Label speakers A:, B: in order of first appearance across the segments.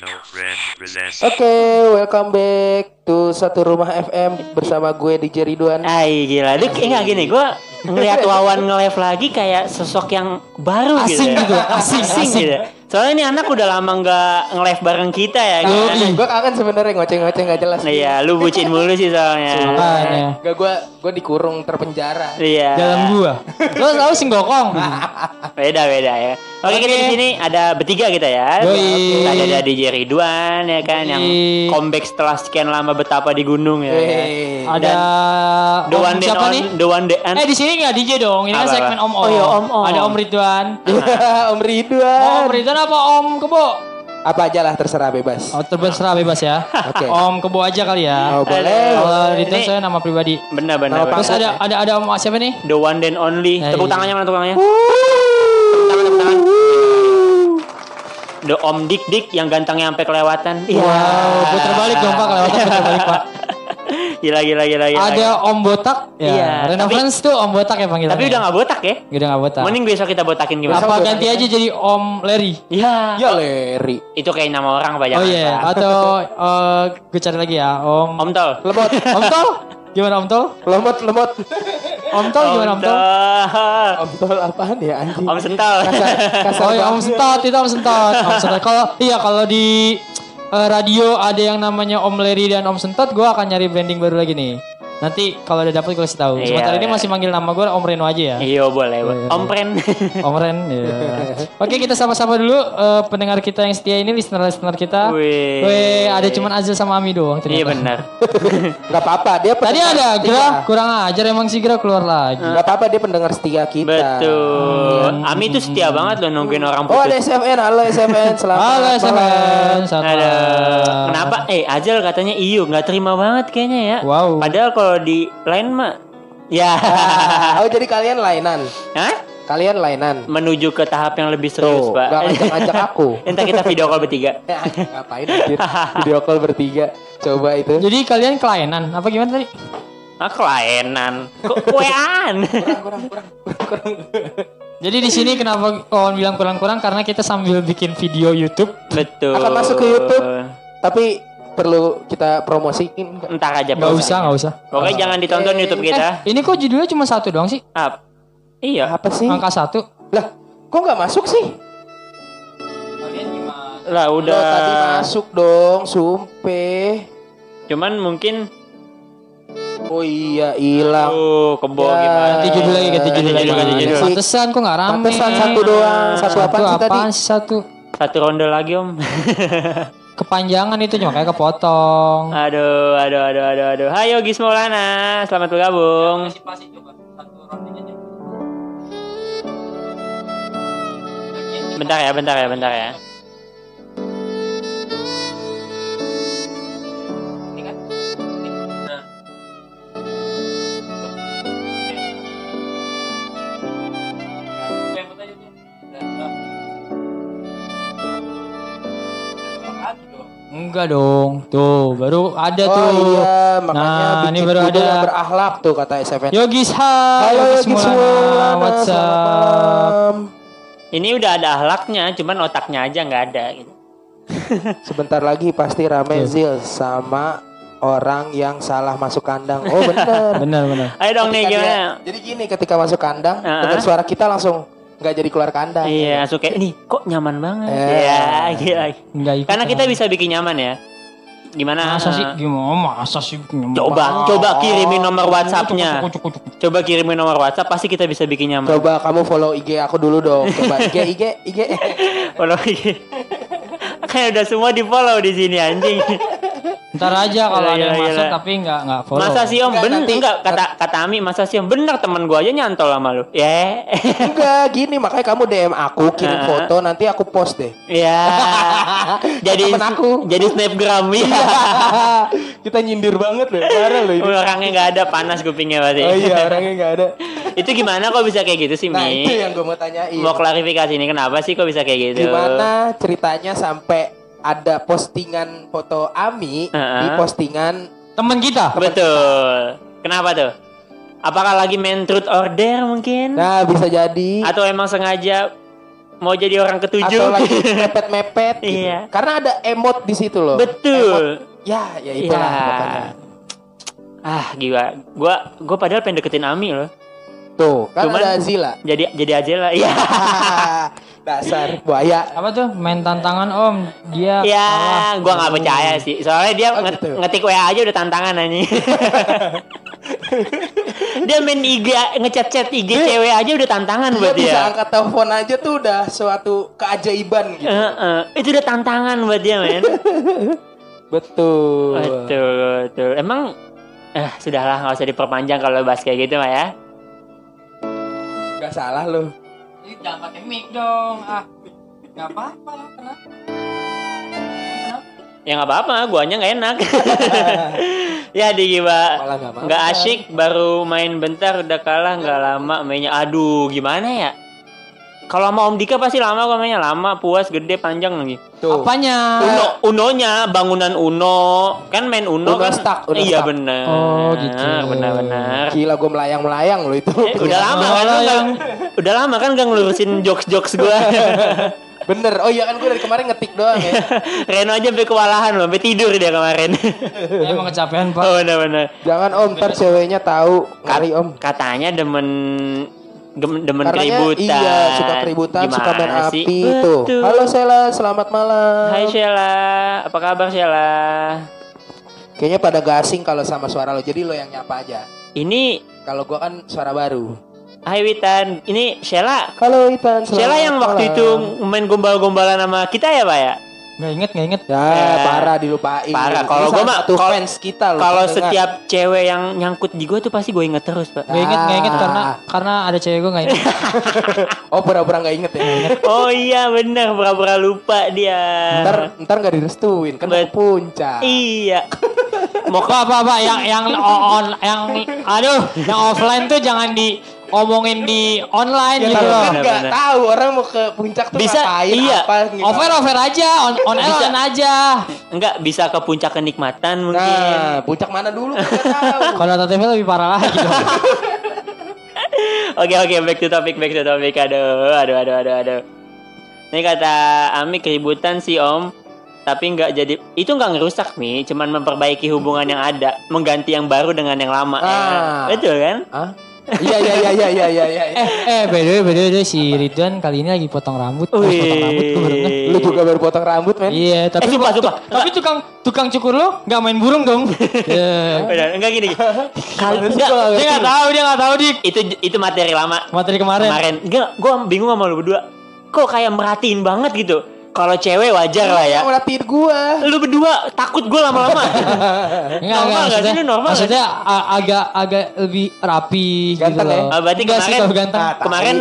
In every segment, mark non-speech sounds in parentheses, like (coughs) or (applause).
A: Oke, welcome back to Satu Rumah FM bersama gue DJ Ridwan.
B: Ay gila, dik enggak gini gue ngelihat Wawan nge-live lagi kayak sosok yang baru
C: Asing
B: gitu.
C: gitu,
B: ya.
C: asing, asing.
B: gitu. Soalnya ini anak udah lama nggak nge-live bareng kita ya. gitu.
A: Gue kangen sebenarnya ngoceh-ngoceh gak jelas.
B: Nah, Iya, lu bucin mulu sih soalnya.
C: Makanya.
A: Gak gue gue dikurung terpenjara.
B: Iya.
C: Jalan gua. Hmm. Lo tahu singgokong?
B: Beda beda ya. Oke, kita
C: Oke.
B: di sini ada bertiga kita ya.
C: Yoi.
B: Ada ada DJ Ridwan ya kan yang
C: Yoi.
B: comeback setelah sekian lama betapa di gunung ya. kan.
A: Weh.
C: Ada
B: The
C: Om
B: one day
C: siapa
B: on,
C: nih?
B: the one day on.
C: Eh di sini nggak DJ dong. Ini kan
B: Apa,
C: segmen
B: apa?
C: Om Om.
B: Oh, iya, Om Om.
C: Ada Om Ridwan.
A: (laughs) Om Ridwan.
C: Om Ridwan apa Om Kebo?
A: Apa aja lah terserah bebas.
C: Oh terserah bebas (laughs) ya.
A: Oke.
C: Om Kebo aja kali ya.
A: Oh, boleh.
C: Kalau Ridwan
B: Ini-
C: saya nama pribadi.
B: Benar
A: Nama
B: benar. benar.
C: Terus ada ada ada Om siapa nih?
B: The one and only.
C: Hey.
B: Tepuk tangannya mana tepuk tangannya? Tepuk tangan, tepuk tangan. The Om Dik Dik yang gantengnya sampai kelewatan. Iya.
C: Wow, putar balik dong Pak, lewat putar balik Pak.
B: (laughs) Gila gila gila gila.
C: Ada Om Botak.
B: Iya,
C: Ya, Reno
B: tapi-
C: Friends tuh Om Botak ya panggilannya.
B: Tapi udah nggak botak ya?
C: Udah nggak botak.
B: Mending besok kita botakin gimana?
C: Apa ganti aja jadi Om Larry?
B: Iya.
A: Ya Leri.
B: Itu kayak nama orang apa
C: Oh
B: jangan,
C: iya,
B: Pak.
C: atau eh, gue cari lagi ya, Om.
B: Om Tol.
A: Lemot.
C: Om Tol? Gimana Om Tol?
A: Lemot, lemot.
C: Om Tol gimana Om Tol?
B: Tol.
A: Om tol apaan ya anjing?
B: Om Sental.
A: Kasar, kasar
C: Oh iya Om
A: banget.
C: Sentot, itu Om Sentot. Om Sentot. Kalau iya kalau di eh, radio ada yang namanya Om Leri dan Om Sentot, gue akan nyari branding baru lagi nih. Nanti kalau udah dapet gue kasih tahu.
B: Iya,
C: Sementara ini
B: iya.
C: masih manggil nama gue Om Reno aja ya.
B: Iya boleh. boleh. Om Pren.
C: Om Ren. iya. Oke kita sama-sama dulu eh, pendengar kita yang setia ini, listener-listener kita.
B: Wih.
C: Weh, ada cuman Azil sama Ami doang.
B: Iya
C: ternyata.
B: benar.
A: Gak apa-apa dia
C: Tadi
A: pendengar
C: ada
A: setia.
C: Gra, kurang ajar emang si Gra keluar lagi.
A: Gak apa-apa dia pendengar setia kita.
B: Betul.
C: Iya.
B: Ami tuh setia banget loh nungguin orang
A: Oh ada
B: putus.
A: SFN, halo
C: (laughs)
A: SFN, selamat
C: Halo
A: malam.
C: SFN, selamat
B: Ada.
C: malam.
B: Kenapa? Eh, Ajal katanya iyo nggak terima banget kayaknya ya.
C: Wow.
B: Padahal kalau di lain mah ya.
A: Ah, Oh jadi kalian lainan,
B: (laughs) Hah?
A: kalian lainan.
B: Menuju ke tahap yang lebih
A: Tuh,
B: serius, Pak. (laughs)
A: gak ngajak-ngajak aku.
B: Entar kita video call bertiga.
A: Eh, Ngapain anjir? Video call bertiga. Coba itu.
C: Jadi kalian kelainan apa gimana tadi?
B: Ah, kelainan. Kok
A: (laughs)
B: wean?
C: Jadi di sini kenapa kawan bilang kurang-kurang karena kita sambil bikin video YouTube.
B: Betul.
A: Akan masuk ke YouTube. Tapi perlu kita promosiin. nggak? Ah. Eh,
B: Entar aja,
C: Gak
B: Pak.
C: usah, gak usah. Eh,
B: Pokoknya jangan ditonton YouTube
A: Ya.
B: kita.
C: Ini kok judulnya cuma satu doang sih?
B: Up. Iya.
A: Apa sih?
C: Angka satu.
A: Lah, kok nggak masuk sih?
B: Lah
A: Udah tadi
B: udah.
A: masuk dong, sumpeh.
B: Cuman mungkin
A: Oh iya, hilang.
B: tuh uh, kebo
A: Ya.
B: gimana.
C: Ganti judul lagi,
A: Eh,
C: ganti judul lagi.
B: Ganti judul.
C: Pantesan kok gak rame.
A: Pantesan satu doang. Satu
C: Satu
A: apaan sih tadi?
C: apaan sih satu?
B: Satu ronde lagi, Om.
C: Kepanjangan itu makanya kepotong.
B: Aduh, aduh, aduh, aduh, aduh. Hai Yogi Maulana, selamat bergabung. Bentar ya, bentar ya, bentar ya.
C: Enggak dong. Tuh, baru ada
A: Oh
C: tuh.
A: iya, makanya
C: Nah,
A: bikin
C: ini baru
A: judul yang
C: ada.
A: berakhlak tuh kata SFN.
C: Yogis hai.
A: Halo, Yogi
C: Maulana.
A: Maulana,
C: What's
A: selamat
C: up?
A: malam.
B: Ini udah ada ahlaknya, cuman otaknya aja nggak ada. Gitu.
A: Sebentar lagi pasti rame Zil sama orang yang salah masuk kandang. Oh (laughs) bener.
C: Benar, benar.
B: Ayo dong nih
A: Ketika dia-
B: gimana?
A: jadi gini ketika masuk kandang,
B: Uh-uh.
A: dengar suara kita langsung nggak jadi keluar kandang.
B: Iya, suka ini kok nyaman banget.
A: Eh.
B: Iya, gila.
C: Enggak ikut.
B: Karena kita bisa bikin nyaman ya. Gimana?
C: masa sih gimana? Masa sih gimana?
B: Nah. Coba,
A: Wow.
B: coba kirimin nomor
C: Cukup,
B: WhatsApp-nya.
C: cukup, cukup, cukup.
B: Coba kirimin nomor WhatsApp, pasti kita bisa bikin nyaman.
A: Coba kamu follow IG aku dulu dong. Coba IG IG IG.
B: (laughs) Follow IG. Kayak iya. Kan udah semua di follow di sini anjing.
C: Ntar aja kalau
B: Gila,
C: ada yang
B: gila,
C: masuk
B: gila.
C: tapi enggak enggak follow.
B: iya, Masa sih om
A: Enggak,
B: bener
A: nanti-
B: enggak kata kata Ami masa sih om bener teman gua aja nyantol sama lu. Ya. (laughs)
A: Enggak gini makanya kamu DM aku kirim
B: Uh-uh.
A: foto nanti aku post
B: (laughs)
A: deh. (laughs)
B: Ya. Jadi
A: Temen
B: (laughs)
A: aku.
B: jadi snapgram ya.
A: kita nyindir banget loh, parah loh ini.
B: Orangnya nggak ada panas kupingnya berarti.
A: Iya. Oh iya orangnya nggak ada.
B: itu gimana kok bisa kayak gitu sih
A: Nah
B: Mi?
A: itu yang gue mau tanyain.
B: Mau klarifikasi ini kenapa sih kok bisa kayak gitu?
A: Gimana ceritanya sampai ada postingan foto Ami
B: Uh-uh.
A: di postingan
C: Temen kita.
B: Betul. Kenapa tuh? Apakah lagi main truth order mungkin?
A: Nah bisa jadi
B: Atau emang sengaja mau jadi orang ketujuh.
A: atau
B: (laughs)
A: lagi mepet-mepet gitu.
B: Iya.
A: Karena ada emot di situ loh. Emot.
B: Betul.
A: Ya, ya
B: Iya.
A: itulah makanya.
B: Ah, gila. Gua gua padahal pengen deketin Ami loh.
A: Tuh, kan
B: Cuman-
A: ada
B: (laughs)
A: Zila.
B: Jadi jadi aja lah. Iya.
A: Dasar buaya.
C: Apa tuh? Main tantangan om. Dia
B: Iya,
C: kalah.
B: gua nggak percaya sih. Soalnya dia
A: Ah. Oh,
B: nge-
A: gitu.
B: ngetik WA aja udah tantangan
A: (laughs)
B: anjing. dia main IG ngechat-chat IG cewek aja udah tantangan
A: Dia
B: buat
A: bisa
B: dia.
A: angkat telepon aja tuh udah suatu keajaiban gitu.
B: Heeh, itu udah tantangan buat dia, men.
A: Betul.
B: betul, betul. Emang eh sudahlah nggak usah diperpanjang kalau bahas kayak gitu mah ya.
A: Gak salah loh.
C: Ih, Jangan pakai mic dong. Ah, nggak apa-apa. Kenapa? Kenapa?
B: Ya nggak apa-apa, guanya nggak
A: (laughs)
B: enak. (laughs) ya di
A: Malah nggak apa-apa.
B: nggak asyik, baru main bentar udah kalah nggak lama mainnya. Aduh, gimana ya? Kalau sama Om Dika pasti lama kok mainnya lama, puas, gede, panjang lagi.
A: Tuh. (laughs)
C: Apanya?
B: Uno, Unonya, bangunan Uno, kan main Uno,
A: Uno
B: kan?
A: stuck, Uno
B: iya
A: stuck.
B: benar.
C: Oh, gitu.
B: Benar-benar.
A: Gila gue melayang-melayang loh itu.
B: Eh, udah lama kan lu
C: Melayang.
B: nggak- udah lama kan gak ngelurusin jokes-jokes
A: (laughs)
B: gua.
A: Bener. Oh iya kan gue dari kemarin ngetik doang ya.
B: Reno aja sampai kewalahan loh, sampai tidur dia kemarin.
C: Emang kecapean pak.
B: oh, benar-benar.
A: Jangan om, ntar ceweknya tahu kali om.
B: Katanya demen gem- demen
A: Katanya,
B: keributan.
A: Iya, suka keributan, suka main
B: Gimana
A: api
B: sih?
A: tuh.
B: Betul.
A: Halo Sela, selamat malam.
B: Hai Sheila, apa kabar Sheila?
A: Kayaknya pada gak asing kalau sama suara lo. Jadi lo yang nyapa aja.
B: Ini
A: Kalau gua kan suara baru.
B: Hai Witan, ini Sheila.
A: Halo Itan, selamat
B: Sheila yang waktu
A: malam.
B: itu main gombal-gombalan sama kita ya, Pak ya?
C: Nggak inget, nggak inget.
A: Ya,
B: Eh,
A: parah dilupain.
B: parah.
A: Ini
B: Kalau
A: salah
B: gua mah-
A: satu
B: kalau-
A: fans kita lo.
B: Kalau
A: pendengar.
B: setiap cewek yang nyangkut di gua tuh pasti gue inget terus, Pak.
C: Nggak inget, nggak inget
A: Ah.
C: karena karena ada cewek gue nggak inget.
A: Oh, pura-pura gak inget
B: (laughs)
A: ya.
B: Oh iya bener pura-pura lupa dia.
A: ntar ntar gak direstuin kan mau ke
B: Bet-
A: puncak.
B: Iya. (laughs) Mau ke-
C: Pak, pak, pak, yang yang o- on, yang aduh, yang offline tuh jangan diomongin di
A: Ya,
C: online
A: tapi
C: gitu loh.
A: kan gak
B: Bener-bener.
A: tahu orang mau ke puncak tuh
B: Bisa,
A: ngapain
B: iya.
A: apa gitu.
C: Over over aja, on on air
B: Bisa.
C: on aja.
B: enggak bisa ke puncak kenikmatan mungkin.
A: Nah, puncak mana dulu kan gak
B: (laughs)
A: tahu.
C: Konotatifnya lebih parah lagi dong.
B: Oke oke back to topic back to topic. Aduh aduh aduh aduh aduh. Ini kata Ami keributan sih Om. Tapi nggak jadi itu nggak ngerusak Mi, cuman memperbaiki hubungan yang ada, mengganti yang baru dengan yang lama. ya
A: Ah.
B: kan? Betul kan?
A: Hah? Iya iya iya iya iya iya iya.
C: eh, eh, by the way, by the way, by the way, si Ridwan kali ini lagi potong rambut. Pas potong rambut gue baru ngeh.
A: Lu juga baru potong rambut, men.
C: Iya, tapi
B: Eh, sumpah,
C: tu-
B: sumpah.
C: tapi tukang tukang cukur lo nggak main burung dong. Iya.
B: Benar, enggak gini. Kalau
A: Gimana sih gua nggak
C: dia nggak tahu, dia nggak tahu dik.
B: itu itu materi lama.
C: Materi kemarin.
B: kemarin enggak gue bingung sama lu berdua kok kayak merhatiin banget gitu kalau cewek wajar lah ya Nah.
A: Kamu latihin gua.
B: lu berdua takut gue lama-lama
C: (laughs) Enggak,
B: Normal
C: enggak,
B: nggak sih?
C: maksudnya,
B: Ini normal nggak
C: maksudnya a- agak agak lebih rapi
A: Ganteng
C: gitu
A: ya?
C: loh.
B: Ah, berarti
C: Nggak sih
B: kemarin- Ah,
C: kalau ganteng.
A: Nah,
B: kemarin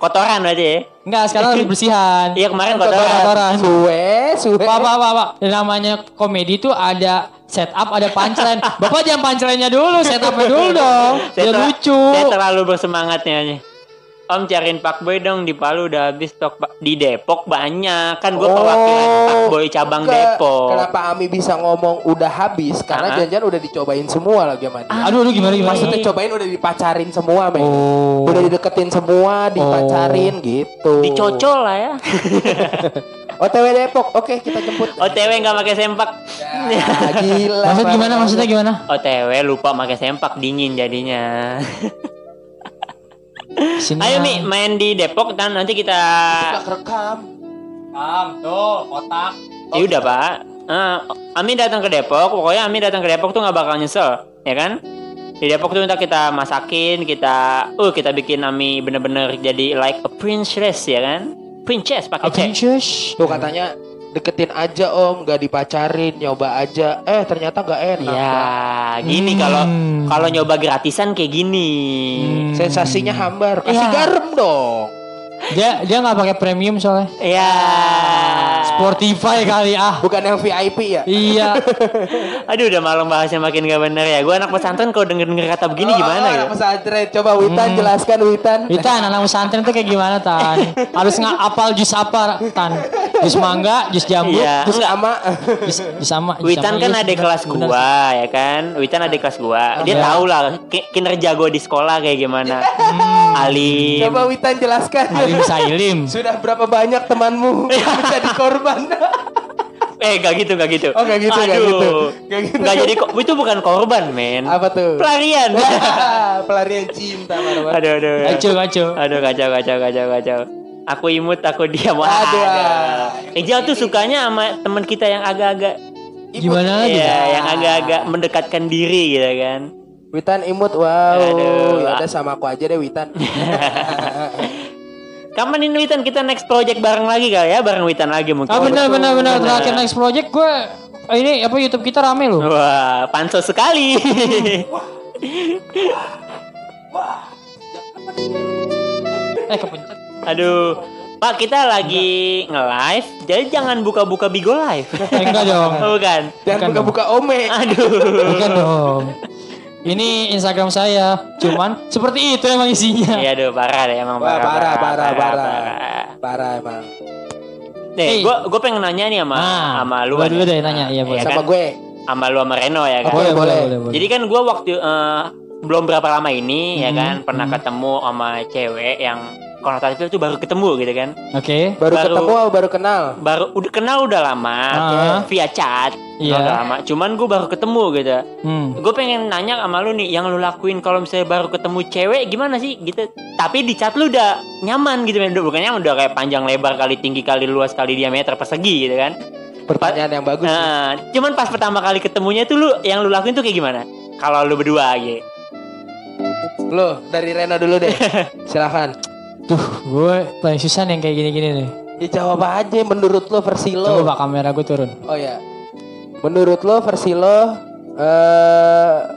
B: kotoran aja ya
C: Enggak, sekarang lebih bersihan.
B: (laughs) iya kemarin kotoran
C: Kotoran.
A: Suwe, suwe.
C: Pak, pak, pak, pak. Yang namanya komedi tuh ada setup, ada punchline. Bapak jangan punchline-nya dulu, setupnya dulu dong.
B: Saya
C: Biar
B: ter-
C: lucu.
B: saya terlalu bersemangatnya aja Om cariin Pak Boy dong di Palu udah habis stok Pak. di Depok banyak kan gue perwakilan
C: Oh,
B: Pak Boy
A: Oh,
B: cabang
A: ke-
B: Depok.
A: Kenapa Ami bisa ngomong udah habis? Karena
B: Ah. iya.
A: janjian udah dicobain semua lagi sama dia.
C: Aduh, aduh gimana gimana?
A: Maksudnya cobain udah dipacarin semua, men.
C: Oh.
A: Udah dideketin
B: Oh.
A: semua, dipacarin gitu.
B: Dicocol lah ya.
A: OTW Depok. Oke, kita jemput.
B: OTW nggak pakai sempak. iya.
A: Ya, gila.
C: Maksud gimana? Maksudnya gimana?
B: OTW lupa pakai sempak dingin jadinya.
C: Iya. Sini.
B: Ayo Mi main di Depok dan nanti kita
A: Gak rekam.
C: tuh, otak.
B: ya udah Pak. Eh, Ami datang ke Depok, pokoknya Ami datang ke Depok tuh nggak bakal nyesel, ya kan? Di Depok tuh ntar kita masakin, kita uh kita bikin Ami bener-bener jadi like a princess ya kan? Princess pakai C.
C: Princess.
A: Tuh katanya deketin aja om, gak dipacarin, nyoba aja. Eh ternyata gak enak. Bang.
B: Ya, gini kalau
C: Hmm.
B: kalau nyoba gratisan kayak gini.
C: Hmm.
A: Sensasinya hambar. Kasih
B: Ya.
A: garam dong.
C: Dia dia nggak pakai premium soalnya.
B: Ya. Ah.
C: Sportify kali ah.
A: Bukan yang VIP ya.
C: Iya.
B: Aduh udah malam bahasnya makin gak bener ya. Gue anak pesantren kalau denger-denger kata begini
A: Oh,
B: gimana
A: anak
B: ya?
A: pesantren. Coba Witan jelaskan Hmm. Witan.
C: Witan, anak pesantren tuh kayak gimana Tan? Harus nggak apal jus apa Tan? jus mangga, jus jambu,
B: Iya.
A: Terus
B: Enggak.
A: sama
C: jus, jus sama. jus
B: Witan
C: sama,
B: kan
C: iya,
B: ada
C: bener,
B: kelas
C: bener
B: gua ya kan Witan ada kelas gua Dia
C: Iya.
B: tahu lah ki- kinerja gua di sekolah kayak
A: (laughs)
B: gimana Hmm. Alim
A: coba Witan jelaskan.
C: sih. Alim Sailim.
A: Sudah berapa banyak temanmu menjadi (laughs) korban?
B: Eh gak gitu gak gitu
A: Oh, gak gitu, gak
B: Aduh.
A: gitu. Gak gitu.
B: Gak jadi ko- Itu bukan korban men
A: Apa tuh? (laughs)
B: Pelarian
A: Pelarian cinta, Marwan.
B: (laughs) Aduh aduh
C: Kacau, kacau.
B: Aduh kacau kacau kacau kacau Aku imut aku diam
A: Aduh. ah.
B: Aduh Ejal tuh sukanya sama teman kita yang agak-agak
A: Imut.
C: Gimana aja?
B: Iya yang agak-agak mendekatkan diri gitu kan
A: Witan imut, wow.
B: Aduh.
A: Ya udah sama aku aja deh Witan.
B: Kapan ini Witan kita next project bareng lagi kali ya Bareng Witan lagi mungkin
C: Ah benar
A: betul,
C: benar benar
B: benar.
C: terakhir next project gue ini apa YouTube kita rame loh.
B: Wah, pansos sekali.
C: (laughs) Eh kepencet.
B: Aduh. Pak, kita lagi nge-live, jadi jangan buka-buka Bigo Live.
C: Eh, enggak dong.
B: Oh, Bukan. Ah,
A: Dan
C: Bukan
A: buka-buka ome.
C: (laughs)
B: Aduh.
C: Bukan dong. Ini Instagram saya. Cuman seperti itu emang isinya.
B: Iya, aduh, parah deh emang
A: Wah,
B: parah.
A: parah, parah, parah.
B: parah.
A: Parah emang.
B: Nih,
C: Hey.
B: gua gua pengen nanya nih sama
C: Nah,
B: sama lu
C: gua
B: nih.
C: dulu deh nanya, iya, boleh. Oh,
B: Iya kan?
A: Sama gue.
B: Sama lu sama Reno ya kan.
A: Boleh,
C: Boleh,
A: boleh.
C: boleh, boleh, boleh.
B: Jadi kan gue waktu eh, belum berapa lama ini ya
C: Hmm,
B: kan pernah
C: hmm.
B: ketemu sama cewek yang konotatifnya tuh baru ketemu gitu kan.
C: Oke.
A: Baru,
B: Baru-
A: ketemu atau baru kenal?
B: Baru udah kenal udah lama
C: Ah.
B: via chat.
C: Iya.
B: Udah lama. Cuman gue baru ketemu gitu.
C: Hmm.
B: Gue pengen nanya sama lu nih yang lu lakuin kalau misalnya baru ketemu cewek gimana sih gitu. Tapi di chat lu udah nyaman gitu men. Udah bukan nyaman udah kayak panjang lebar kali tinggi kali luas kali diameter persegi gitu kan.
A: Pertanyaan yang bagus. sih.
B: Nah, cuman pas pertama kali ketemunya tuh lu yang lu lakuin tuh kayak gimana? Kalau lu berdua gitu. (laughs)
A: Lo dari Reno dulu deh. Silahkan.
C: Tuh, gue paling susah nih yang kayak gini-gini nih.
A: Ya, jawab aja menurut lo versi lo.
C: Coba pak kamera gue turun.
A: Oh ya. Menurut lo versi lo eh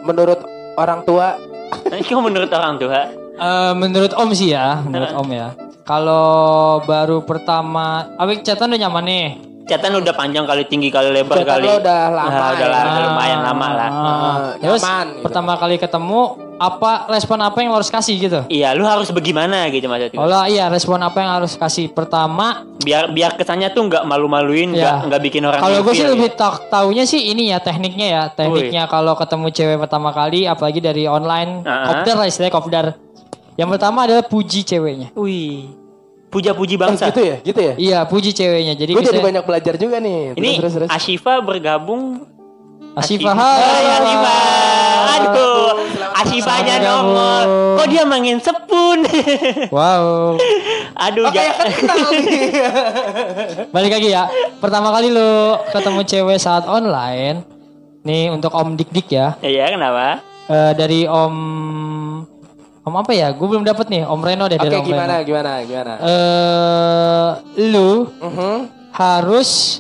A: menurut orang tua
B: Ini menurut orang tua.
C: Eh, menurut Om sih ya, menurut Om ya. Kalau baru pertama, abis chatan udah nyaman nih.
B: Catatan udah panjang kali tinggi kali lebar
A: Catatan
B: kali.
A: lo udah lama
B: Ah,
A: ya.
B: udah lama, lumayan lama lah.
C: Ah,
A: Eh,
C: terus
A: nyaman gitu.
C: pertama kali ketemu, apa respon apa yang lo harus kasih gitu?
B: Iya, lu harus bagaimana gitu maksudnya.
C: Kalau iya respon apa yang harus kasih pertama?
B: biar biar kesannya tuh nggak malu-maluin nggak
C: Ya.
B: nggak bikin orang
C: Kalau gue sih
B: ilfil,
C: lebih
B: gitu.
C: tak taunya sih ini ya tekniknya ya tekniknya kalau ketemu cewek pertama kali, apalagi dari online,
B: Ah.
C: kopdar lah istilahnya kopdar. Yang pertama adalah puji ceweknya.
B: wih puja-puji
A: Eh,
B: bangsa
A: gitu ya, gitu ya.
C: Iya ya. puji ceweknya.
A: Gue
C: Jadi
A: jadi
C: misalnya-
A: banyak belajar juga nih.
B: ini
A: terus terus. terus.
B: Ashifa bergabung
C: Asifah.
B: Hai Ashifa aduh
A: selamat
B: Ashifanya
C: malam.
B: nongol kok dia main sepun (laughs)
C: Wow.
B: aduh
C: Oh,
A: Oke,
C: iya, kan
B: ja-
A: kenal nih.
C: Balik lagi ya. Pertama kali lu ketemu cewek saat online. Nih untuk Om Dik Dik ya.
B: (laughs) iya kenapa
C: Eh, dari Om Om apa ya? Gue belum dapet nih. Om Reno deh
A: Oke,
C: dari Om
A: gimana
C: Reno.
A: gimana gimana.
C: Eh, lu
A: Mhm.
C: harus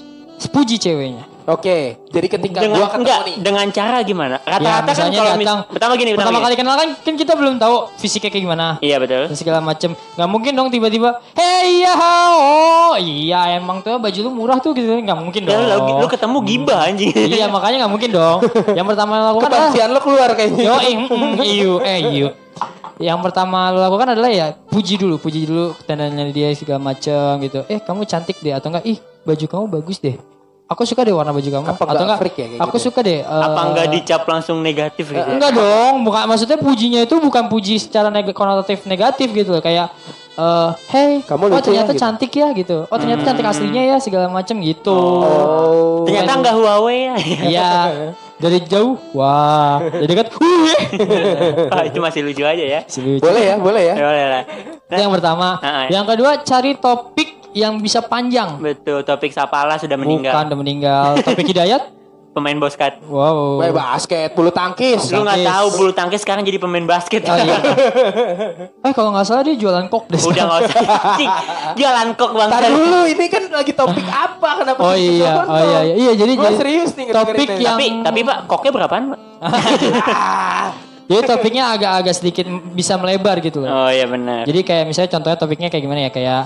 C: puji ceweknya.
A: Oke, jadi ketika
B: dengan
A: gua ketemu
B: enggak
A: nih.
B: dengan cara gimana
C: Ya,
B: rata-rata kan
C: misalnya
B: kalau mis-
C: datang
B: pertama gini
C: pertama
B: gini.
C: kali kenal kan kan kita belum tahu fisiknya kayak gimana.
B: iya betul
C: Dan segala macem nggak mungkin dong tiba-tiba hey iya oh iya emang tuh baju lu murah tuh gitu nggak mungkin
B: Ya,
C: dong Hmm.
B: lu, lu ketemu gibah anjing
C: iya makanya nggak mungkin dong yang pertama yang lakukan adalah
A: Kebencian lo keluar
C: Yo,
A: kayaknya.
C: eh, mm, iu, eh, iu. Yang pertama lo lakukan adalah ya puji dulu, puji dulu tandanya dia segala macam gitu. Eh, kamu cantik deh atau enggak? Ih, baju kamu bagus deh. Aku suka deh warna baju kamu.
A: Apa
C: atau
A: enggak freak ya kayak
C: aku
A: gitu?
C: suka deh. eh,
B: (laughs) apa enggak dicap langsung negatif gitu ya?
C: Enggak dong, bukan maksudnya pujinya itu bukan puji secara neg konotatif negatif gitu loh, kayak eh hey,
A: Kamu
C: oh
A: lucu ya," gitu.
C: ternyata
A: Hmm.
C: cantik ya gitu. Oh, ternyata cantik aslinya ya segala macam gitu.
A: Oh.
B: ternyata enggak Huawei ya
C: Iya. Dari jauh, wah. Dari dekat, (laughs) "Wih."
B: Wah, itu masih lucu aja ya
C: Si lucu.
A: Boleh ya, boleh ya.
B: Ya, boleh lah.
C: Itu yang pertama.
B: Ah, ya.
C: Yang kedua cari topik yang bisa panjang.
B: Betul, topik Sapala sudah
C: Bukan
B: meninggal.
C: udah meninggal. Topik hidayat.
B: Pemain boskat.
C: Wow.
A: Wah, basket, bulu tangkis.
B: Lu nggak
C: Tangkis.
B: tahu bulu tangkis sekarang jadi pemain basket.
C: Oh, iya. eh kalau nggak salah dia jualan kok deh.
B: (laughs) Udah nggak usah. Cik, Jualan kok
A: Tar
B: bangsa.
A: dulu, ini kan lagi topik apa? Kenapa?
C: Oh
A: kita
C: iya,
A: nonton?
C: oh iya, iya, Iya, jadi
A: Gua
C: jadi
A: serius nih
C: topik ya.
A: ngedengerin
C: yang
B: Tapi tapi Pak, koknya berapaan, Pak?
A: Ah.
C: (laughs)
A: Eh,
C: jadi topiknya agak-agak sedikit bisa melebar gitu loh.
B: Oh iya benar.
C: Jadi kayak misalnya contohnya topiknya kayak gimana ya kayak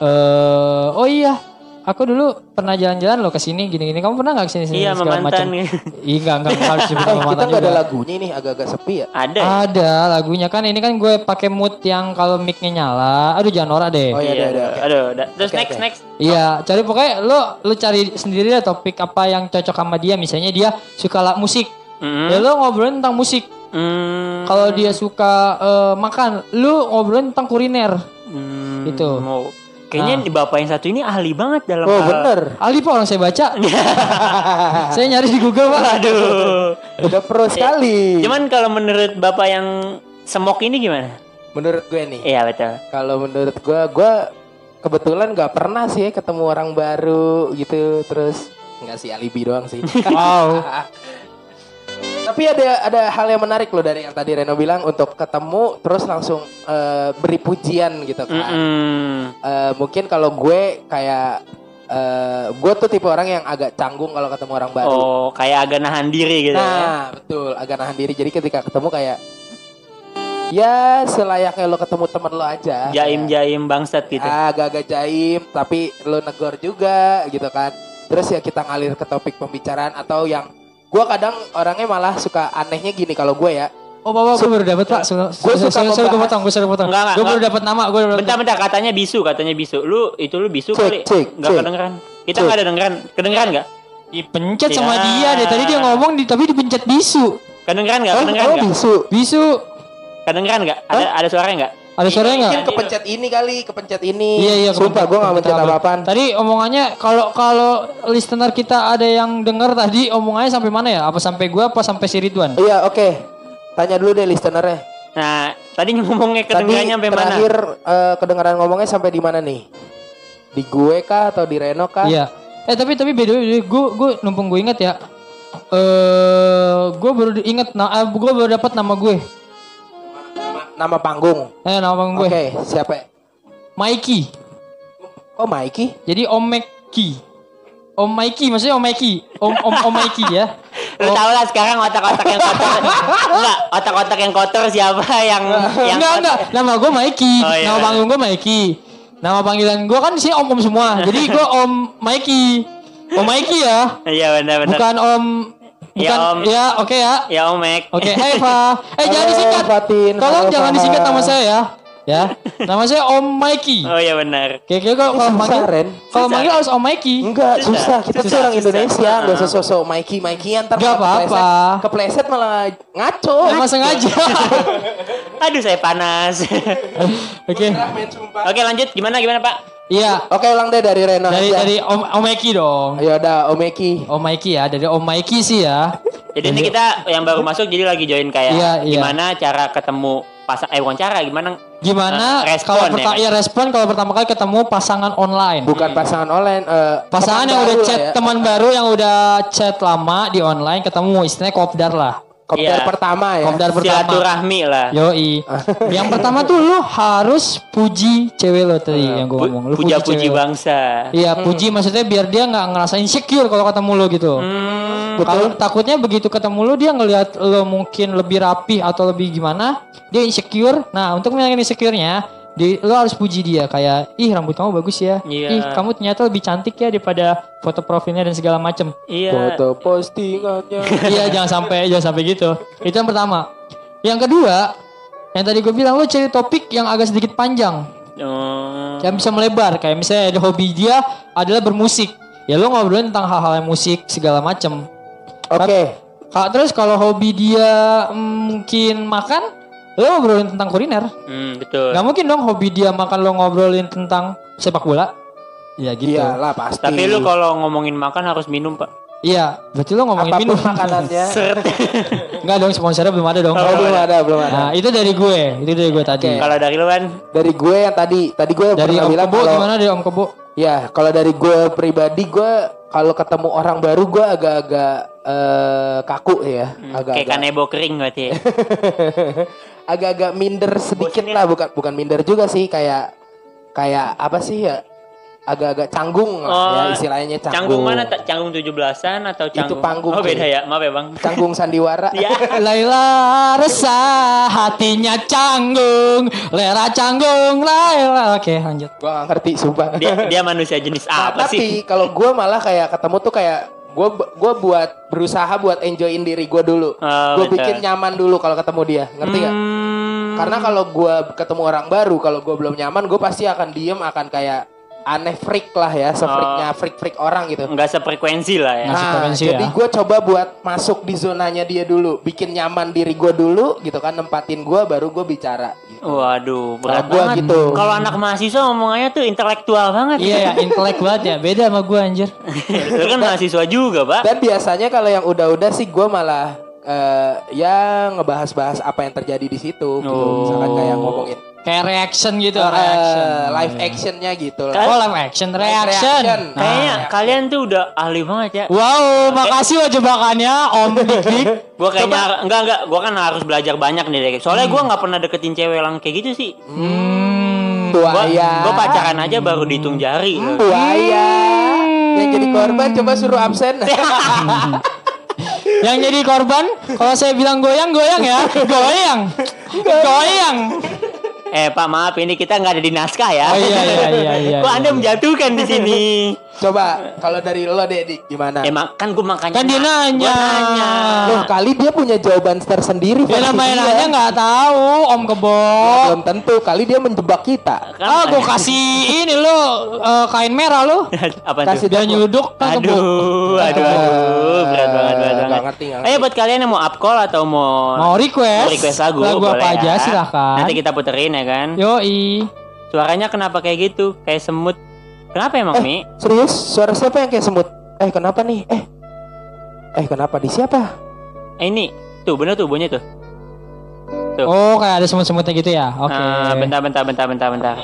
C: eh oh iya aku dulu pernah jalan-jalan loh ke sini gini-gini. Kamu pernah nggak ke sini sini
B: Iya,
C: segala
B: memantan.
C: macam?" Iya, enggak enggak enggak harus
A: (laughs)
C: disebut
A: Eh, kita
C: memantan
A: nggak ada
C: juga.
A: lagunya nih agak-agak sepi ya.
B: Ada. ya?
C: Ada lagunya kan ini kan gue pakai mood yang kalau mic-nya nyala. Aduh jangan norak deh.
A: Oh, iya, ada, ada, oke.
B: Aduh, ada. Terus
A: Oke,
B: next
A: oke. Ya
B: next.
C: Iya, cari pokoknya lo lo cari sendiri deh topik apa yang cocok sama dia. Misalnya dia suka la- musik,
B: Mm.
C: ya lo ngobrolin tentang musik.
B: Mm.
C: Kalau dia suka eh, makan, lo ngobrolin tentang kuliner.
B: Hmm,
C: Gitu.
B: mau- Kayaknya di bapak yang satu ini ahli banget dalam
A: Ah. Oh
B: hal-
A: bener.
C: Ali pak orang saya
B: (laughs)
C: baca. saya nyari di Google pak.
B: Aduh.
A: Udah pro
C: Eh,
A: sekali.
B: Cuman kalau menurut bapak yang semok ini gimana?
A: Menurut gue nih.
B: Iya betul.
A: Kalau menurut gue, gue kebetulan nggak pernah sih ya ketemu orang baru gitu. Terus nggak sih alibi doang
B: (laughs)
A: sih.
C: Wow.
A: (laughs) Tapi ada ada hal yang menarik loh dari yang tadi Reno bilang untuk ketemu terus langsung eh, beri pujian gitu kan.
B: Mm-mm.
A: Eh, mungkin kalau gue kayak eh, gue tuh tipe orang yang agak canggung kalau ketemu orang baru.
B: Oh, kayak agak nahan diri gitu. ya.
A: Nah, betul. Agak nahan diri. Jadi ketika ketemu kayak ya selayaknya lo ketemu temen lo aja.
B: Ya,
A: Kayak,
B: Jaim-jaim bangsat gitu.
A: ah, Agak-agak jaim, tapi lo negor juga gitu kan. Terus ya kita ngalir ke topik pembicaraan atau yang gue kadang orangnya malah suka anehnya gini kalau gue ya.
C: Oh bapak gue baru dapat pak. Gue
A: Gua suka
C: gue
A: membahas-
C: potong, gue suka potong.
B: Enggak, enggak,
C: Gue baru
B: enggak.
C: dapat nama, gue baru dapet-
B: Bentar-bentar katanya bisu, katanya bisu. Lu itu lu bisu
A: Cek,
B: kali.
A: cek,
B: Enggak
A: cek.
B: kedengeran. Kita
A: Cek.
B: enggak ada dengeran. Kedengeran enggak?
C: Dipencet sama
B: Ya.
C: dia deh. Tadi dia ngomong di, tapi dipencet bisu.
B: Kedengeran enggak?
A: Oh,
B: Kedengeran
A: oh,
B: enggak?
A: bisu.
C: Iya, Bisu.
B: Kedengeran enggak? Ada ada suaranya enggak?
C: Ada suaranya nggak?
B: iya.
A: Mungkin kepencet ini kali, kepencet ini.
C: Iya iya.
A: Sumpah gue gak mencet apa-apaan.
C: Tadi omongannya kalau kalau listener kita ada yang dengar tadi omongannya sampai mana ya? Apa sampai gua apa sampai si Ridwan?
A: Iya, oke. Tanya dulu deh listenernya.
B: Nah, tadi ngomongnya
A: Tadi
B: kedengarannya sampai mana?
A: terakhir eh, kedengaran ngomongnya sampai di mana nih? Di gue kah atau di Reno kah?
C: Iya. Eh tapi tapi beda gue gue numpung gue inget ya. Eh gue baru di- inget nah gue baru dapat nama gue.
A: Nama- Nama panggung.
C: Eh nama
A: Oke,
C: panggung gue.
A: siapa? ya?
C: Mikey.
A: Oh, Mikey.
C: Jadi Om Mikey. Om Mikey maksudnya Om Mikey. Om Om Om Mikey
A: (laughs)
C: ya.
B: Lu tau lah sekarang otak-otak yang kotor. Enggak, otak-otak yang kotor siapa yang yang ya?
C: enggak enggak nama gue Mikey
B: Oh, iya.
C: nama panggung gue Mikey nama panggilan gue kan di sini om om
B: (laughs)
C: semua jadi gue om Mikey om Mikey ya
B: Iya benar benar.
C: bukan om
B: Ya,
C: bukan
B: Om.
C: ya oke ya
B: Ya Omek.
C: oke
B: (laughs)
C: Hai Fa eh jangan
A: Halo,
C: disingkat
A: Fatin.
C: tolong
A: Halo,
C: jangan
A: Fa.
C: disingkat nama saya ya ya nama saya om Mikey
B: Oh iya benar.
C: Oke, kira kalau kalau
A: Susah,
C: manggil
A: Ren.
C: kalau
B: Susah.
C: manggil harus om Mikey
A: Enggak,
B: Susah,
A: susah. Kita
B: susah,
A: tuh orang
B: susah.
A: Indonesia, enggak
B: Ah.
A: usah sosok Mikey, Mikey ntar malah
C: Nggak
A: kepleset.
C: apa-apa.
A: Kepleset malah ngaco.
C: Emang
B: (laughs)
C: sengaja
B: Aduh saya panas. (laughs)
C: oke
A: Gerah, men, sumpah.
B: Oke lanjut gimana gimana Pak?
C: iya
A: Oke, ulang deh dari Reno.
C: dari
A: aja.
C: dari om om Mikey dong
B: Iya.
A: Ayo dah, Om Mikey.
C: om Mikey ya dari om Mikey sih ya
B: Jadi ini kita yang baru masuk jadi lagi join kayak
C: Iya, iya.
B: gimana cara ketemu pas eh bukan cara gimana
C: Gimana
B: Eh, respon
C: kalau
B: ya,
C: pertama
B: Mas.
C: ya respon kalau pertama kali ketemu pasangan online?
A: Bukan pasangan online. eh,
C: Pasangan
A: teman
C: yang udah
A: baru lah
C: chat
A: ya.
C: teman baru yang udah chat lama di online ketemu istilahnya kopdar lah.
A: Kopdar
B: Iya.
A: pertama ya.
C: Kopdar pertama.
B: silaturahmi lah.
C: Yoi. yang pertama tuh lu harus puji cewek lo tadi yang gue ngomong. Lu
B: puja
C: cewek
B: puji
C: lo.
B: bangsa.
C: Iya, puji maksudnya biar dia nggak ngerasa insecure kalau ketemu lo gitu.
B: Hmm,
C: Kalau takutnya begitu ketemu lo dia ngelihat lo mungkin lebih rapih atau lebih gimana, dia insecure. Nah, untuk menghilangkan insecure-nya, di, lo harus puji dia kayak ih rambut kamu bagus ya.
B: Iya.
C: Ih, kamu ternyata lebih cantik ya daripada foto profilnya dan segala macem
B: iya.
A: Foto postingannya.
C: (laughs) iya, jangan sampai jangan sampai gitu. Itu yang pertama. Yang kedua, yang tadi gue bilang lo cari topik yang agak sedikit panjang,
B: Hmm.
C: yang bisa melebar. Kayak misalnya ada hobi dia adalah bermusik. Ya lo ngobrolin tentang hal-hal yang musik segala macem
A: Oke.
C: Kak, terus kalau hobi dia mm, mungkin makan, lo ngobrolin tentang kuliner.
B: Hmm, betul.
C: Gak mungkin dong hobi dia makan lo ngobrolin tentang sepak bola. Iya gitu. Iya,
A: Iyalah pasti.
B: Tapi lu kalau ngomongin makan harus minum, Pak.
C: berarti lo ngomongin
A: (laughs) apapun
C: minum. (laughs)
A: makanannya.
B: Seret.
C: Enggak dong, sponsornya belum ada dong.
A: Oh, belum ada, belum ada.
C: Nah, itu dari gue. Itu dari gue tadi.
B: (laughs) kalau dari lu kan
A: Dari gue yang tadi, tadi gue
C: Dari
A: pernah
C: Om
A: bilang
C: Kebo
A: kalau
C: gimana dari Om Kebo?
A: ya kalau dari gue pribadi gue kalau ketemu orang baru gue agak-agak eh, kaku ya,
B: Hmm, kayak
A: agak-agak
B: kanebo kering berarti. ya.
A: agak-agak minder sedikit lah, bukan bukan minder juga sih kayak kayak apa sih ya? agak-agak canggung lah
B: Oh,
A: ya istilahnya canggung.
B: Canggung mana? Ta- Canggung 17-an atau canggung?
A: panggung,
B: Oh, beda
A: cuy.
B: ya. Maaf ya, Bang.
A: Canggung sandiwara.
B: Ya.
C: (laughs) Laila resah hatinya canggung Lera canggung Laila Oke lanjut
A: Gua gak ngerti sumpah.
B: Dia, dia manusia jenis
A: Nah,
B: apa sih?
A: tapi kalau gua malah kayak ketemu tuh kayak gua gua buat berusaha buat enjoyin diri gua dulu.
B: Oh,
A: Gua
B: betul.
A: bikin nyaman dulu kalau ketemu dia. Ngerti nggak?
B: Hmm,
A: Karena kalau gua ketemu orang baru, kalau gua belum nyaman, gua pasti akan diem, akan kayak aneh freak lah ya, sefreaknya
B: Oh.
A: freak freak orang gitu.
B: nggak sefrekuensi lah ya.
C: Nah,
A: Nah,
C: sefrekuensi
A: jadi
C: ya.
A: gua coba buat masuk di zonanya dia dulu, bikin nyaman diri gua dulu, gitu kan, nempatin gua, baru gua bicara. Gitu.
B: Waduh, berat
A: Kalau gua
B: banget.
A: gitu.
B: Kalau anak mahasiswa ngomongannya tuh intelektual banget.
C: Iya
B: (laughs)
C: ya intelek banget ya Beda sama gue anjir
B: Lu kan mahasiswa juga, Pak.
A: Dan biasanya kalau yang udah-udah sih gua malah eh, ya ngebahas-bahas apa yang terjadi di situ, gitu.
B: Oh.
A: misalkan kayak ngomongin
C: Kayak reaction gitu
A: eh,
C: Reaction
A: live actionnya gitu.
B: Kan
A: lah.
C: Oh live action
A: Live
C: Reaction,
A: reaction.
C: Nah.
B: Kayaknya kalian tuh udah ahli banget ya.
C: Wow makasih wajah jebakannya Om Dik Dik
B: Gua kayaknya enggak enggak, gua kan harus belajar banyak nih dari. Soalnya gua nggak pernah deketin cewek lang kayak gitu sih.
C: Nah, Hmm
B: Gua,
A: Buaya.
B: gua pacaran aja baru dihitung jari.
A: Buaya. Yang jadi korban coba suruh absen.
B: Iya.
C: Yang jadi korban Kalau saya bilang goyang Goyang ya Goyang Goyang
B: (laughs) Eh Pak maaf ini kita nggak ada di naskah ya.
C: Oh iya iya iya iya
B: (laughs) Kok
C: iya.
B: anda menjatuhkan di
C: (laughs)
B: sini?
A: coba kalau dari lo, Dedik, gimana?
B: Emang kan gue makanya.
C: Kan dia nanya.
B: Gua nanya.
A: Loh kali dia punya jawaban tersendiri
C: Ya
A: versi
C: namanya
A: dia. Oh,
C: nanya nggak tahu Om Kebo
A: Belum tentu kali dia menjebak kita
B: Kan-
C: Ah, gue kasih ini lo eh, kain merah lo.
B: (laughs) Apa
A: Kasih
B: tuh?
C: Dia nyuduk kan
B: Aduh,
C: kebo.
B: aduduh, aduh, berat banget, berat
A: Nggak
B: banget.
A: ngerti, nggak
B: Ayo buat kalian yang mau upcall atau mau
C: Mau request?
B: mau request lagu,
C: Lagu
B: boleh
C: apa
B: ya.
C: aja, Iya. silakan.
B: Nanti kita puterin ya kan.
C: Yoi.
B: Suaranya kenapa kayak gitu? Kayak semut. Kenapa emang Mi?
A: Serius suara siapa yang kayak semut Eh kenapa nih Eh Eh kenapa di siapa
B: Eh, ini tuh bener tuh bunyinya tuh. Tuh.
C: Oh, kayak ada semut-semutnya gitu ya. Oke.
B: Eh, bentar, bentar, bentar, bentar, bentar.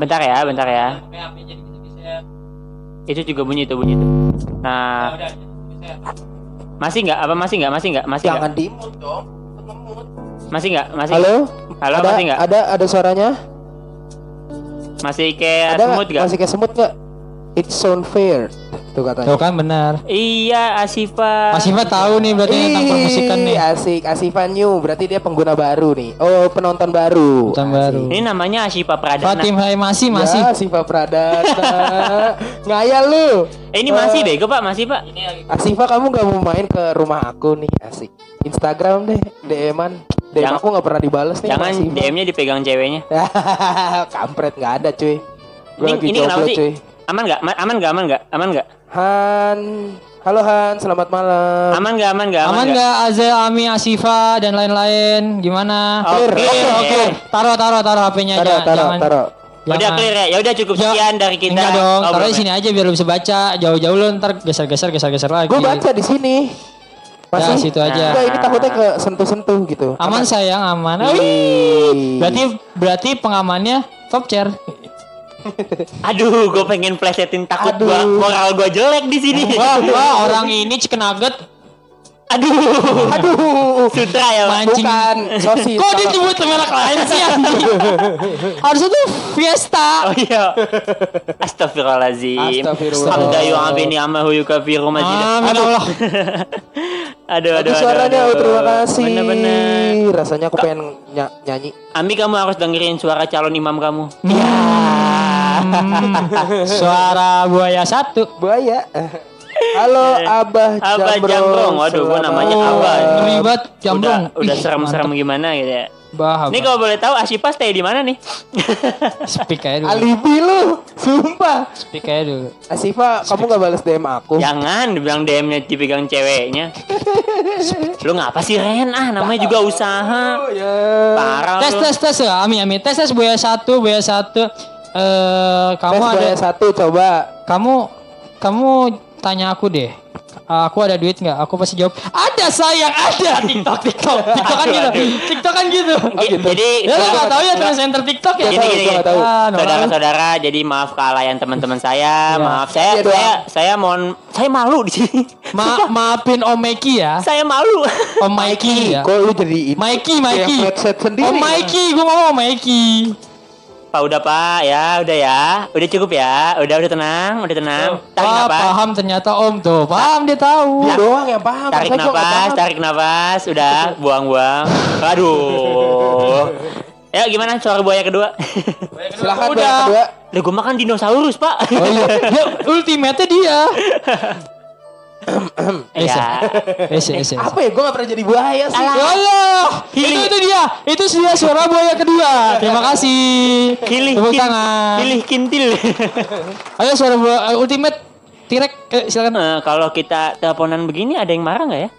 B: Bentar ya, bentar ya. Itu juga bunyi itu bunyi itu. Nah, masih nggak? Apa masih nggak? Masih nggak? Masih nggak?
A: Jangan dimut dong Semut.
B: Masih nggak? Masih
A: Halo
B: Halo,
A: ada,
B: masih nggak?
A: ada ada suaranya
B: masih kayak
A: Ada
B: semut
A: nggak?
B: nggak?
A: Masih kayak semut nggak It sound fair Tuh
C: Tuh
A: katanya
C: kan benar.
B: Iya, Asifa.
C: Mas Iva tahu nih berarti tentang permusikan nih.
A: Ih, asik Asifa New berarti dia pengguna baru nih oh penonton baru
C: Penonton
A: Asik.
C: baru.
B: Ini namanya Asifa Pradana.
C: Fatim Hai masih masih.
A: ya, Asifa Pradana (laughs) ngayal lu
B: Eh, ini masih bego Pak, masih Pak.
A: Asifa kamu gak mau main ke rumah aku nih asik Instagram deh DM-an DM
B: Jangan-
A: aku gak pernah dibales nih
B: Jangan
A: sama Asifa.
B: DM-nya dipegang ceweknya.
A: (laughs) kampret gak ada cuy Gue
B: Ini,
A: lagi
B: ini kenapa
A: jomblo
B: sih?
A: cuy
B: Aman nggak? Ma- Aman nggak? Aman nggak? Aman nggak?
A: Han Halo Han selamat malam
B: Aman nggak? Aman nggak?
C: Aman nggak Azel, Ami, Asifa dan lain-lain? Gimana?
B: Oke,
A: Clear.
B: oke.
C: Taruh taruh taruh HP-nya
A: Oh. Taro
C: jangan.
A: taro
C: jangan-
A: taro
B: Udah
C: jangan.
B: clear ya. Ya udah cukup
C: Ya,
B: sekian dari kita. Oh, ya?
C: Enggak dong, taruh di
B: Obrolan.
C: sini aja biar lu bisa baca. Jauh-jauh lu ntar geser-geser geser-geser lagi.
A: Gue baca di sini
C: Ya,
A: Masih
C: situ aja.
A: Enggak, ini takutnya ke sentuh-sentuh gitu
C: Aman sayang, aman.
A: Wih.
C: Berarti berarti pengamannya top chair.
B: Aduh, gue pengen plesetin takut
A: Aduh.
B: gua moral gue jelek di sini.
C: Wah, wah orang ini chicken nugget.
B: Aduh,
A: Aduh
B: sutra ya. Pak.
C: Main. anjing.
A: Bukan Sosis
C: Kok disebut merek lain sih anjing? Harusnya tuh
A: (laughs)
B: Oh
C: Fiesta.
B: iya. Astagfirullahaladzim.
A: Astagfirullah.
B: Hamdayu abini amma huyu kafiru majid.
C: Amin Allah.
B: (laughs) Aduh, aduh,
A: Aduh
B: aduh.
A: suaranya
B: aduh.
A: oh, terima kasih
B: Bener-bener.
A: Rasanya aku pengen ny- nyanyi
B: Ami kamu harus dengerin suara calon imam kamu.
C: (laughs) Suara buaya satu.
B: (laughs)
A: Buaya Halo Abah Jambrong
B: Eh, Abah Jambrong. Waduh, gua
A: Selamat
B: namanya
A: malam.
B: Abah.
C: ngeri banget jambrong.
B: Udah, udah
C: Ih,
B: serem-serem gimana gitu ya.
C: mantep. Bah,
B: Ini
C: bah.
B: kalau boleh tahu Asifa stay di mana nih?
C: speak aja dulu.
A: Alibi lu Sumpah
C: Speak aja dulu.
A: Asifa kamu gak balas DM aku
C: Oh.
B: (laughs) Ya. Jangan dibilang DM-nya dipegang
C: (laughs)
B: ceweknya. Lu ngapa sih Ren? Ah, namanya juga usaha.
A: Oh, ya.
B: Parah
C: Tes
B: lu.
C: tes tes Ami Ami tes tes buaya satu buaya satu. Eh
A: Tes
C: kamu ada
A: buaya satu coba
C: kamu kamu tanya aku deh Uh, aku ada duit nggak aku pasti jawab ada sayang
B: (laughs)
C: ada tiktok tiktok tiktok kan gitu tiktok kan gitu
B: Gi- Jadi
C: ya lo nggak tahu ya transgender tiktok ya
B: Gini,
A: tahu,
B: gini,
A: gua
B: gini.
A: nggak tahu.
C: Ah, Noel.
B: Saudara-saudara, jadi maaf kealayan teman-teman
C: Ya.
B: saya. Maaf saya,
A: Iya,
B: saya, saya mohon, saya malu di sini.
C: Ma maafin om Mikey ya
B: (laughs) saya malu.
C: om Mikey
A: Iya.
C: ya
A: Kok lu jadi ini
C: Mikey
A: Yang
C: Mikey
A: headset sendiri
C: om Mikey gue ngomong om Mikey
B: Pak udah Pak ya, udah ya. Udah cukup ya. Udah udah tenang, udah tenang. Tarik
C: Wah,
B: napas.
C: paham ternyata om tuh. Paham dia tahu.
B: Ya.
A: Lu doang yang paham.
B: Tarik
A: masa gua nggak
B: napas,
A: paham?
B: tarik napas, udah buang-buang. Aduh. Ya gimana suara buaya kedua? (laughs)
A: Silakan buat
C: Udah.
A: yang kedua.
B: Lah gue makan dinosaurus, Pak.
C: Oh iya. Ya, ultimate dia.
B: (laughs) ya.
C: Ese, ese, ese.
A: Apa ya? Gue gak pernah jadi buaya sih.
B: Alah.
C: eh, Ya
B: (laughs)
C: Allah, itu
B: Hili.
C: itu dia, itu dia suara buaya kedua. Terima kasih.
B: Pilih
C: Tepuk
B: kin-
C: tangan.
B: Pilih kintil. (laughs)
C: Ayo suara buaya ultimate, tirek, eh,
B: (laughs)
C: silakan.
B: Eh, kalau kita teleponan begini ada yang marah nggak ya?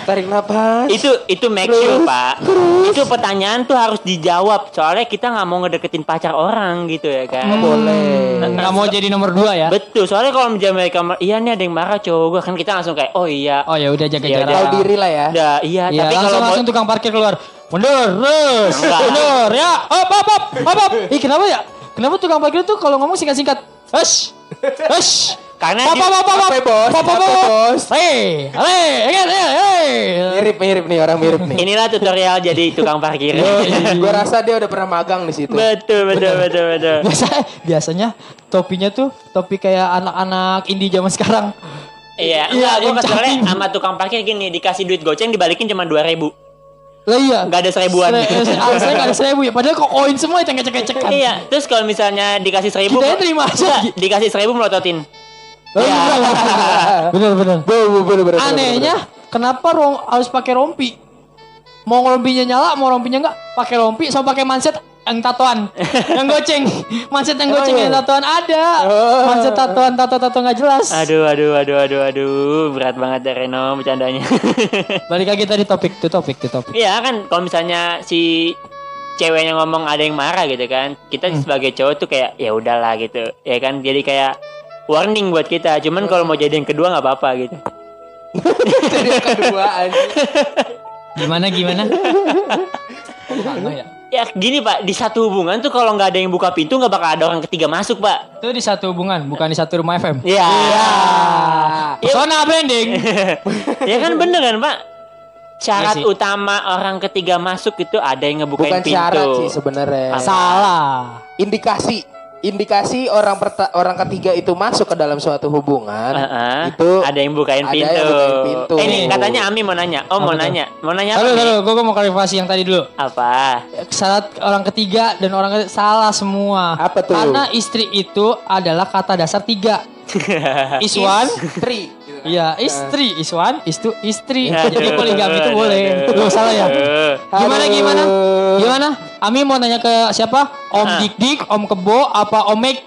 A: Tarik napas.
B: Itu itu make sure pak. Itu pertanyaan tuh harus dijawab. Soalnya kita nggak mau ngedeketin pacar orang gitu ya kan.
A: Boleh.
C: Hmm, Nggak mau jadi nomor dua ya?
B: Betul. Soalnya kalau menjadi mereka mar- iya nih ada yang marah cowok gue kan kita langsung kayak oh iya.
C: Oh ya udah jaga
B: Ya
C: jarak.
A: Tahu diri lah ya.
B: Udah, iya.
C: Iya,
B: Tapi kalau
C: langsung
B: mau-
C: langsung tukang parkir keluar. Mundur, terus,
B: Enggak.
C: mundur, ya, op, op, op, op, op. Ih, kenapa ya? Kenapa tukang parkir tuh kalau ngomong singkat-singkat? Hush, hush.
B: Karena
C: Pop,
B: dia-
C: pop, pop, pop,
A: Capek, bos.
C: pop, pop,
A: Capek,
C: pop.
A: bos.
C: Hei, hei, ingat, ingat, hei.
A: Mirip-mirip nih orang mirip
B: (laughs)
A: nih.
B: inilah tutorial jadi tukang
C: (laughs)
B: parkir.
C: Iya,
A: gue rasa dia udah pernah magang di situ.
B: betul betul betul betul.
C: Biasa, biasanya topinya tuh topi kayak anak-anak indie zaman sekarang.
B: Iya, enggak,
C: Iya,
B: gue
C: yang
B: keselnya
C: canggih.
B: sama tukang parkir gini, dikasih duit goceng dibalikin cuma 2000
C: Lah iya.
B: Nggak ada seribuan.
C: Sere- eh, se- ah, Saya nggak ada seribu ya. Padahal kok koin semua yang cek-cek-cekan.
B: Iya, terus kalau misalnya dikasih seribu
C: Kita terima aja.
B: Enggak, dikasih seribu melototin.
C: Oh, iya. Bener, bener.
A: Bener, bener, bener,
C: anehnya kenapa rom harus pakai rompi mau rompinya nyala mau rompinya enggak pakai rompi sama pakai manset yang
B: (laughs)
C: tatoan yang goceng manset yang goceng
B: Oh,
C: yang
B: iya.
C: tatoan ada manset tatoan tato tato nggak jelas
B: Aduh, aduh, aduh, aduh, aduh, berat banget ya Reno bercandanya. (laughs)
C: balik lagi tadi topik tuh topik tuh topik
B: Iya kan, kalau misalnya si ceweknya ngomong ada yang marah gitu kan, kita
A: Hmm.
B: sebagai cowok tuh kayak ya udahlah gitu, ya kan, jadi kayak warning buat kita. Cuman kalau mau jadi yang kedua nggak apa-apa gitu.
A: (laughs) Jadi yang kedua anjing.
C: gimana
B: (laughs)
C: gimana Sama ya.
B: Ya gini pak, di satu hubungan tuh kalau nggak ada yang buka pintu nggak bakal ada orang ketiga masuk pak.
C: itu di satu hubungan bukan di satu rumah FM
B: Iya.
C: Pesona branding
B: (laughs) ya kan bener kan pak syarat
C: Iya sih.
B: utama orang ketiga masuk itu ada yang ngebukain
A: Bukan
B: pintu
A: syarat sih sebenarnya.
B: Apa?
C: salah
A: Indikasi indikasi orang perta- orang ketiga itu masuk ke dalam suatu hubungan
B: Heeh.
A: itu
B: ada yang bukain
A: ada yang
B: pintu.
A: bukain pintu.
B: Eh, ini katanya Ami mau nanya. Oh, mau
C: Apa tuh?
B: nanya. Mau nanya apa?
C: Halo,
B: nih?
C: halo, gue mau klarifikasi yang tadi dulu.
B: Apa?
C: syarat orang ketiga dan orang ketiga salah semua.
A: Apa tuh?
C: Karena istri itu adalah kata
A: (laughs)
C: dasar tiga. Iswan,
A: istri. gitu kan.
C: ya istri, Iswan, istu, istri.
B: Aduh,
C: Jadi poligami itu
B: aduh,
C: boleh.
B: aduh.
C: Loh, salah ya?
B: Aduh.
C: Gimana
A: Aduh.
C: gimana? Gimana? Ami mau nanya ke siapa? Om
B: Ah.
C: Dik Dik, Om Kebo, apa Om
A: (laughs)
C: Mike?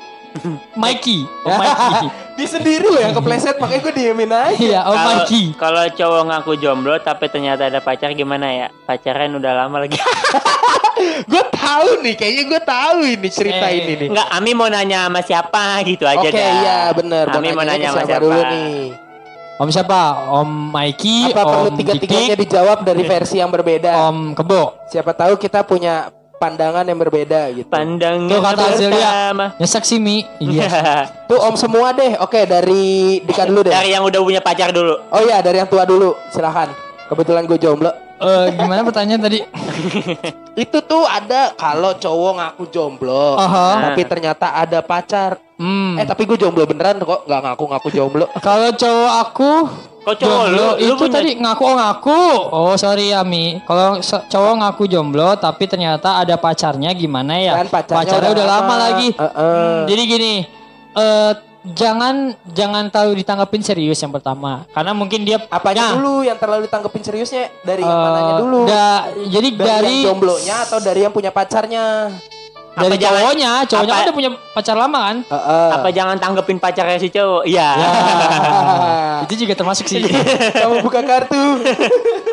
C: Mikey,
A: Ya.
C: Om Mikey.
A: Di sendiri loh yang kepleset makanya gue diemin aja.
C: Iya, Om
B: Kalau-
C: Mikey.
B: Kalau cowok ngaku jomblo tapi ternyata ada pacar gimana ya? Pacaran udah lama (laughs) lagi.
A: gue tahu nih, kayaknya gue tahu ini cerita
C: Eh,
A: ini nih.
B: Enggak, Ami mau nanya sama siapa gitu aja
A: Oke,
B: dah.
A: iya bener.
B: Ami mau
A: nanyanya ke
B: nanya sama siapa? Iya,
A: dulu nih?
C: Om siapa? Om Mikey,
A: Apa perlu
C: Om Dik
A: tiga-tiganya
C: Dik,
A: dijawab dari versi yang
B: Oh.
A: berbeda?
C: Om Kebo.
A: Siapa tahu kita punya pandangan yang berbeda gitu.
B: Pandangan
C: Tuh kata Azelia.
B: pertama.
C: Nyesek sih Mi.
B: (laughs)
C: Iya.
A: Tuh om semua deh. Oke, dari Dika dulu deh.
B: Dari yang udah punya pacar dulu.
A: Oh iya, dari yang tua dulu. Silahkan. Kebetulan gue jomblo.
C: Eh, gimana pertanyaan tadi?
A: Itu tuh ada kalau cowok ngaku jomblo, Nah.
C: Aha.
A: tapi ternyata ada pacar.
C: Hmm.
A: Eh tapi gue jomblo beneran kok, nggak ngaku-ngaku jomblo.
C: Kalau cowok aku
B: Kok cowok lu?
C: jomblo,
B: Lu
C: itu
B: punya-
C: tadi ngaku oh ngaku. Oh sorry Ami. Kalau so- cowok ngaku jomblo tapi ternyata ada pacarnya gimana ya?
A: Dan Kan pacarnya Eh,
C: udah
A: udah
C: lama
A: lama.
C: lagi.
A: Heeh.
C: Hmm, jadi gini, eh jangan jangan terlalu ditanggapin serius yang pertama. Karena mungkin dia
A: Apanya
C: Nah,
A: dulu yang terlalu ditanggepin seriusnya dari
C: eh,
A: yang mananya dulu?
C: da- jadi
A: dari,
C: dari
A: yang jomblonya atau dari yang punya pacarnya?
C: dari
B: Apa jangan-
C: cowoknya, cowoknya
B: apa-
C: kan udah punya pacar lama
A: (laughs)
C: kan?
A: Heeh.
B: apa jangan tanggepin pacarnya si cowok iya
C: Ya.
A: (laughs)
C: Ah, itu juga termasuk sih.
A: Kamu buka kartu.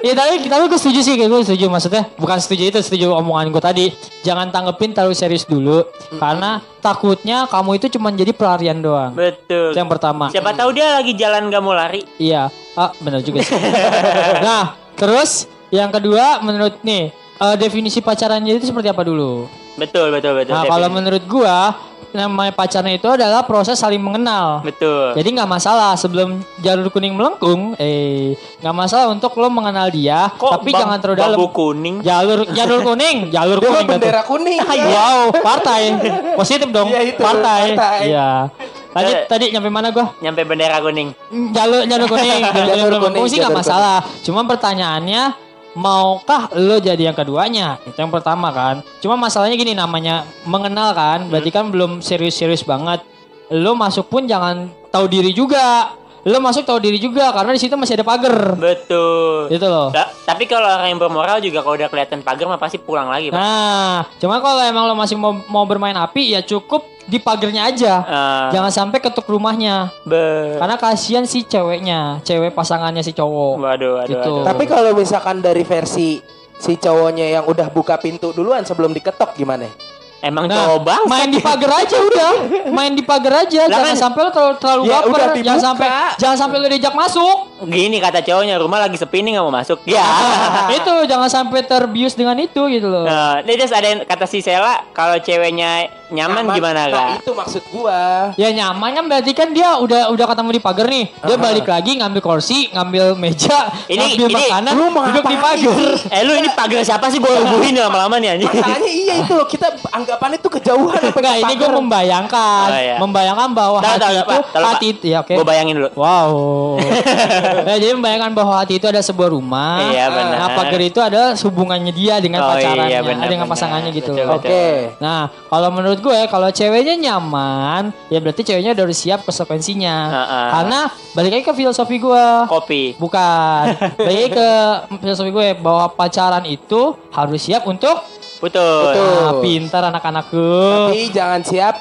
C: Iya tapi kita gue setuju sih, gue setuju maksudnya bukan setuju itu setuju omongan gue tadi. Jangan tanggepin terlalu serius dulu karena takutnya kamu itu cuma jadi pelarian doang.
B: (laughs) betul
C: Itu yang pertama.
B: siapa tahu dia lagi jalan gak mau lari
C: Iya, ah benar juga. sih. (laughs) nah terus yang kedua menurut nih eh, definisi pacarannya itu seperti apa dulu?
B: betul betul betul
C: Nah
B: Devin.
C: kalau menurut gua namanya pacarnya itu adalah proses saling mengenal.
B: Betul.
C: Jadi nggak masalah sebelum jalur kuning melengkung, eh nggak masalah untuk lo mengenal dia, tapi
B: bam-
C: jangan terlalu dalam. Ya.
B: Bambu kuning.
C: Jalur jalur kuning, jalur
A: Dia mah
C: kuning. dah tuh.
A: bendera (laughs) kuning.
C: Ah, Wow, partai. Positif dong,
A: Iya, itu,
C: partai.
A: partai.
C: Iya. Tadi
B: Eh.
C: tadi nyampe mana gua?
B: Nyampe bendera kuning.
C: Jalur jalur
A: (laughs)
C: kuning, jalur,
A: Jalur
C: jalur
A: kuning,
C: kuning sih nggak
A: jalur
C: masalah. Cuman pertanyaannya, maukah lo jadi yang keduanya? Itu yang pertama kan. Cuma masalahnya gini namanya mengenal kan,
A: Hmm.
C: berarti kan belum serius-serius banget. Lo masuk pun jangan tahu diri juga. Lo masuk tahu diri juga karena di situ masih ada pagar.
B: Betul.
C: Gitu loh.
B: Ta- tapi kalau orang yang bermoral juga kalau udah kelihatan pagar mah pasti pulang lagi, Pak.
C: Nah, cuma kalau emang lo masih mau, mau bermain api ya cukup di pagernya aja.
B: Eh,
C: Jangan sampai ketuk rumahnya.
B: be-
C: Karena kasihan si ceweknya, cewek pasangannya si cowok.
B: Waduh, waduh,
C: Gitu.
B: waduh.
A: Tapi kalau misalkan dari versi si cowoknya yang udah buka pintu duluan sebelum diketok gimana?
B: Emang
C: Nah,
B: cowok bang?
C: Main di pagar aja udah. Main di pagar aja.
B: Lah
C: jangan
B: kan-
C: sampai lo terlalu, terlalu
A: Ya
C: baper.
A: udah
C: jangan
A: dibuka.
C: sampai jangan sampai lo diajak masuk.
B: (laughs) Gini kata cowoknya, rumah lagi sepi nih nggak mau masuk.
C: (laughs)
B: Ya.
C: itu jangan sampai terbius dengan itu gitu loh.
B: Nah, ini terus ada yang kata si Sela kalau ceweknya nyaman, gimana
A: Nah,
B: kak?
A: itu maksud gua.
C: Ya nyaman kan berarti kan dia udah udah ketemu di pagar nih. Dia balik lagi ngambil kursi, ngambil meja,
B: Ini-
C: ngambil
B: ini-
C: makanan,
A: lu mau
C: duduk di
A: ngapain?
C: pagar.
B: Eh lu ini pagar siapa sih
C: (laughs)
B: gue hubungin lama-lama nih anjing.
A: Masalahnya iya itu loh kita anggapannya tuh kejauhan. apa
C: Enggak,
A: ke
C: ini gue
A: pagar.
C: membayangkan,
B: Oh, iya.
C: membayangkan bahwa
B: Tahu,
C: hati
B: tahu,
C: itu,
B: Pak. Tahu,
C: hati
B: Pak.
C: itu, ya oke.
B: Gue bayangin dulu. (laughs)
C: Wow. Nah, jadi membayangkan bahwa hati itu ada sebuah rumah.
B: Iya, benar.
C: Nah, pagar itu ada hubungannya dia dengan
B: Oh, iya,
C: pacarannya,
B: benar,
C: dengan
B: benar.
C: pasangannya gitu.
B: Betul,
C: loh.
B: betul.
A: Oke.
C: Nah, kalau menurut gue kalau ceweknya nyaman, ya berarti ceweknya udah siap konsekuensinya.
B: Heeh.
C: Karena balik lagi ke filosofi gue.
B: Kopi.
C: Bukan. Balik lagi ke filosofi gue bahwa pacaran itu harus siap untuk
B: Betul.
A: Betul.
C: Ah, pintar anak-anakku.
A: Tapi jangan siap.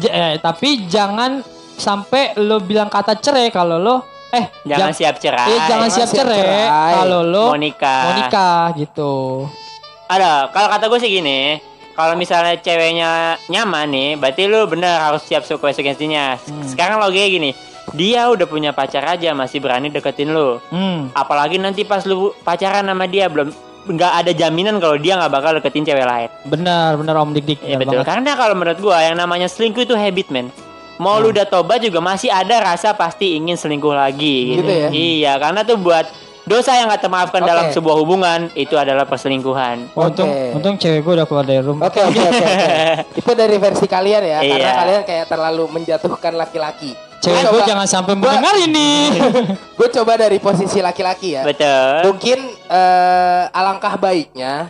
C: J- eh, tapi jangan sampai lo bilang kata cerai kalau lo eh
B: Jangan
C: jang-
B: siap cerai.
C: eh, jangan
A: Jangan
C: siap
A: siap
C: cerai,
A: cerai.
C: kalau lo
B: Mau nikah.
C: mau nikah, gitu.
B: Ada. Kalau kata gue sih gini. Kalau misalnya ceweknya nyaman nih, berarti lu bener harus siap suku konsekuensinya. Sekarang logiknya gini, dia udah punya pacar aja masih berani deketin lu.
C: Hmm.
B: Apalagi nanti pas lu pacaran sama dia belum nggak ada jaminan kalau dia nggak bakal deketin cewek lain.
C: Benar, benar Om Dik Dik.
B: Ya
C: benar
B: betul.
C: banget.
B: Karena kalau menurut gua yang namanya selingkuh itu habit, men. Mau lu udah tobat juga masih ada rasa pasti ingin selingkuh lagi gitu.
A: Gitu ya?
B: Iya, karena tuh buat dosa yang gak termaafkan
A: Oke.
B: dalam sebuah hubungan itu adalah perselingkuhan.
C: Untung
A: Oke.
C: untung cewek gue udah keluar dari rumah.
A: Oke oke oke.
B: (laughs)
A: oke. Itu dari versi kalian ya, karena
B: Iya.
A: kalian kayak terlalu menjatuhkan laki-laki.
C: Cewek gue jangan sampai mendengar ini.
A: Gue coba dari posisi laki-laki ya.
B: Betul.
A: Mungkin eh, alangkah baiknya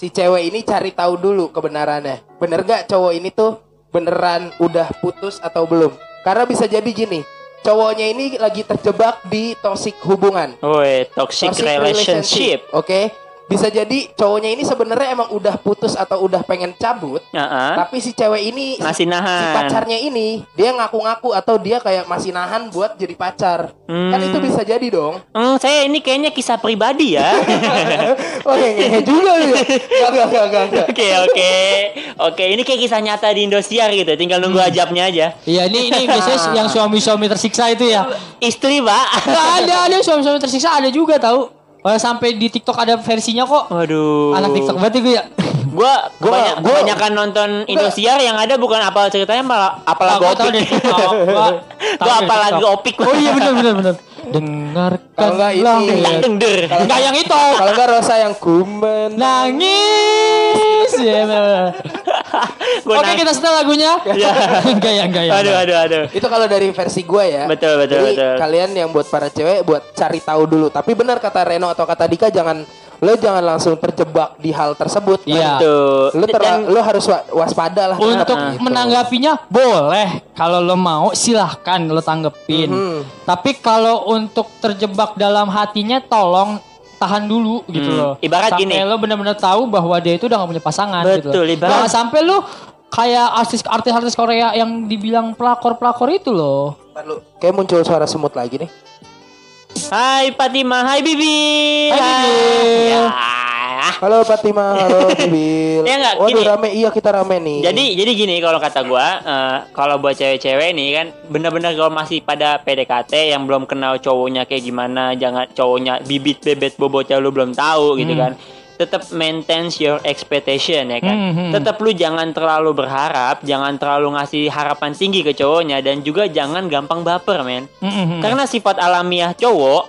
A: si cewek ini cari tahu dulu kebenarannya. Bener gak cowok ini tuh beneran udah putus atau belum? Karena bisa jadi gini, cowoknya ini lagi terjebak di toxic hubungan.
B: Woi, toxic,
A: Toxic
B: relationship.
A: Oke. Bisa jadi cowoknya ini sebenarnya emang udah putus atau udah pengen cabut,
B: Heeh.
A: tapi si cewek ini si-
B: Masih
A: si
B: nahan.
A: pacarnya ini dia ngaku-ngaku atau dia kayak masih nahan buat jadi pacar. Kan itu bisa jadi dong.
B: Hmm, saya ini kayaknya kisah pribadi
C: (laughs)
B: ya.
A: Oke, ngehe juga
B: (laughs)
A: lu ya. Gak, gak, gak, gak, gak.
B: Oke, oke. Oke, ini kayak kisah nyata di Indosiar gitu. Tinggal
C: Hmm.
B: nunggu ajabnya aja.
C: Iya ini ini biasanya
B: (laughs)
C: yang suami-suami tersiksa itu ya.
B: Istri, Pak. (laughs)
C: Nggak ada ada suami-suami tersiksa ada juga tahu. Eh, Sampai di TikTok ada versinya kok.
B: Waduh.
C: Anak TikTok banget gue ya.
B: gua
A: Gua-
B: banyak
A: gua-
B: kebanyakan nonton Indosiar yang ada bukan apa ceritanya malah apalah
C: Aku tahu
B: (laughs)
C: dari
B: opik
C: TikTok. Gua tahu
B: gua
C: dari
B: apalagi
C: TikTok.
B: opik
C: Oh iya benar benar benar. Dengarkan
A: Kalau nggak ini.
B: dengder
C: Enggak yang itu.
A: Kalau enggak Rosa yang kumen.
C: Nangis. Ya, benar.
B: (laughs) gua
C: Oke
B: nang-
C: kita setel lagunya. (laughs)
B: Iya.
C: Enggak ya enggak ya.
B: aduh aduh aduh
A: Itu kalau dari versi gue ya.
B: Betul, betul,
A: Jadi,
B: betul.
A: kalian yang buat para cewek buat cari tahu dulu. Tapi benar kata Reno atau kata Dika jangan lo jangan langsung terjebak di hal tersebut. Kan
C: Iya.
B: tuh
A: Lo, terla-
B: Dan-
A: lo harus wa- waspada lah.
C: Untuk
A: Nah, gitu.
C: menanggapinya boleh kalau lo mau silahkan lo tanggepin.
A: Mhm.
C: Tapi kalau untuk terjebak dalam hatinya tolong tahan dulu gitu
B: Hmm,
C: loh.
B: ibarat gini.
C: sampai lo benar-benar tahu bahwa dia itu udah gak punya pasangan gitu.
B: Betul,
C: loh.
B: ibarat-
C: Jangan sampai lo kayak artis artis artis Korea yang dibilang pelakor-pelakor itu loh.
A: Bentar, lu. Kayak muncul suara semut lagi nih.
B: hai Fatima hai Bibi
C: Hai, Bibi.
B: Ya.
A: Halo Fatima,
B: (laughs)
A: halo Bibil.
B: Ya nggak,
A: Waduh
B: gini.
A: rame, iya kita rame nih.
B: jadi jadi gini kalau kata gua eh, kalau buat cewek-cewek nih kan bener-bener kalau masih pada PDKT yang belum kenal cowoknya kayak gimana jangan cowoknya bibit bebet bobotnya lu belum tahu gitu kan tetap maintain your expectation ya kan.
C: Hmm, hmm.
B: Tetap lu jangan terlalu berharap, jangan terlalu ngasih harapan tinggi ke cowoknya dan juga jangan gampang baper, men.
C: Mm-mm.
B: Karena sifat alamiah cowok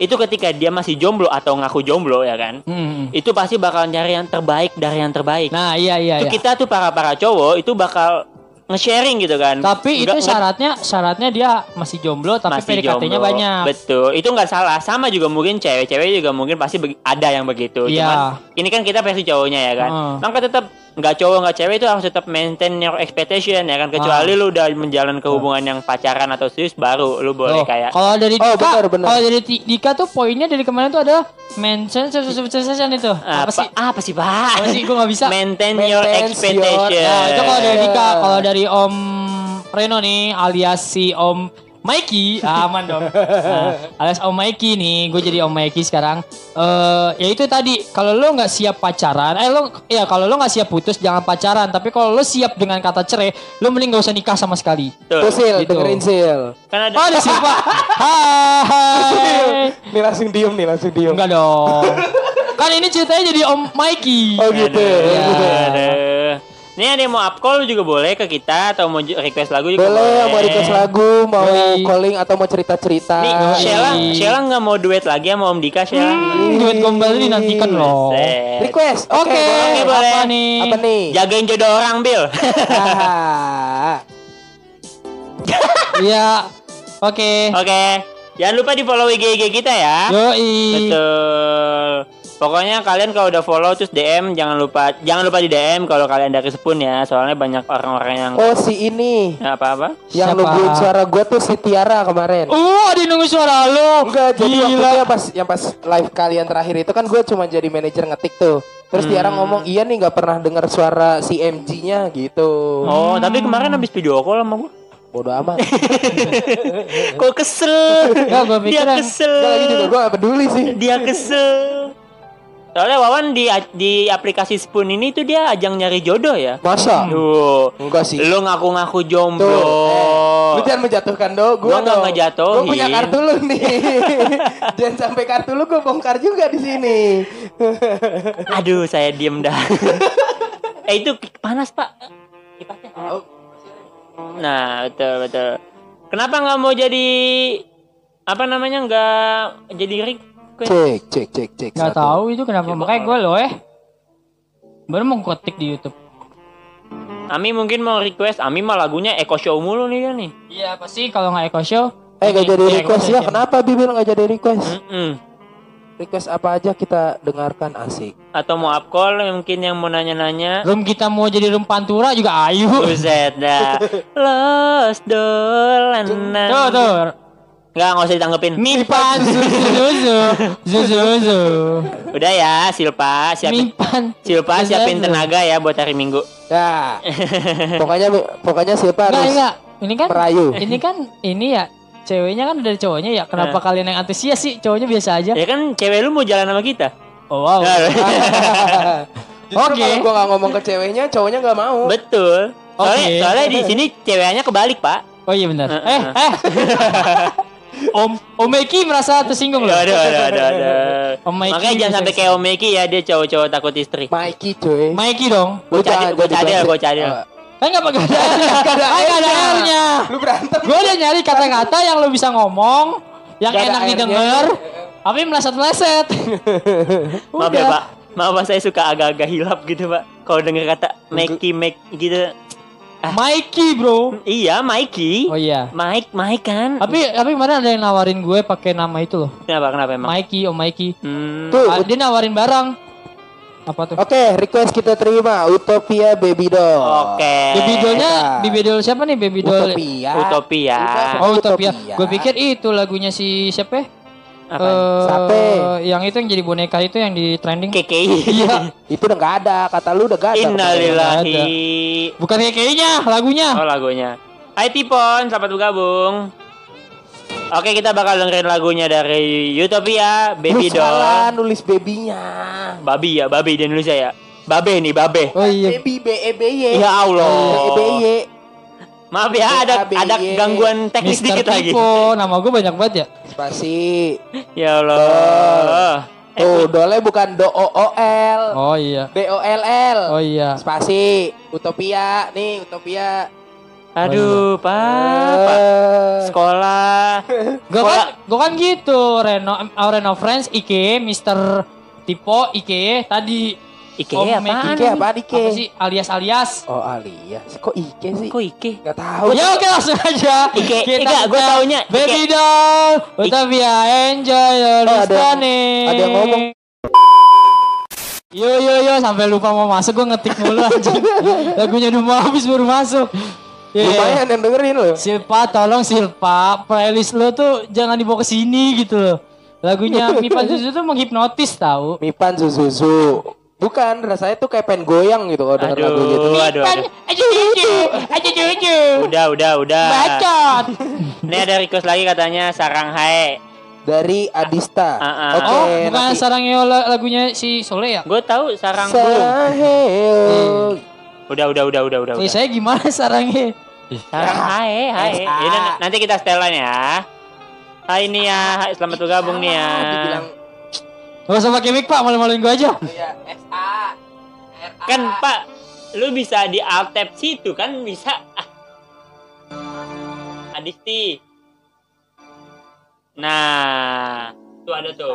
B: itu ketika dia masih jomblo atau ngaku jomblo ya kan.
C: Mm-mm.
B: Itu pasti bakal nyari yang terbaik dari yang terbaik.
C: Mhm. Nah, iya iya
B: Itu
C: iya.
B: kita tuh para para cowok itu bakal nge-sharing gitu kan.
C: Tapi itu
B: Nggak- nggak-
C: syaratnya syaratnya dia masih jomblo tapi
B: masih jomblo.
C: PDKT-nya banyak.
B: Betul. Itu nggak salah. Sama juga mungkin cewek-cewek juga mungkin pasti beg- ada yang begitu.
C: Iya.
B: Cuman ini kan kita versi cowoknya ya kan.
C: Heeh.
B: Maka tetap nggak cowok nggak cewek itu harus tetap maintain your expectation ya kan.
C: Ah.
B: Kecuali lu udah menjalankan hubungan yang pacaran atau serius baru lu boleh
C: Tuh,
B: kayak
C: Kalau dari
A: Oh,
C: Dika,
A: benar, benar.
C: kalau dari Ti- Dika tuh poinnya dari kemarin tuh adalah mention sensation itu. Apa, sih?
B: "Ah, Apa sih, Pak?
C: Apa sih? Gua nggak bisa.
B: Maintain your
A: Maintain your-
B: expectation.
A: Nah,
C: Nah, itu kalau dari
A: Eh.
C: Dika, kalau dari Om Reno nih alias si Om Mikey, ah, aman dong. Nah, alias Om Mikey nih, gue jadi Om Mikey sekarang. Eh, ya itu tadi, kalau lo nggak siap pacaran, eh lo, ya kalau lo nggak siap putus jangan pacaran. Tapi kalau lo siap dengan kata cerai, lo mending gak usah nikah sama sekali.
B: Tuh.
A: Tuh Sil,
C: Gitu.
A: dengerin Sil.
B: Kan ada
C: Oh, ada
B: (laughs)
C: siapa?
B: Eh.
C: Hai.
A: (laughs) Nih langsung diem nih, langsung diem.
C: Enggak
A: (laughs)
C: dong. kan ini ceritanya jadi Om Mikey.
A: Oh gitu.
B: Aduh,
A: ya.
B: aduh. Nih ada yang mau up call juga boleh ke kita atau mau ju- request lagu juga boleh.
A: Boleh mau request lagu, mau
C: Yoi.
A: calling atau mau cerita-cerita.
B: Nih, Sheila,
A: Iya.
C: Ih.
B: Sheila nggak mau duet lagi sama Om Dika, Iya, Sheila.
C: Hmm, duet gombal ini nantikan loh.
B: Set.
A: Iya. Request.
C: Oke,
A: boleh.
B: boleh. Ya.
C: Apa nih?
A: Apa nih? (laughs)
B: Jagain jodoh orang, Bill.
A: Ah.
C: Iya. Oke.
B: Oke. Jangan lupa di follow IG IG kita ya.
C: Yoi.
B: Betul. Pokoknya kalian kalau udah follow terus DM jangan lupa jangan lupa di DM kalau kalian dari Spoon ya. Soalnya banyak orang-orang yang
A: Oh si ini
B: apa-apa.
A: yang
C: Siapa?
A: nungguin suara gue tuh si Tiara kemarin.
C: Uh, ada yang nunggu suara lo.
A: Enggak, jadi waktu
C: Gila.
A: itu yang pas yang pas live kalian terakhir itu kan gue cuma jadi manajer ngetik tuh. Terus Tiara ngomong iya nih nggak pernah dengar suara si MG-nya gitu.
B: Oh, tapi kemarin habis video call sama gua.
A: Bodoh amat. Eh.
B: Kok kesel?
C: Nggak, gua pikir
B: Dia
C: yang-
B: kesel.
A: Enggak lagi juga gue gak peduli sih.
B: (laughs) Dia kesel. Soalnya Wawan di di aplikasi Spoon ini tuh dia ajang nyari jodoh ya.
A: Masa?
B: Duh.
A: Enggak sih.
B: Lu ngaku-ngaku jomblo.
A: Tuh, eh, lu jangan menjatuhkan do,
B: Gua
A: gua
B: nggak
A: dong.
B: ngejatuhin.
A: Gua punya kartu lu nih. (laughs) jangan sampai kartu lu gua bongkar juga di sini.
B: Aduh, saya diem
A: (laughs)
B: dah. eh itu panas pak. Kipasnya.
A: Oh,
B: Nah, betul betul. Kenapa nggak mau jadi apa namanya nggak jadi request?
A: cek, cek, cek, cek.
C: Gak
A: Satu.
C: tahu itu kenapa
B: Coba
C: makanya
B: kalau-
C: gue loh eh. Baru mau ketik di YouTube.
B: Ami mungkin mau request. Ami mah lagunya Eko Show mulu nih dia nih.
C: Iya pasti kalau nggak Eko Show.
A: Eh gak jadi
C: Iya,
A: request
C: Eko
A: ya,
C: Show.
A: kenapa Bibil gak jadi request?
B: Mm-mm.
A: Request apa aja kita dengarkan asik
B: Atau mau up call mungkin yang mau nanya-nanya.
C: Room kita mau jadi room pantura juga ayu.
B: Buset dah. Los dolanan.
C: Tuh tuh.
B: Nggak nggak usah ditanggepin.
C: Mipan zuzu zuzu zuzu zuzu.
B: Udah ya, Silpa siapin.
C: Mipan.
B: Silpa siapin
C: Zuzu.
B: tenaga ya buat hari Minggu. (laughs)
A: Ya Pokoknya pokoknya siapa
C: Enggak,
A: harus
C: enggak. Ini kan
A: merayu
C: ini kan ini ya ceweknya kan dari cowoknya ya. Kenapa kalian yang antusias sih? Cowoknya biasa aja.
B: Ya kan cewek lu mau jalan sama kita.
C: Oh,
A: (laughs)
C: wow.
B: Eh.
C: (laughs)
A: Justru
C: Oke.
A: kalau gua gak ngomong ke ceweknya, cowoknya gak mau
B: Betul. Soalnya,
C: Oke.
B: soalnya di sini ceweknya kebalik, Pak.
C: Oh iya benar.
B: Heeh.
C: Eh, eh. Om Om Eki merasa tersinggung loh.
B: Aduh, aduh, aduh,
C: (laughs)
B: aduh.
C: Om Mikey
B: Makanya jangan
C: bisa
B: sampai
C: sih.
B: kayak Om Mikey ya, dia cowok-cowok takut istri.
A: Mikey cuy
C: Mikey dong.
A: Gua
B: Gua cadel,
A: jangan
B: gua
A: jadi
B: cadel,
A: plastik.
B: gua ya. cadel.
A: Ah.
C: Kan enggak pakai ada Kan nggak ada R-nya.
A: Lu berantem
C: Gue udah nyari kata-kata yang lo bisa ngomong, yang
A: Nggak ada
C: enak
A: R-nya.
C: didengar, tapi meleset-meleset.
B: Maaf ya, Pak. Maaf, Pak, saya suka agak-agak hilap gitu, Pak. Kalau denger kata Mikey, Mike gitu.
C: Mikey, bro.
B: Iya, Mikey.
C: Oh iya.
B: Mike, Mike kan.
C: Tapi tapi kemarin ada yang nawarin gue pakai nama itu loh.
B: Kenapa, kenapa emang?
C: Mikey, oh Mikey.
B: Hmm.
A: Tuh,
C: Ah, dia nawarin barang. Apa tuh?
A: Oke, request kita terima Utopia Baby Doll.
B: Oke. Ya.
C: Baby doll-nya,
A: Iya.
C: baby doll siapa nih baby doll?
A: Utopia.
B: Utopia.
A: Udah.
C: Oh Utopia.
A: Utopia.
C: Gue pikir itu lagunya si siapa? ya?
B: Apa?
C: Eh,
A: Sape.
C: Yang itu yang jadi boneka itu yang di trending.
B: KKI.
C: Iya.
A: Itu udah nggak ada, kata lu udah nggak ada.
B: (laughs) Innalillahi.
C: Bukan kayaknya lagunya.
B: Oh, lagunya. Hai Tipon, selamat bergabung. Oke, kita bakal dengerin lagunya dari Utopia,
A: Lu
B: Baby
A: salah
B: Doll.
A: nulis babynya.
B: Babi ya, babi di Indonesia ya. Babe nih, babe.
C: Oh iya.
A: Baby B E B Y.
B: Ya Allah.
A: B E B Y.
B: Maaf ya, ada
A: BABY.
B: ada gangguan teknis
C: Mister
B: dikit lagi.
C: Pipo. Nama gue banyak banget ya.
A: Spasi.
B: Ya Allah.
A: Tuh, dole bukan do o o l.
C: Oh iya.
A: B o l l.
C: Oh iya.
A: Spasi Utopia nih Utopia.
B: Aduh, Pak. Ah, Pak.
A: Eh,
B: (laughs) Sekolah.
C: Gue
B: Sekolah.
C: kan, gua kan gitu. Reno, oh, Reno Friends, Ike, Mister Tipo, Ike E, tadi.
B: Ike
C: Om
B: apaan?
A: Ike apaan Ike?
C: Apa sih? Alias-alias.
A: Oh alias. Kok Ike sih?
B: Kok Ike?
A: Gak tahu.
C: Ya oke langsung aja.
B: Ike, Ika, gua
C: sedang
B: taunya Ike.
C: Baby doll, Utopia, enjoy your
A: Oh, ada yang-
C: listening.
A: ada yang ngomong.
C: Yo yo yo sampai lupa mau masuk gua ngetik mulu
A: (laughs)
C: anjing. Lagunya udah mau habis baru masuk. Iya, iya.
A: Lumayan yang dengerin loh.
C: Silpa tolong Silpa, playlist lo tuh jangan dibawa ke sini gitu loh.
A: (laughs)
C: Lagunya Mipa Zuzu tuh menghipnotis tahu.
A: Mipan Zuzuzu. Bukan, rasanya tuh kayak pengen goyang gitu kalau denger lagu gitu.
B: Aduh, aduh, aduh.
C: aja Zuzu, aja Zuzu.
B: Udah, udah, udah.
C: Bacot.
B: Ini ada request lagi katanya Saranghai.
A: Dari Adista.
B: Ah, ah.
A: Oke,
C: Oh, bukan
A: nanti-
C: sarangnya la- lagunya si Sole ya?
B: Gue tahu sarang belum. Hmm.
A: Sahel.
B: Udah, udah, udah, udah, udah.
C: Eh,
B: udah.
C: saya gimana sarangnya?
B: Sarang hai, hai.
A: Ah.
B: Yaudah, n- nanti kita setelan ya. Hai Nia, hai, selamat bergabung ya. Nia.
A: Ah, dibilang
C: Gak usah pakai mic pak, malu-maluin gua aja.
A: ya S A R A.
B: Kan Pak, lu bisa di alt tab situ kan bisa. Ah. Adisti. Nah, tuh ada tuh.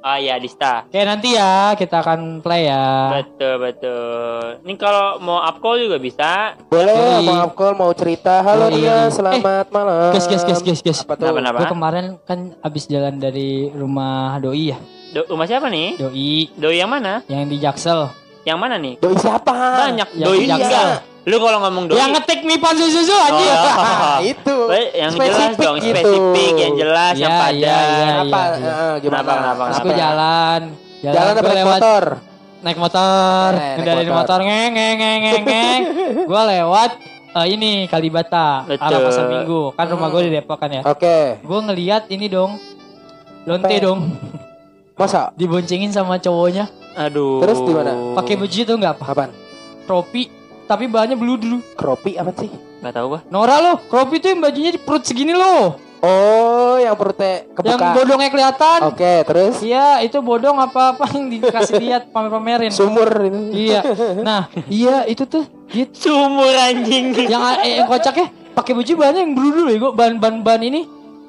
B: Oh iya, Adista.
C: Oke nanti ya kita akan play ya.
B: Betul, betul. Ini kalau mau upcall juga bisa.
A: Boleh,
C: Yoi.
A: maaf call mau cerita. Halo
C: Yoi. Eh,
A: Nia, selamat malam.
C: Guys, guys, guys, guys, guys.
A: Apa tuh?
B: Kenapa,
C: Gue
B: kenapa?
C: kemarin kan abis jalan dari rumah Doi ya.
B: Do- rumah siapa nih?
C: Doi
B: Doi yang mana?
C: yang di Jaksel.
B: Yang mana nih?
A: Doi siapa?
B: Banyak
C: Ah, yang
B: doi
C: jaksa.
B: enggak. Lu kalau ngomong doi.
C: Yang ngetik Mipan Suzuzu anjir. (laughs)
A: Ah,
B: Oh.
A: itu.
B: Baik, yang jelas
A: Spesifik
B: dong,
A: gitu.
B: spesifik, yang jelas, yang
C: Iya,
B: padat.
C: iya, iya.
A: Apa? eh, gimana?
B: Kenapa, kenapa,
C: Terus
A: Apa?
C: gue jalan.
A: Jalan
C: gue
A: apa naik motor?
C: naik motor,
A: Eh, naik
C: ngendarain
A: motor.
C: motor, ngeng ngeng ngeng ngeng
A: (laughs)
C: ngeng. Gua lewat eh, ini Kalibata,
B: Betul.
C: arah Pasar Minggu. Kan rumah gue di Depok kan ya.
A: Oke.
C: Gue ngeliat ini dong. Lonte
A: Apa?
C: dong
A: Masa?
C: diboncengin sama cowoknya
B: Aduh.
A: Terus di mana?
C: pakai baju itu nggak apa
A: Apaan?
C: tropi tapi bahannya dulu
A: Kropi apa sih?
B: Enggak tahu gua.
C: Nora lo tropi tuh yang bajunya di perut segini loh
A: Oh, yang perutnya
C: yang
A: kebuka. Oh.
C: bodongnya kelihatan
A: Oke, terus
C: iya itu bodong apa apa yang dikasih lihat pamer-pamerin
A: sumur ini. (laughs)
C: iya nah iya itu tuh gitu
B: Sumur anjing.
C: yang eh, yang kocak ya pakai baju bahannya yang dulu ya gua bahan bahan bahan ini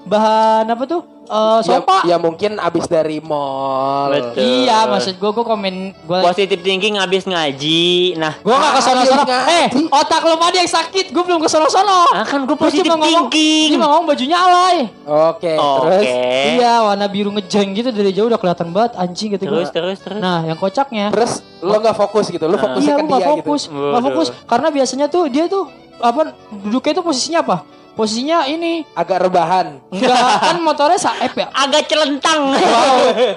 C: bahan apa tuh Eh,
A: Ya,
C: sopa
A: ya mungkin abis dari mall.
B: Betul.
C: iya maksud gua gua komen gua
B: Positive thinking abis ngaji. Nah,
C: gua gak kesono sono
A: Ah,
C: eh otak lo pada yang sakit gua belum kesono sono
B: ah kan gue
C: Terus dia
B: positive
C: mau ngomong dia
B: thinking.
C: mau ngomong bajunya alay
A: Oke, terus
B: Oh, Oke.
C: iya warna biru ngejeng gitu dari jauh udah kelihatan banget anjing gitu
B: Terus
C: gua
B: terus terus.
C: nah yang kocaknya
A: terus lo nggak fokus gitu,
B: Nah.
A: lo fokusnya
C: iya
A: ke
C: lu
A: dia
C: gak fokus
A: gitu.
B: Waduh.
C: gak fokus karena biasanya tuh dia tuh apa duduknya tuh posisinya apa posisinya ini
A: Agak rebahan. (laughs)
C: enggak kan motornya saep ya
B: Agak
C: (laughs)
B: celentang.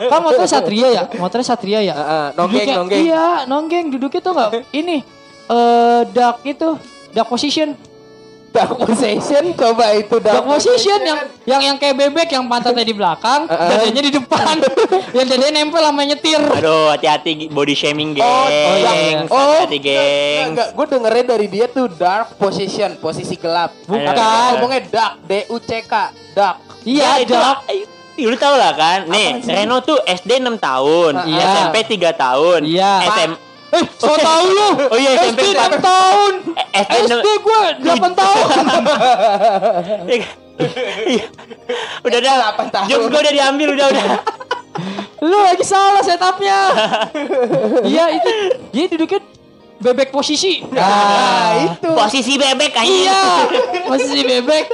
C: kan motornya Satria ya motornya Satria ya
A: Heeh, nonggeng
C: Duduknya-
A: nonggeng.
C: iya nonggeng duduknya tuh nggak ini eh dark itu dark position
A: Dark position coba itu dark,
C: dark position yang yang yang kayak bebek yang pantatnya di
A: (laughs)
C: belakang
A: Uh-uh.
C: dadanya di depan yang dadanya nempel sama nyetir
B: Aduh, hati-hati body shaming, geng.
A: Oh,
C: iya.
A: Oh,
B: hati-hati, geng.
A: enggak, gue dengernya dari dia tuh dark position, posisi gelap.
C: Bukan.
A: Tapi dia ngomongnya dark, D U C K, dark.
B: Ya,
C: iya
B: itu
C: dark
B: Ih, lu tau lah kan, nih Reno tuh SD 6 tahun,
C: Iya.
B: SMP 3 tahun,
C: Iya.
B: SM,
C: eh so tau lu
B: Oh iya,
C: SD
B: SMP.
C: 6 tahun
B: Eh, SD
C: SD gue 8
B: (laughs)
C: tahun
B: Iya. udah dah,
A: 8 Eh, tahun.
B: Jokes gue udah diambil, udah udah.
C: lu lagi salah
B: (laughs)
C: setupnya iya itu dia duduknya bebek posisi
B: Ah.
A: Nah, itu.
B: Posisi bebek aja.
C: Iya, posisi bebek.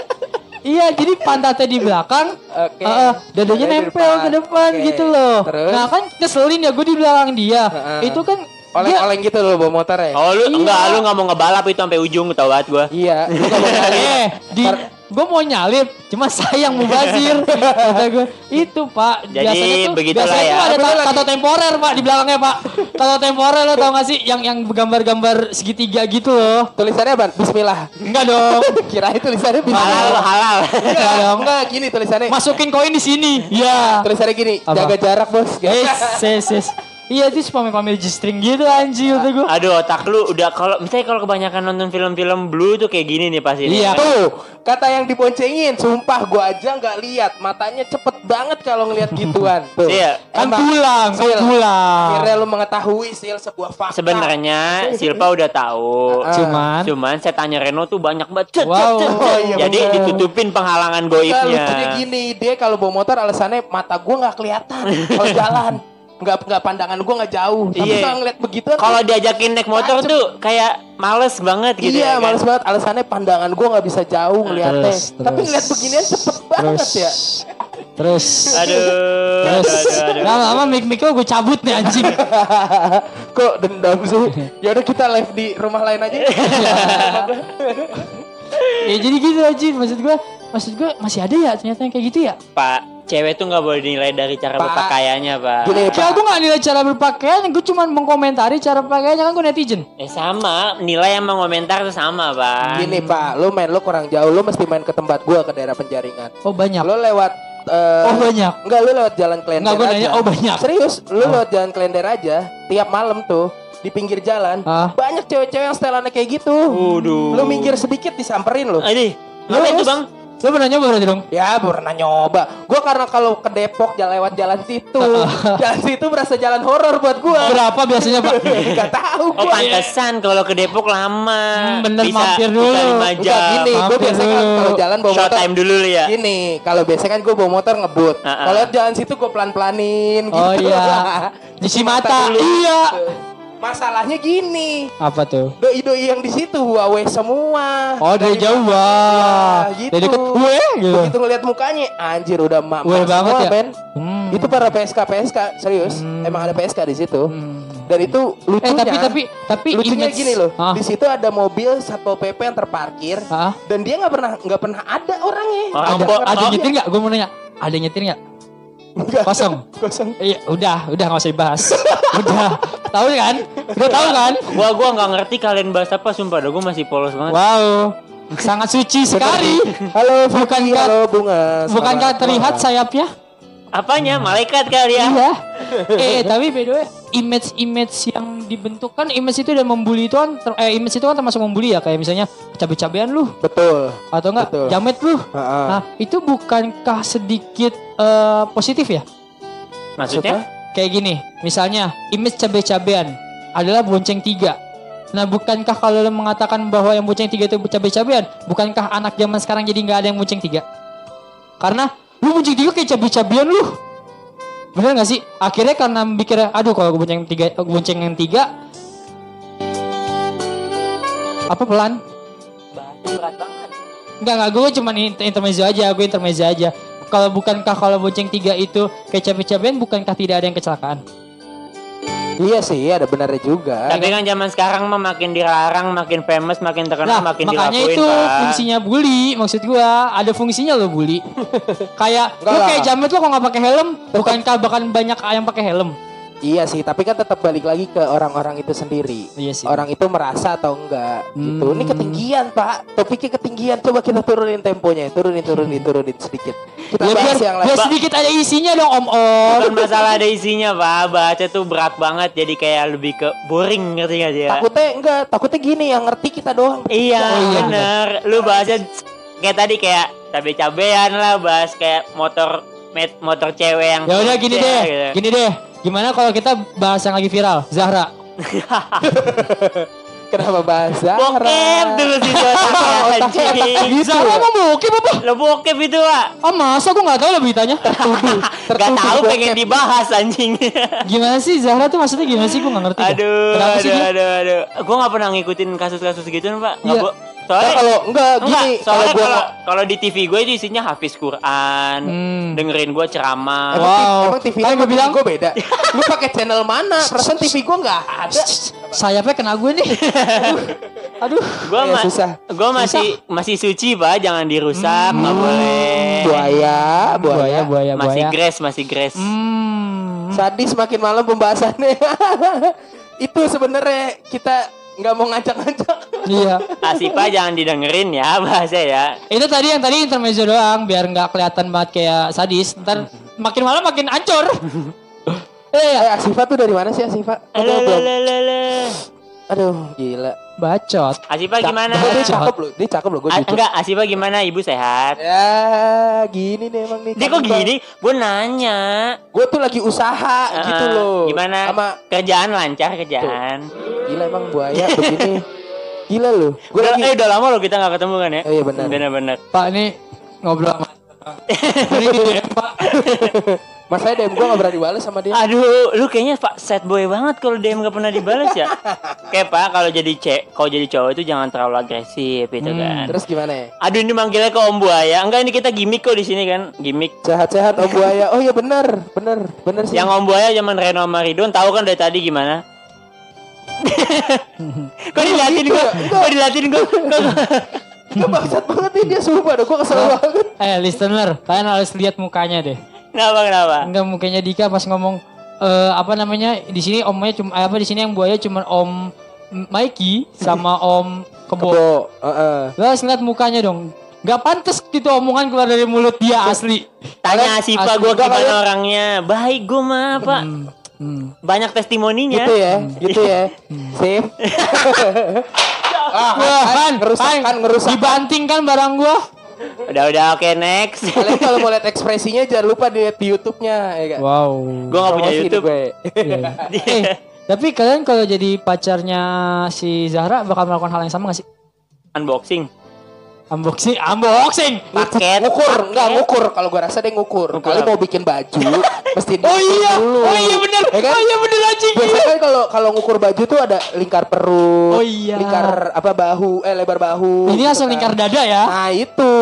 C: Iya, jadi pantatnya di belakang,
A: Oke.
C: eh, dadanya
A: Dadanya di
C: nempel
A: depan.
C: ke depan
A: Oke.
C: gitu loh.
A: Terus?
C: Nah kan keselin ya gue di belakang dia.
A: Heeh.
C: Itu kan dia- (laughs)
A: Oleng-oleng gitu lo bawa motornya.
B: Oh lu
C: Iya.
B: enggak, lu nggak mau ngebalap itu sampai ujung tau banget gue.
A: Iya, lu nggak mau
B: (laughs)
A: nyari.
C: eh, di
A: Par-
C: gue mau nyalip, cuma sayang
A: (laughs)
C: mubazir. Kata gue, itu pak.
B: Jadi,
C: biasanya tuh,
B: begitulah
C: biasanya
B: ya.
C: tuh ada
A: Tapi
C: tato,
A: lagi-
C: tato temporer pak di belakangnya pak. Tato temporer lo tau gak sih? Yang yang gambar-gambar segitiga gitu loh.
A: Tulisannya apa? Bismillah.
C: Enggak
A: (laughs)
C: dong.
A: Kirain tulisannya
B: Halal,
A: Bismillah.
B: halal.
A: Enggak,
C: dong.
A: enggak, gini tulisannya.
C: Masukin koin di sini. Ya.
A: Tulisannya gini,
C: Apa? Eh,
A: (laughs) jaga jarak, Bos.
C: Yes, yes, yes. Iya sih pamer-pamer G-string gitu anjing itu gue.
B: Aduh otak lu udah kalau misalnya kalau kebanyakan nonton film-film blue tuh kayak gini nih pasti.
C: Iya.
A: Tuh, kata yang diboncengin, sumpah gua aja nggak lihat, matanya cepet banget kalau ngelihat
C: (laughs)
A: gituan. Tuh.
B: Iya.
C: Kan
A: Emang,
C: pulang, kan
A: Sil,
C: pulang.
A: Akhirnya lu mengetahui sil sebuah fakta. Iya.
B: Sebenarnya Silva udah tahu.
A: Ah.
C: Cuman
B: Cuman saya tanya Reno tuh banyak banget. Cet, cet,
C: Wow.
B: cet, cet.
A: Oh, iya
B: Jadi
A: bener.
B: ditutupin penghalangan
A: Enggak,
B: goibnya.
A: lucunya gini, dia kalau bawa motor alasannya mata gua nggak
B: (laughs)
A: kelihatan kalau jalan. Nggak nggak pandangan gua nggak jauh. Tapi
B: Iya.
A: kalau eh, ngeliat begitu
B: Kalau diajakin naik motor
A: Macem.
B: tuh kayak males banget gitu
A: iya,
B: ya kan?
A: males banget. Alasannya pandangan gua nggak bisa jauh ngeliatnya. Tapi ngeliat beginian cepet banget
C: terus,
A: ya. (laughs)
C: Terus.
B: Aduh.
C: Terus.
B: aduh, aduh, aduh.
C: Lama-lama mic-mic lo gue cabut nih anjing.
A: Kok dendam
C: (laughs)
A: sih? Ya udah kita live di rumah lain aja.
C: ya jadi gitu anjing maksud gue. Maksud gue masih ada ya ternyata yang kayak gitu ya.
B: Pak, cewek tuh nggak boleh dinilai dari cara
A: Pak.
B: berpakaiannya, Pak.
A: Gini,
C: Kayak gue gak nilai cara berpakaian, gue cuma mengkomentari cara pakaiannya kan gue netizen.
B: Eh sama, nilai yang mengomentar tuh sama, Pak.
C: Gitu.
A: Gini pak, lu main lu kurang jauh, lu mesti main ke tempat gua ke daerah penjaringan.
C: Oh banyak.
A: Lu lewat eh,
C: Oh, banyak.
A: Enggak, lu lewat jalan klender
C: Enggak, gua
A: aja.
C: nanya, oh, banyak. Oh.
A: Serius, lu lewat jalan klender aja tiap malam tuh di pinggir jalan.
C: Ah.
A: Banyak cewek-cewek yang setelannya kayak gitu.
B: Waduh.
A: Lu minggir sedikit disamperin lu.
B: Aduh, apa
A: Terus?
B: itu, Bang?
C: Lo pernah nyoba berarti dong?
A: Ya pernah nyoba. Gua karena kalau ke Depok jalan lewat jalan
C: (laughs)
A: situ, jalan situ berasa jalan horor buat gua. (laughs)
C: Berapa biasanya pak?
A: Gak tahu
B: Oh,
A: gua.
B: pantesan kalau ke Depok lama.
C: Hmm, bener,
B: bisa,
C: mampir dulu.
B: Bisa lima
A: Enggak
B: jam.
A: gini, gue
C: Mampir
A: biasanya kan
C: dulu.
A: kalau jalan bawa
B: Short
A: motor
B: time dulu lu ya.
A: Gini, kalau biasanya kan gue bawa motor ngebut.
B: Ah, ah.
A: Kalau jalan situ gue pelan-pelanin gitu.
C: Oh
A: (laughs)
C: iya. Di Cimata. Iya.
A: Masalahnya gini.
C: Apa tuh?
A: Doi-doi yang di situ Huawei semua.
C: Oh dari jauh wah.
A: Ya, gitu.
C: Dari deket gue gitu.
A: Begitu ngeliat mukanya, anjir udah mak
C: Gue banget ya.
A: Ben.
C: Hmm.
A: Itu para PSK PSK serius. Emang ada PSK di situ. Dan itu
C: Eh
A: lucunya.
C: tapi tapi tapi
A: lucunya
C: image- Ah.
A: gini loh.
C: Hah?
A: Di situ ada mobil satpol PP yang terparkir
C: Hah?
A: dan dia nggak pernah nggak pernah ada orangnya.
B: Oh,
A: Nggak
C: Ah. ada,
B: ampun,
A: pernah
C: ada
B: oh.
A: dia.
C: nyetir nggak? Gue mau nanya. Ada nyetir nggak?
A: Nggak.
C: Kosong. (laughs)
A: Kosong.
C: Iya, udah, udah nggak usah dibahas. (laughs) udah, tahu kan? Udah tahu kan?
B: Wah, gua nggak ngerti kalian bahas apa, sumpah dah gua masih polos banget.
C: Wow, sangat suci sekali.
A: Halo,
C: Bukan
A: Vicky.
C: kan-
A: halo bunga. Selamat
C: Bukankah terlihat
A: malam.
C: sayapnya?
B: Apanya? Malaikat kali ya.
C: Iya. eh, tapi by the way, image-image yang dibentuk kan image itu dan membuli itu kan ter- eh, image itu kan termasuk membuli ya kayak misalnya cabe-cabean lu
A: Betul.
C: atau enggak
A: Betul.
C: jamet lu.
A: Ha-ha.
C: Nah, itu bukankah sedikit eh, positif ya?
B: Maksudnya?
C: Kayak gini, misalnya image cabe-cabean adalah bonceng tiga. Nah, bukankah kalau lo mengatakan bahwa yang bonceng tiga itu cabe-cabean, bukankah anak zaman sekarang jadi nggak ada yang bonceng tiga? Karena lu bonceng tiga kayak cabe-cabean lu. Bener gak sih? Akhirnya karena mikirnya, aduh kalau gue bonceng tiga, bonceng yang tiga, apa pelan?
B: Berat banget.
C: Enggak, enggak, gue cuma inter- intermezzo aja, gue intermezzo aja. Kalau bukankah kalau bonceng tiga itu kayak cabe-cabean, bukankah tidak ada yang kecelakaan?
A: Iya sih, ada benarnya juga.
B: Tapi kan zaman sekarang mah makin dilarang, makin famous, makin terkenal, Kan
C: Nah,
B: makin
C: makanya
B: dilakuin,
C: itu
B: Pak.
C: fungsinya bully maksud gua ada fungsinya lo bully kayak
A: Enggak
C: lo
A: lah.
C: kayak jamet lo kalau nggak pakai helm bukankah bahkan banyak yang pakai helm
A: Iya sih, tapi kan tetap balik lagi ke orang-orang itu sendiri.
C: Iya sih.
A: Orang itu merasa atau enggak gitu.
C: Hmm.
A: Ini ketinggian, Pak. Topiknya ketinggian. Coba kita turunin temponya, turunin, turunin, turunin sedikit. Kita
C: ya biar,
A: bahas yang lain.
C: biar sedikit ada isinya dong om om
B: Bukan masalah ada isinya, Pak. Baca tuh berat banget, jadi kayak lebih ke boring, ngerti gak sih ya?
A: Takutnya enggak, takutnya gini yang ngerti kita doang.
B: Iya,
C: Oh, iya.
B: bener. Lu bahasnya kayak tadi kayak cabe-cabean lah, bahas kayak motor met, motor cewek yang
C: ya udah gini
B: Ya,
C: deh
B: gitu.
C: gini deh gimana kalau kita bahas yang lagi viral Zahra
A: Kenapa bahasa?
B: Bokep terus itu
C: (laughs)
B: anjing.
C: Zahra mau bokep apa
B: Lo bokep itu, Pak.
C: ah masa gua nggak tahu lah beritanya
B: Gak tahu pengen dibahas anjing.
C: gimana sih Zahra tuh maksudnya gimana sih gua nggak ngerti dah.
B: aduh,
C: kenapa sih
B: aduh,
C: dia
B: aduh, aduh. Gue gak pernah ngikutin kasus-kasus gitu, Pak. Nggak
C: Iya.
B: bo- Soalnya
A: kalau enggak
B: Enggak,
A: gini, kalau
B: soalnya
A: gua
B: kalau kalau di TV gue itu isinya hafiz Quran,
C: Hmm.
B: dengerin gue ceramah.
A: Emang,
C: Wow.
A: ti- emang TV
C: Kan gua bilang-
A: gue beda. Lu pakai channel mana? Perasaan TV gue nggak ada.
C: sayapnya kena gue nih aduh
B: Gue
A: Ya, susah. Hmm.
B: masih masih suci pak, jangan dirusak, nggak boleh.
A: Buaya, buaya,
C: Eh. buaya
A: ya,
C: buaya
B: masih
C: buaya
B: grace, masih grace.
C: Hmm.
A: Sadis makin malam pembahasannya. (laughs) Itu sebenarnya kita nggak mau ngajak-ngajak.
C: Iya.
B: Asipa
A: (laughs)
B: jangan didengerin ya bahasa ya.
C: Itu tadi yang tadi intermezzo (laughs) doang biar nggak kelihatan banget kayak sadis. Ntar makin malam makin ancur. Eh,
A: Eh, Asifa tuh dari mana sih Asifa? Aduh, belum.
B: Lelelelele.
A: Aduh, gila.
C: bacot.
B: Asifa gimana?
A: Tapi dia cakep loh, dia cakep loh, gue
B: A-
A: jujur.
B: enggak, Asifa gimana? Ibu sehat?
A: Ya, gini nih emang nih.
B: Dia kok gini? Gue nanya.
A: Gue tuh lagi usaha gitu
B: Ah,
A: loh.
B: Gimana?
A: Sama
B: Kerjaan lancar kerjaan.
A: gila emang buaya begini. Gila loh. Gue
B: Udah,
A: lagi
B: eh udah lama loh kita nggak ketemu kan ya?
A: Oh iya, benar.
B: Benar-benar.
C: Pak ini ngobrol sama Ini gitu ya, (laughs) Pak.
A: Masanya DM gue gak berani balas sama dia.
B: Aduh, lu kayaknya Pak sad boy banget kalau DM gak pernah dibalas
A: (laughs)
B: ya. Kayak Pak, kalau jadi cek, kalau jadi cowok itu jangan terlalu agresif gitu kan.
A: Terus gimana ya?
B: Aduh ini manggilnya ke Om Buaya. Enggak ini kita gimmick kok di sini kan, gimmick.
A: Sehat-sehat om buaya. Oh iya bener, bener, bener sih.
B: Yang Om Buaya zaman Reno sama Ridwan tahu kan dari tadi gimana? (laughs) kok dilatih
A: gitu
B: gua?
A: ya?
B: Kok dilatih gua?
A: Dia bangsat banget nih dia sumpah dah gue kesel banget.
C: Eh, listener, kalian harus lihat mukanya deh.
B: Kenapa kenapa?
C: Enggak mukanya Dika pas ngomong eh, apa namanya? Di sini omnya cuma eh, apa di sini yang buaya cuma Om Mikey sama Om Kebo.
A: Kebo, heeh.
C: Lu harus ngeliat mukanya dong. Gak pantas gitu omongan keluar dari mulut dia asli.
B: Tanya Asifa
C: asli
B: gua
A: enggak,
B: gimana
A: kalian-
B: orangnya. Baik gua mah, Pak.
C: Hmm.
B: Banyak testimoninya.
A: Gitu ya, gitu ya.
C: (laughs)
A: Sip. ah,
C: Wah,
A: ngerusakan,
C: Pan,
A: ngerusakan.
C: Dibanting kan barang gua.
B: Udah udah oke next.
A: Kalian kalau mau lihat ekspresinya jangan lupa dilihat di YouTube-nya ya kan.
C: Wow.
B: Gua nggak punya
A: Promosi
B: YouTube.
A: gue.
C: eh, tapi kalian kalau jadi pacarnya si Zahra bakal melakukan hal yang sama gak sih?
B: Unboxing.
C: Unboxing, unboxing.
B: Paket.
A: ngukur,
B: paket.
A: enggak ngukur. Kalau gua rasa dia ngukur.
B: Ngukur
A: Kalau
B: apa?
A: mau bikin
C: (laughs)
A: baju mesti
C: Oh
A: diukur
C: iya,
A: dulu.
C: oh iya bener,
A: Ya kan?
C: oh iya bener anjing.
A: Biasanya kan kalau kalau ngukur baju tuh ada lingkar perut,
C: Oh iya.
A: lingkar apa bahu, eh lebar bahu.
C: Ini
A: gitu
C: langsung
A: kan.
C: lingkar dada ya.
A: Nah itu,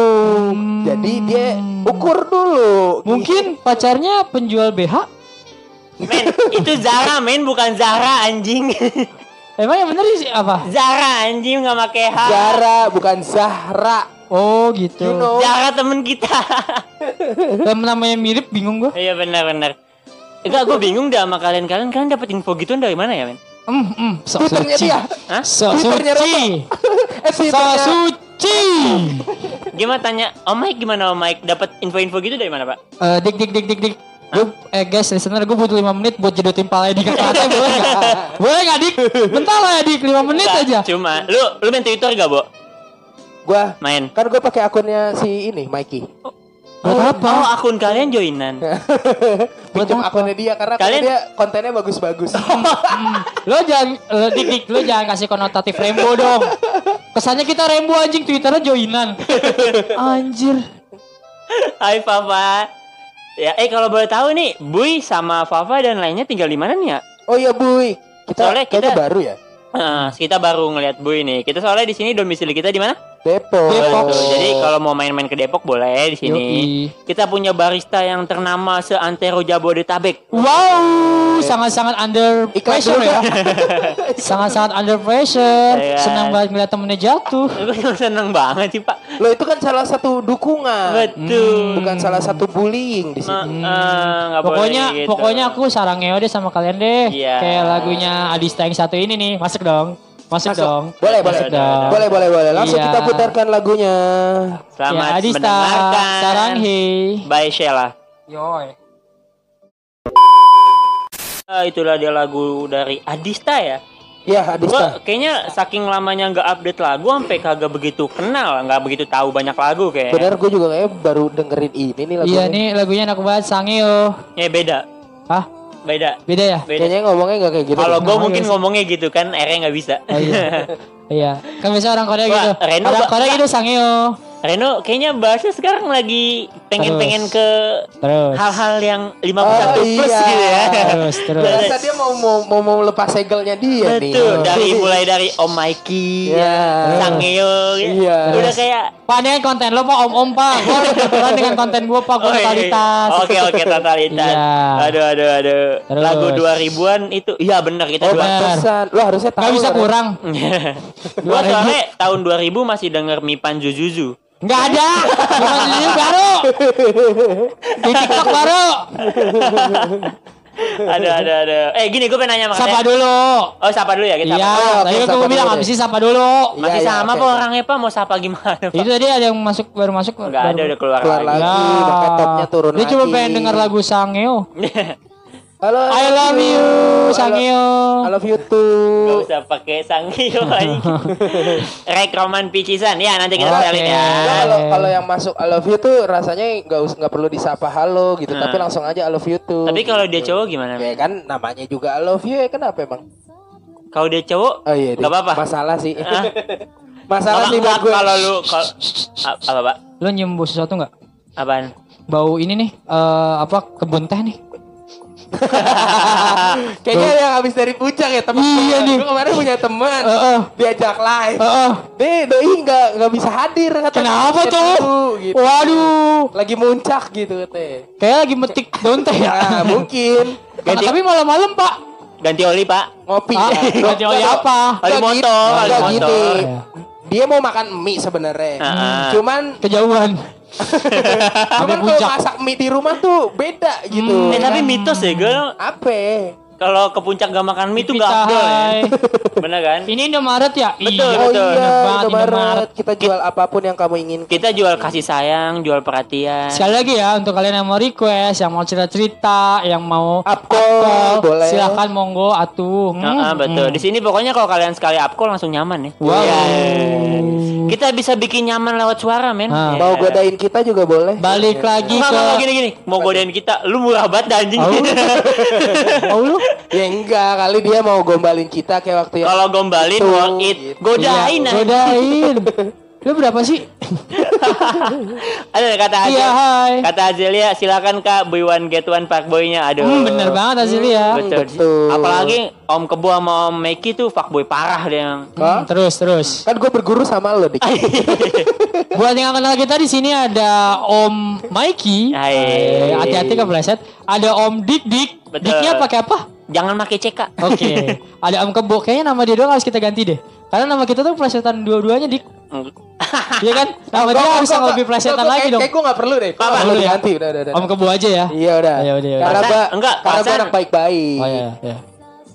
A: jadi dia ukur dulu.
C: Hmm. Mungkin pacarnya penjual BH.
B: Men, itu Zara men bukan Zara anjing. (laughs)
C: Emang yang bener sih apa?
B: Zara anjing nggak pakai H.
A: Zara bukan Zahra.
C: Oh
A: You
C: gitu.
A: know.
B: Zara temen kita. (laughs)
C: Yang namanya mirip bingung gua.
B: Iya benar benar. Enggak gue bingung dah sama kalian kalian kalian dapat info gituan dari mana ya men?
C: Hmm, hmm, sok
A: Twitternya
C: suci.
A: dia.
B: Hah?
C: Sok
A: Twitternya
C: suci.
A: (laughs) Eh,
C: Sok
A: Twitternya-
C: suci.
B: Gimana tanya Om Mike gimana Om Mike dapat info-info gitu dari mana pak?
C: Eh, dik dik dik dik dik. Gue eh guys listener gue butuh 5 menit buat jedotin pala di kakaknya boleh gak? boleh gak dik? Bentar lah ya dik 5 menit
B: Enggak,
C: aja.
B: Cuma lu lu main Twitter gak bo?
A: Gua
B: Main.
A: kan gue pakai akunnya si ini
B: (laughs)
A: Mikey.
C: Buat apa?
B: Oh akun kalian joinan.
A: Pinjam
C: apa?
A: akunnya dia karena kan
B: Kalian-
A: dia kontennya
B: (laughs)
A: bagus-bagus.
C: Hmm. Lo jangan lo, dik dik lo jangan kasih konotatif Rembo dong. Kesannya kita Rembo anjing Twitternya joinan. Anjir.
B: (laughs) Hai Fafa. Ya, eh kalau boleh tahu nih, Bui sama Fafa dan lainnya tinggal di mana nih ya?
A: oh iya Buy, kita
B: Soalnya
A: kayaknya
B: kita-
A: baru ya.
B: Eh, kita baru ngelihat Bui nih. Kita soalnya di sini domisili kita di mana?
A: Depok.
C: Depok.
B: Tuh, Jadi kalau mau main-main ke Depok boleh di sini.
C: Oh. Yoi.
B: Kita punya barista yang ternama seantero Jabodetabek.
C: Wow, sangat-sangat under
A: Iklan
C: pressure
A: dulu (laughs)
C: ya.
A: dah.
C: Sangat-sangat under pressure.
B: Iya.
C: Senang banget ngeliat temennya jatuh.
B: Gue (laughs) seneng banget sih pak.
A: Lo itu kan salah satu dukungan, Hmm,
B: Betul.
A: bukan salah satu bullying di
B: Eh,
A: sini.
B: eh, nggak boleh
C: Hmm. Pokoknya
B: gitu.
C: pokoknya aku sarang ngeo deh sama kalian deh.
B: Iya.
C: Kayak lagunya Adista yang satu ini nih, masuk dong. Masuk,
A: Masuk.
C: dong.
A: Boleh, boleh.
C: masuk dong.
A: Boleh, boleh, boleh. Langsung
C: Iya.
A: kita putarkan lagunya.
C: Ya,
B: Selamat
C: Adista,
B: mendengarkan.
C: sarang hei.
B: Bye Sheila.
C: Yoi.
B: Eh, itulah dia lagu dari Adista ya.
A: Ya,
B: Gua
A: Adista.
B: kayaknya saking lamanya nggak update lagu sampai kagak begitu kenal, nggak begitu tahu banyak lagu kayak.
A: Bener, gue juga kayaknya baru dengerin ini nih lagunya.
C: Iya nih lagunya enak banget Sangeo.
B: Ya beda,
C: Hah?
B: beda,
C: Beda ya?
B: beda.
A: Kayaknya ngomongnya gak kayak gitu.
B: Kalau
A: deh.
B: gue
C: Nah,
B: mungkin
C: iya sih.
B: ngomongnya gitu kan, R-nya nggak bisa.
C: Oh, iya.
B: (laughs)
C: iya. Kan biasanya orang Korea
B: Wah,
C: gitu.
B: Reno
C: orang
B: ba-
C: Korea gitu Sangeo.
B: Reno, kayaknya bahasnya sekarang lagi pengen-pengen
C: Terus.
B: ke
C: Terus.
B: hal-hal yang 51
A: Oh,
B: plus
A: iya.
B: gitu ya.
C: Terus, terus.
B: Betul.
A: Rasa dia mau mau mau, mau lepas segelnya dia nih.
B: Betul, dari mulai dari Om Mikey,
A: Iya.
B: Sangeo, gitu.
A: Iya.
B: udah kayak
C: Pak ini kan konten lo pak om-om pak. Gue harus berperan dengan konten gue pak.
B: Oh,
C: Gue
B: iya, iya.
C: totalitas.
B: Oke oke totalitas.
C: Iya.
B: Aduh aduh aduh.
C: Terus.
B: Lagu 2000-an itu iya benar kita
A: Oh,
B: dua.
C: benar.
A: pantesan. Lo harusnya tahu. kan?
C: Gak bisa
A: Ren.
C: kurang.
B: (laughs) Gua soalnya tahun 2000 masih denger Mipan Jujuzu.
C: Gak ada. Cuma sendiri baru. Di TikTok baru.
B: Aduh aduh aduh. Eh gini gue pengen nanya sama
C: Sapa
B: kalian.
C: dulu.
B: Oh sapa dulu ya kita.
C: Iya.
B: sapa.
A: dulu,
C: Tadi
A: oke,
C: kan
A: sapa
C: gue bilang
A: dulu
C: habis
A: deh.
C: ini sapa dulu.
B: Masih
A: Iya, iya,
B: sama
A: oke, Iya,
B: apa
A: oke.
B: orangnya pak mau sapa gimana pak?
C: Itu tadi ada yang masuk baru masuk.
B: Enggak ada udah keluar,
A: Keluar
B: lagi.
A: lagi, pakai topnya turun
C: Dia cuma
A: lagi.
B: (laughs)
C: pengen denger lagu Sangeo.
A: Halo.
C: I love
A: I
C: you,
A: lo-
C: Sangyo.
A: I love you too.
B: Gak usah pakai sangkio (laughs)
A: (laughs)
B: lagi. Rekroman picisan. Ya, nanti kita
C: Oke.
B: salin ya.
A: Nah, kalau kalau yang masuk I love you tuh rasanya nggak us nggak perlu disapa halo gitu,
B: Nah.
A: tapi langsung aja I love you tuh.
B: Tapi kalau dia cowok gimana?
A: ya kan namanya juga I love you ya kenapa emang?
B: Kalau dia cowok,
A: Oh iya, deh.
B: gak apa-apa.
A: Masalah sih.
B: Hah?
A: (laughs) Masalah
B: Kalau-
A: sih buat gue.
B: Kalau lu kalau A- apa, Pak?
C: Lo nyium bau sesuatu nggak?
B: Apaan?
C: Bau ini nih, eh, apa kebun teh nih?
A: Kayaknya yang habis dari puncak ya teman.
C: Iya, nih.
A: Gue kemarin punya teman.
C: Heeh.
A: Diajak live.
C: Heeh.
A: Nih doi nggak nggak bisa hadir katanya.
C: eh. Kenapa
A: Sakit
C: tuh?
A: dulu, gitu.
C: Waduh, Ya.
A: Lagi muncak gitu katanya.
C: kayak lagi metik daun teh
A: Nah,
C: ya. (laughs) Nah,
A: mungkin
B: Ganti-
C: Tapi malam-malam pak.
B: Ganti oli, Pak.
A: ngopi. (laughs)
C: Ah,
A: ya.
C: ganti oli apa?
B: Oli
A: Nggak
B: motor,
A: gitu,
B: oli
A: nggak
B: motor.
A: gini. Dia mau makan mie sebenarnya.
B: Heeh.
A: Cuman
C: Kejauhan. Sampai
A: cuman kalau
C: puncak. Hmm,
A: masak mie di rumah tuh beda gitu.
B: Eh, tapi mitos ya, gue
A: Apa?
B: kalau ke puncak gak makan mie itu gak
C: Pizza
B: afdol ya.
C: Hut.
B: Bener kan?
C: Ini Indomaret ya?
B: Betul,
C: Iya,
A: Oh
B: betul.
A: iya,
C: Bener banget,
A: Indomaret.
C: Indomaret.
A: Kita jual apapun yang kamu inginkan.
B: Kita jual kasih sayang, jual perhatian.
C: Sekali lagi ya untuk kalian yang mau request, yang mau cerita-cerita, yang mau
A: Upcall, Ah, boleh.
C: silakan monggo atuh. Hmm,
B: Heeh, Ah, betul.
C: hmm.
B: Di sini pokoknya kalau kalian sekali upcall langsung nyaman ya.
C: Wow.
B: Iya. Kita bisa bikin nyaman lewat suara, men.
C: Ah.
B: Iya.
A: Mau godain kita juga boleh.
C: Balik lagi
B: Enggak,
C: ke
B: enggak, enggak, gini gini. Mau godain kita, lu murah banget dah, anjing.
C: Oh, lu?
A: Ya enggak, kali dia mau gombalin kita kayak waktu yang
B: (laughs) Kalau gombalin
A: Tuh,
B: worth it,
A: gitu.
B: godain
C: Iya,
B: anjing.
C: Godain. Lu berapa sih?
B: (laughs) Ada kata aja.
C: Iya, hai.
B: Kata Azelia, silakan Kak buy one get one fuckboy-nya. Aduh.
C: Hmm, bener banget hasilnya ya.
B: Betul.
A: Betul.
B: Apalagi Om Kebo sama Om Meki tuh fuckboy parah dia yang.
A: Hah?
C: Hmm, Terus, terus.
A: Kan gue berguru sama lo
C: Ah,
A: dik.
C: iya, Buat yang gak kenal kita di sini ada Om Mikey.
B: Hai.
C: Eh, Hati-hati kepleset. Ada Om Dik Dik.
B: Betul.
C: Diknya pakai apa?
B: Jangan pakai CK.
C: Oke.
B: (laughs)
C: ada Om Kebo. Kayaknya nama dia doang harus kita ganti deh. Karena nama kita tuh plesetan dua-duanya Dik. Iya kan? Nama dia harus yang lebih plesetan lagi dong.
A: Kayak gue gak perlu deh. Gua
B: Apa?
A: nggak perlu
C: Perlu ya?
A: diganti udah udah udah.
C: Om Kebo aja ya.
A: Iya udah.
C: Iya, udah, iya,
A: Karena
B: udah.
A: gua
B: Enggak,
A: karena gua
B: Hasan.
A: anak baik-baik.
C: Oh iya, iya.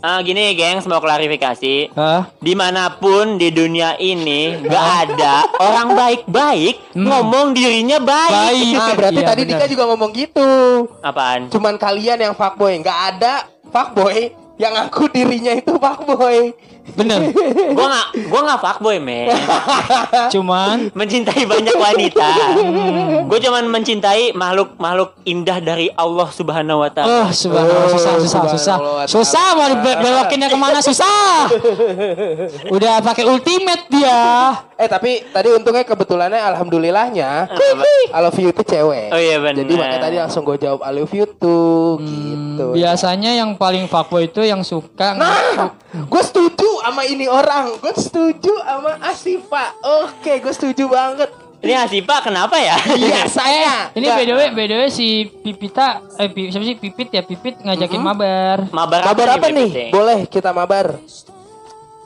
B: Ah, gini, gengs, mau klarifikasi.
C: Hah?
B: Dimanapun di dunia ini nggak ada orang baik-baik ngomong dirinya baik.
C: Baik.
A: Nah, berarti
C: Iya,
A: tadi
C: benar.
A: Dika juga ngomong gitu.
B: Apaan?
A: Cuman kalian yang fuckboy, nggak ada fuckboy yang aku dirinya itu fuckboy. (laughs)
C: Bener.
A: Iya.
B: Gua nggak, gua nggak fuckboy men.
A: Iya.
C: Cuman
B: Mencintai banyak wanita. Gue cuman mencintai makhluk makhluk indah dari Allah Subhanahu Wa Taala.
C: Oh, subhanallah, susah, susah, susah.
A: Subhanallah, Nah,
C: Susah mau dibel- belokinnya kemana
A: (laughs)
C: susah. Udah pakai ultimate dia.
A: Eh tapi tadi untungnya kebetulannya alhamdulillahnya I
C: Ah.
A: love you tuh cewek.
B: Oh iya, benar.
A: Jadi makanya tadi langsung gue jawab I love you tuh
C: Hmm,
A: gitu.
C: Biasanya yang paling fuckboy itu yang suka
A: Nah, gue setuju sama ini orang. Gue setuju sama Asifa. Oke, gue setuju banget.
B: Ini Asipa kenapa ya?
A: Iya, saya.
C: Ini by the way, by the way si Pipita eh Pi- siapa sih Pipit ya Pipit ngajakin
A: Mm-hmm.
C: mabar.
B: Mabar,
A: Mabar apa nih?
B: Beb?
A: Boleh kita mabar.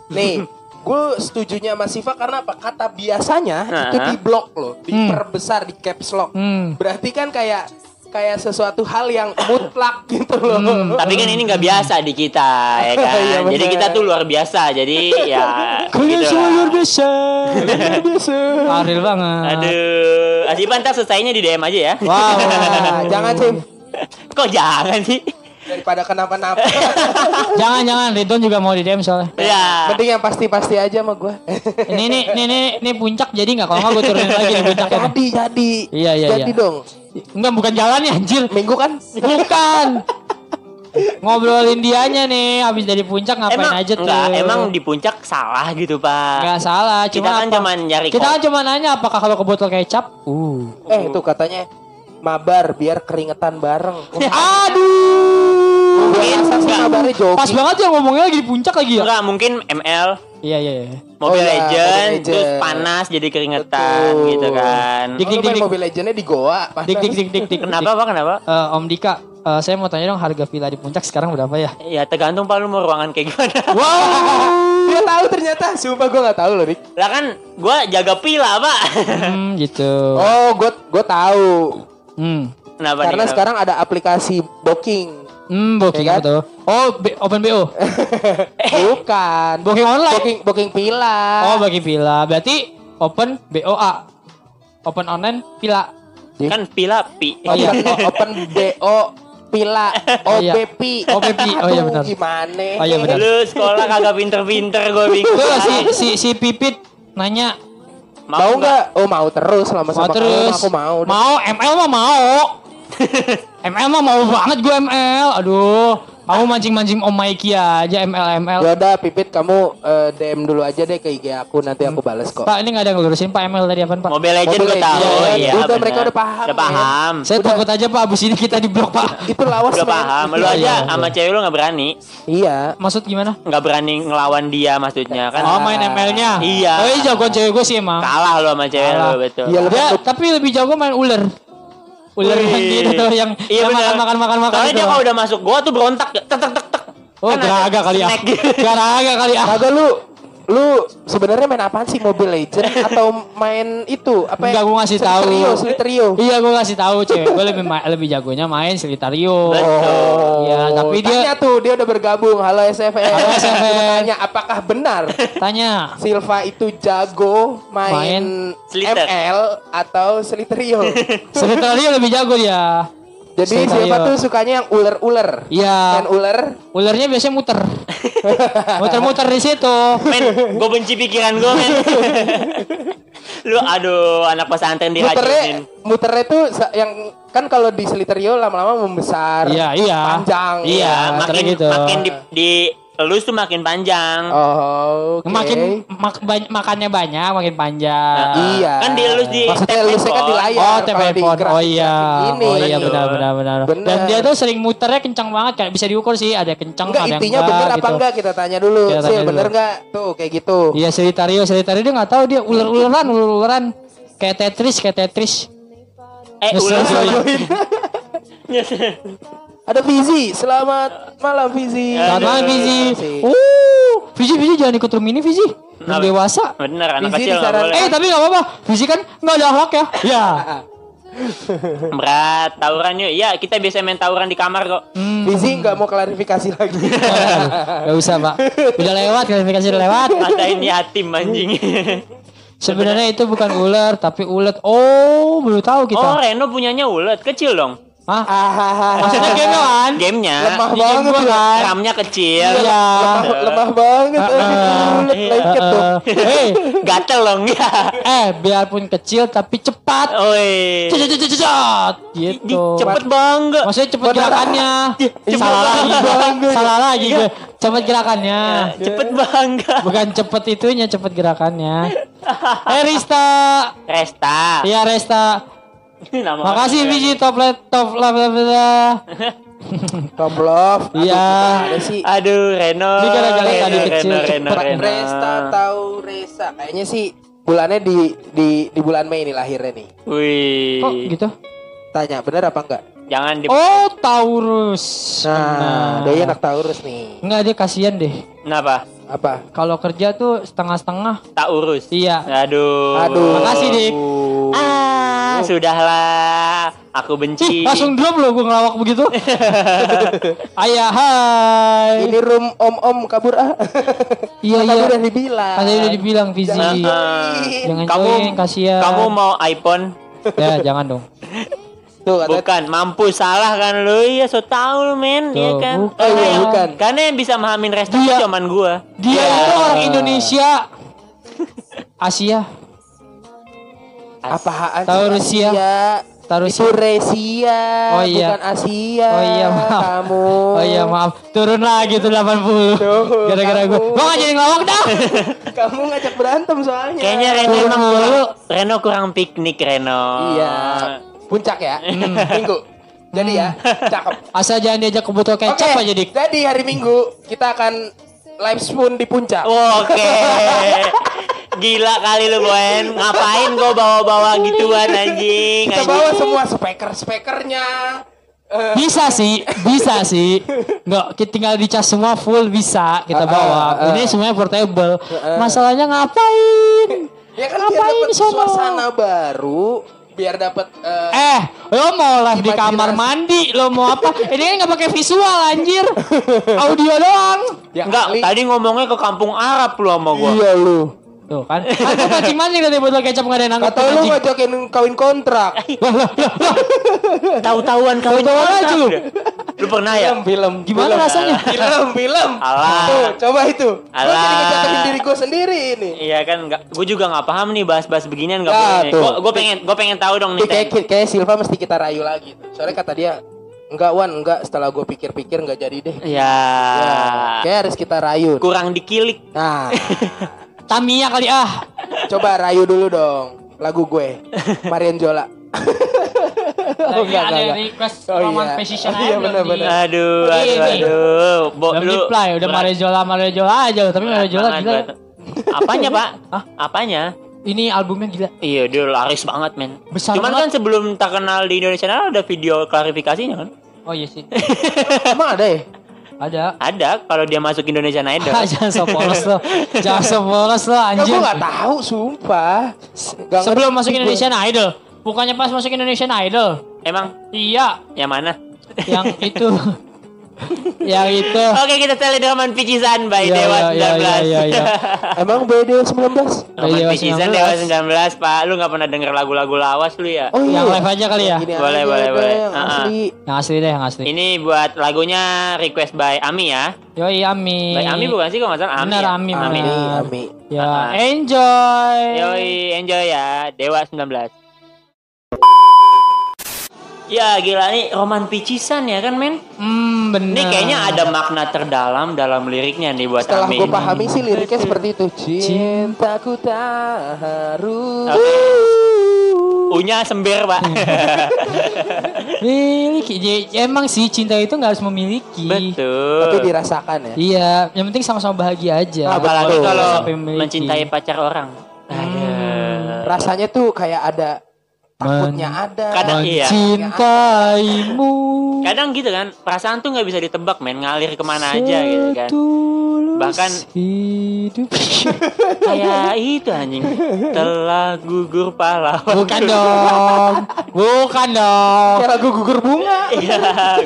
A: Nih, gue setujunya sama Siva karena apa? Kata biasanya itu
B: Nah.
A: di blok loh, diperbesar di caps lock.
C: Hmm.
A: Berarti kan kayak kayak sesuatu hal yang mutlak gitu loh.
B: Tapi kan ini nggak biasa di kita, ya kan?
A: Iya,
B: jadi
A: bener.
B: kita tuh luar biasa. Jadi ya.
C: Kalian
B: gitu
C: semua
B: lah.
C: luar biasa.
A: (laughs) biasa.
C: Aril banget.
B: Aduh, Asipa ntar selesainya di DM aja ya.
C: Wow.
A: (laughs) Nah, jangan sih
B: Kok jangan sih?
A: daripada
C: (laughs)
A: kenapa-napa.
C: jangan jangan Ridwan juga mau di DM soalnya.
B: Ya.
A: Mending yang pasti-pasti aja sama gue.
C: Ini nih ini ini, ini puncak jadi nggak kalau nggak gue turunin lagi nih puncaknya.
A: (laughs) jadi, jadi.
C: Iya, iya,
A: Jadi
C: iya.
A: dong.
C: Enggak bukan jalannya anjir.
A: Minggu kan
C: Bukan. Ngobrolin dianya nih habis dari puncak ngapain
B: emang
C: aja tuh.
B: enggak, emang di puncak salah gitu, Pak.
C: Enggak salah,
B: Kita
C: cuma
B: kan
C: apa-
B: cuman nyari
C: Kita kan
B: kok.
C: cuma nanya apakah kalau ke botol kecap? Uh.
A: Eh itu katanya mabar biar keringetan
C: (laughs)
A: bareng.
C: Iya, Aduh.
B: Mungkin
A: Masa sih
B: enggak,
A: mabarnya jogging?
C: Pas banget ya ngomongnya lagi di puncak lagi ya.
B: enggak, mungkin ML,
C: Iya iya iya.
B: Mobile
A: Iya. Oh, iya, Mobile
B: Legend,
A: Legend.
B: terus panas jadi keringetan
A: Betul.
B: gitu kan.
A: Dik,
C: Dik, dik,
A: dik,
C: dik, dik.
A: Mobile Legendnya di Goa. panas.
C: Dik dik dik dik dik.
B: Kenapa, Pak? Kenapa?
C: Eh, Om Dika, eh, saya mau tanya dong harga villa di puncak sekarang berapa
B: (laughs)
C: ya?
B: Ya tergantung Pak lu mau ruangan kayak gimana.
A: (laughs) Dia tahu ternyata. Sumpah gue nggak tahu loh dik.
B: lah kan gua jaga pila,
A: (laughs)
B: Pak.
C: Hmm, gitu.
A: Oh gue gue tahu.
C: Hmm.
B: Kenapa
A: Karena
B: nih?
A: sekarang ada aplikasi booking.
C: Hmm, booking
A: Iya kan?
C: apa tuh? Oh, B- open
A: (laughs)
C: BO.
A: Bukan.
C: Eh. Booking online.
A: Booking booking pila.
C: Oh, bagi villa. Berarti open BOA. Open online villa.
B: kan pila pi.
A: Iya. Oh, iya. Oh, open BO
C: (laughs)
A: Pila,
C: iya.
A: OBP. (laughs)
C: OBP, oh iya
A: Aduh,
C: benar.
A: Gimana?
C: Oh iya benar.
B: Lu sekolah kagak pinter-pinter gue bingung.
C: Tuh,
A: (laughs)
C: si si si Pipit nanya
B: Mau
A: Mau nggak? Oh mau terus lama
C: mau
A: sama kamu,
C: terus
A: aku mau. deh.
C: mau ML mah
A: (laughs)
C: mau ML mah mau banget gue ML aduh mau mancing-mancing Om Mikey aja ML ML
A: Ya udah Pipit kamu eh, DM dulu aja deh ke IG aku nanti aku balas kok.
C: Pak ini nggak ada yang ngurusin Pak ML tadi apaan Pak
B: Mobile Legend
A: Mobile
B: gue tahu
A: Legend.
B: iya.
A: Udah,
B: bener.
A: mereka udah paham, Iya.
B: Udah paham.
C: saya takut aja Pak abis ini kita di blok Pak
A: Itu lawas
B: Udah
A: men.
B: paham. Lu
C: Iya,
B: aja
C: iya.
B: sama cewek lu nggak berani.
A: Iya.
C: maksud gimana
B: Nggak berani ngelawan dia maksudnya kan.
C: oh main ML-nya
B: Iya.
C: oh iya jagoan cewek gue sih emang
B: Kalah lu sama cewek
C: Kalah.
B: lu betul.
A: Iya, lu-
C: Ya, tapi lebih jago main ular. Ular
B: Wih.
C: yang gitu tuh yang
B: Iya,
C: yang
B: bener.
C: makan makan makan makan.
B: Soalnya
C: itu.
B: dia kalau udah masuk gua tuh berontak tek tek tek tek.
C: oh,
B: Kan ada
C: garaga kali ya.
B: snack gitu.
C: (laughs) Garaga kali ya.
A: Kagak lu lu sebenarnya main apaan sih Mobile Legend atau main itu apa?
C: Enggak gua ngasih tahu.
A: Slitrio, Slitrio.
C: Iya, gua ngasih tahu cewek gue lebih ma- lebih jagonya main Solitario.
B: Betul.
C: Iya, tapi dia
A: Oh. Tanya tuh dia udah bergabung. Halo SFN.
C: Halo, SFN.
A: Gua Tanya apakah benar
C: tanya.
A: Silva itu jago main,
B: Main Slither.
A: ML atau
B: (laughs)
A: Slitrio?
C: Solitario lebih jago dia.
A: Jadi
C: Slitrio.
A: Silva tuh sukanya yang ular-ular.
C: Iya.
A: Main ular.
C: Ularnya biasanya
A: (laughs)
C: muter. Muter-muter di situ. (laughs)
B: Men, gue benci pikiran gue men. lu aduh anak pesantren
A: Muternya,
B: dihajarin.
A: muternya tuh sa- yang kan kalau di Slitrio lama-lama membesar.
C: Iya, iya.
A: Panjang.
B: Iya,
C: Iya,
B: makin
C: ternyata gitu.
B: makin di, di elus tuh makin panjang.
A: Oh, oke.
C: Makin mak- ba- makannya banyak, makin panjang.
A: Iya.
B: Kan di elus di
A: Maksudnya
B: tap
A: elusnya kan di
B: handphone.
A: layar. Kalau gitu.
C: Oh, tap
A: di
C: handphone. Oh
A: grafik-
C: iya.
A: grafik ini.
C: oh iya
B: betul.
C: benar benar benar.
A: Bener.
C: Dan dia tuh sering muternya kencang banget kayak bisa diukur sih ada yang kencang
A: Enggak
C: ada yang
A: intinya bener apa
C: gitu.
A: enggak kita tanya dulu.
C: Kita tanya
A: Sil,
C: dulu.
A: bener enggak? Tuh kayak gitu.
C: Iya, Solitario, Solitario dia nggak tahu dia ular-ularan, ular-ularan. Kayak Tetris, kayak Tetris.
B: Eh, ular.
C: Ngeselin.
A: Ada Fizi, selamat malam Fizi.
B: Selamat
C: Selamat malam,
B: Aduh.
C: Fizi.
A: Fizi.
C: Uh, Fizi, Fizi jangan ikut room ini, Fizi. Belum
B: Kenapa?
C: dewasa.
B: (laughs) Bener anak
A: Izin
B: kecil nggak
A: saran-
B: boleh.
C: Eh, tapi nggak apa-apa. Fizi kan nggak ada hak ya. Ya.
B: Berat, tawuran yuk. Iya, kita biasa main tawuran di kamar
C: (laughs)
B: kok.
A: Fizi nggak mau klarifikasi lagi.
C: Gak usah, Pak. Udah lewat, klarifikasi udah lewat.
B: Katain yatim anjing.
C: Sebenarnya itu bukan ular, tapi ulet. Oh, baru tahu
B: oh,
C: kita.
B: Reno punyanya ulet, kecil dong.
C: Hah?
A: Maksudnya
C: Maksudnya gamenya kan?
B: Gamenya
A: Lemah
B: di game
A: banget,
B: gua,
A: Lan.
B: RAM-nya kecil.
C: Iya.
A: lemah, lemah banget.
C: Ah, ah.
A: Aduh, liat lengket tuh.
B: (laughs)
C: Eh, eh,
B: (laughs) Gatel dong
C: (laughs)
B: ya.
C: eh, biarpun kecil tapi cepat.
B: Oi.
C: Cet-cet-cet-cet-cet.
B: Di,
C: Gitu.
B: cepet banget.
C: Maksudnya cepet gerakannya.
B: Cepet
C: Salah lagi
B: banget.
C: gue. Salah lagi gue. Cepet gerakannya.
B: Cepet bangga.
C: Bukan cepet itunya, cepet gerakannya. Eh Rista.
B: (laughs) Resta.
C: Iya Resta.
B: (laughs) Nama
C: Makasih
B: orang.
C: Viji top lab top lab lab- lab.
A: Tom Love. Aduh,
C: Iya.
A: gimana sih?
B: Aduh, Reno.
C: Ini gara-gara
B: Reno,
C: tadi kecil.
B: Reno, Reno,
A: Pra-
B: Reno.
A: Resta atau Resa? Kayaknya sih bulannya di di di bulan Mei ini lahirnya nih.
B: Wih.
C: Kok gitu?
A: Tanya bener apa enggak?
B: Jangan di
C: Oh Taurus.
A: Nah,
C: Benar.
A: dia anak Taurus nih.
C: Enggak dia kasihan deh.
B: Kenapa?
A: Apa?
C: Kalau kerja tuh setengah-setengah.
B: Tak urus.
C: Iya.
B: Aduh.
A: Aduh.
C: Makasih, Dik.
B: Ah, sudahlah. Aku benci.
C: Ih, (laughs) langsung drop loh gue ngelawak begitu. (laughs) Ayah, hai.
A: Ini room om-om kabur ah. Kan
C: Iya, iya.
A: tadi udah dibilang.
C: Kan tadi udah dibilang Fizi. Iya.
B: Jangan,
C: Jangan
B: kamu
C: join, kasihan.
B: kamu mau iPhone?
C: Ya, jangan dong.
A: Tuh katanya
B: Bukan, mampu salah kan lu. Iya, so tau lu, men. Iya
C: Tuh,
B: kan?
C: bukan.
A: Oh, iya,
B: yang-
A: bukan.
B: Karena yang bisa memahamin resta
C: Dia-
B: cuman gua. Iya.
C: Dia itu orang Indonesia. Asia.
A: apaan sih?
C: Taurusia.
A: Asia?
C: Taurusia.
A: Itu Resia,
C: Oh, iya.
A: bukan Asia.
C: Oh iya, maaf.
A: Kamu.
C: Oh iya, maaf. Turun lagi tuh 80.
A: Tuh,
C: Gara-gara gue.
A: kamu.
C: Gue gak jadi ngelawak dah.
A: (laughs) Kamu ngajak berantem soalnya.
B: Kayaknya Reno
C: Turun
B: emang
C: mulu.
B: kurang, Reno kurang piknik Reno.
A: Iya. Puncak ya.
C: Hmm.
A: (laughs) Minggu. Jadi ya, cakep.
C: Asal jangan diajak ke botol Hmm.
A: Oke,
C: kecap aja, Dik.
A: Jadi hari Minggu kita akan live spoon di puncak.
B: Oh, Oke. (laughs) Gila kali lu Boen. Ngapain gua bawa-bawa gituan anjing.
A: Kita
B: anjing.
A: bawa semua speaker-speakernya. Eh,
C: Bisa sih, bisa sih. Nggak, kita tinggal dicas semua full bisa kita
A: Ah, ah,
C: bawa.
A: ah.
C: Ini semuanya portable. Masalahnya ngapain?
A: ya kan biar
C: Ngapain
A: dapat
C: di sono?
A: suasana baru, biar dapat eh,
C: Eh, lo mau live di
A: Imajinasi.
C: kamar mandi, lo mau apa? Ini kan nggak pakai visual anjir. Audio doang.
A: ya
B: Enggak,
A: kali.
B: tadi ngomongnya ke kampung Arab lu sama gua.
A: Iya lu.
C: Tuh kan. Aku mancing-mancing tadi botol kecap enggak ada yang nangkep.
A: Kata lu
C: anjing.
A: ngajakin kawin kontrak.
B: Tahu-tahuan kawin
C: Tahu-tahuan
B: kontrak
C: aja lu. Iya.
B: udah. Lu pernah ya?
A: Film, film.
C: Gimana
A: Film.
C: rasanya?
A: (laughs) Film, film.
B: Alah.
A: Tuh, coba itu. Gua jadi
B: Alah.
A: ngejatuhin diri gue sendiri ini.
B: Iya kan, nggak, gue juga nggak paham nih bahas-bahas beginian nggak
A: Ya,
B: boleh nih.
A: tuh.
B: Gue gue pengen gue pengen tahu dong nih.
A: Ih, kayak, kayak Silva mesti kita rayu lagi. tuh. Soalnya kata dia, enggak Wan, enggak. Setelah gue pikir-pikir enggak jadi deh.
B: Ya,
A: Ya,
B: Iya.
A: kayak harus kita rayu.
B: kurang dikilik.
A: Nah,
C: Tamiya kali ah.
A: coba rayu dulu dong lagu gue, Marian Jola. Oh,
C: Lagi ada
A: enggak.
C: request
A: Oh,
C: Roman
A: iya.
C: Precision
A: Oh,
C: aja
A: iya,
C: belum
A: benar-benar.
C: di-
B: Aduh,
C: Iya,
B: aduh,
C: iya.
B: aduh. Bo,
C: belum
B: lu
C: di-play, udah
B: berat-
C: Marejola Marejola aja tapi
B: berat
C: Marejola
B: banget,
C: gila.
B: berat. Apanya pak?
C: (laughs) Hah?
B: Apanya?
C: Ini albumnya gila.
B: Iya, dia laris banget men.
C: Besar
B: Cuman
C: banget.
B: kan sebelum terkenal di Indonesia nah, ada video klarifikasinya kan?
C: Oh iya sih.
A: Emang ada ya?
C: Ada. (laughs)
B: Ada kalau dia masuk Indonesia Idol.
C: Ah, Jangan sok polos lo. Jangan sok polos lo
A: Enggak,
C: anjir.
A: gue nggak tahu, sumpah. Nggak
C: Sebelum
A: ngerti
C: masuk
A: gue.
C: Indonesian Idol. Bukannya pas masuk Indonesian Idol.
B: Emang
C: Iya,
B: yang
C: (laughs)
B: mana?
C: yang itu. (laughs) yang itu.
B: Oke kita teledraman Picisan by
C: Iya,
B: Oh, Dewa
C: iya, iya,
B: 19
C: iya, iya.
A: Emang BD 19?
B: (laughs) Roman
C: Dewa
B: Picisan
C: 19.
B: Dewa 19 pak Lu gak pernah denger lagu-lagu lawas lu ya
A: Oh
C: Yang live aja kali ya?
A: Gini
B: Boleh,
A: aja,
B: boleh,
A: Bang,
B: boleh.
A: yang
B: Ah,
A: Asli.
C: Yang asli deh, yang asli.
B: Ini buat lagunya request by Ami ya
C: Yoi Ami.
B: By Ami bukan sih kalau nggak salah Ami
C: Benar,
B: ya?
C: Ami,
A: Ami,
C: Ami.
A: Ami.
C: Ya,
B: Ah.
C: enjoy.
B: Yoi enjoy ya Dewa 19 Ya gila nih Roman Picisan ya kan men
C: Hmm,
B: Ini
C: benar.
B: kayaknya ada makna terdalam dalam liriknya nih buat
A: Setelah
B: Ami
A: gue pahami sih liriknya seperti itu. Cintaku tak harus.
B: Oke. Unya sember pak
C: Iya. Miliki. Ya, Emang sih cinta itu nggak harus memiliki.
B: (laughs) Betul
A: Tapi dirasakan ya.
C: Iya, yang penting sama-sama bahagia
A: Ah,
C: aja.
A: betul.
B: Apalagi kalau
C: Sampai memiliki. Hmm.
B: mencintai pacar orang. Aduh.
A: Rasanya tuh kayak ada takutnya
C: Men-
A: ada.
B: Kadang iya.
C: Mencintaimu.
B: Kadang gitu kan, perasaan tuh nggak bisa ditebak men, ngalir kemana aja gitu kan.
C: Setulus
B: Bahkan-
C: hidup. (laughs)
B: Kayak itu anjing, telah gugur pahlawan.
C: Bukan dong. Bukan dong.
A: Kayak lagu gugur bunga.
B: Iya,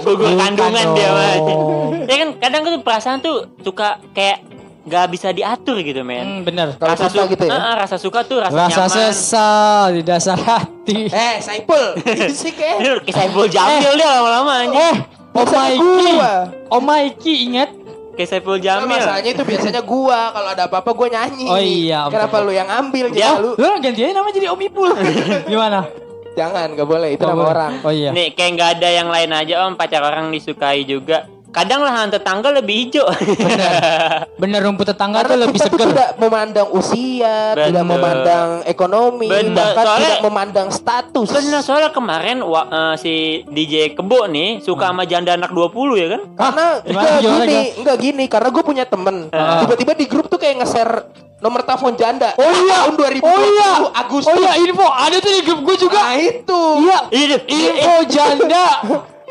B: gugur
C: Bukan
B: kandungan dia
C: dong.
B: mas. Ya kan, kadang tuh perasaan tuh suka kayak nggak bisa diatur gitu men.
C: Hmm, bener.
A: Kalau
B: Rasa
A: suka
B: suka
A: gitu ya?
B: rasa suka tuh rasa,
C: Rasa
B: nyaman.
C: sesal di dasar hati.
A: Eh,
B: (laughs)
A: Saipul, berisik
B: Ini
A: eh.
B: udah kayak Saiful Jamil dia lama-lama anjing.
C: Eh, Oh
A: Biasanya
C: Mikey.
A: gua.
C: Oh Mikey ingat?
B: Kayak Saiful
A: Nah,
B: Jamil.
A: masalahnya itu biasanya gua kalau ada apa-apa gua nyanyi.
C: Oh iya, ampun. Ya.
A: Kenapa lu yang ambil?
B: Dia-
A: Jangan lu.
C: Lu ganti aja nama jadi Om Ipul. Gimana?
A: Jangan, gak boleh. Itu nama
C: Oh, boleh.
A: orang.
C: Oh iya.
B: Nih kayak nggak ada yang lain aja om pacar orang disukai juga. Kadang lahan tetangga lebih hijau.
C: Bener rumput tetangga tuh
A: Karena
C: lebih
A: kita tuh
C: seger.
A: tidak memandang usia, tidak
B: Bener.
A: memandang ekonomi,
B: Bener.
A: bahkan
B: Soalnya-
A: tidak memandang status.
B: Bener soalnya kemarin wa- eh, si DJ Kebo nih suka sama janda anak 20 ya kan?
A: Karena
C: Gimana,
A: enggak
C: gimana,
A: gini,
C: gimana?
A: enggak gini. Karena gue punya temen.
C: Ah.
A: Tiba-tiba di grup tuh kayak nge-share nomor telepon janda.
C: Oh iya.
A: Tahun 2020
C: Oh iya.
A: Agustus.
C: Oh iya info ada tuh di grup gue juga.
A: Nah itu.
C: Iya.
B: Iya, di-
C: Info janda.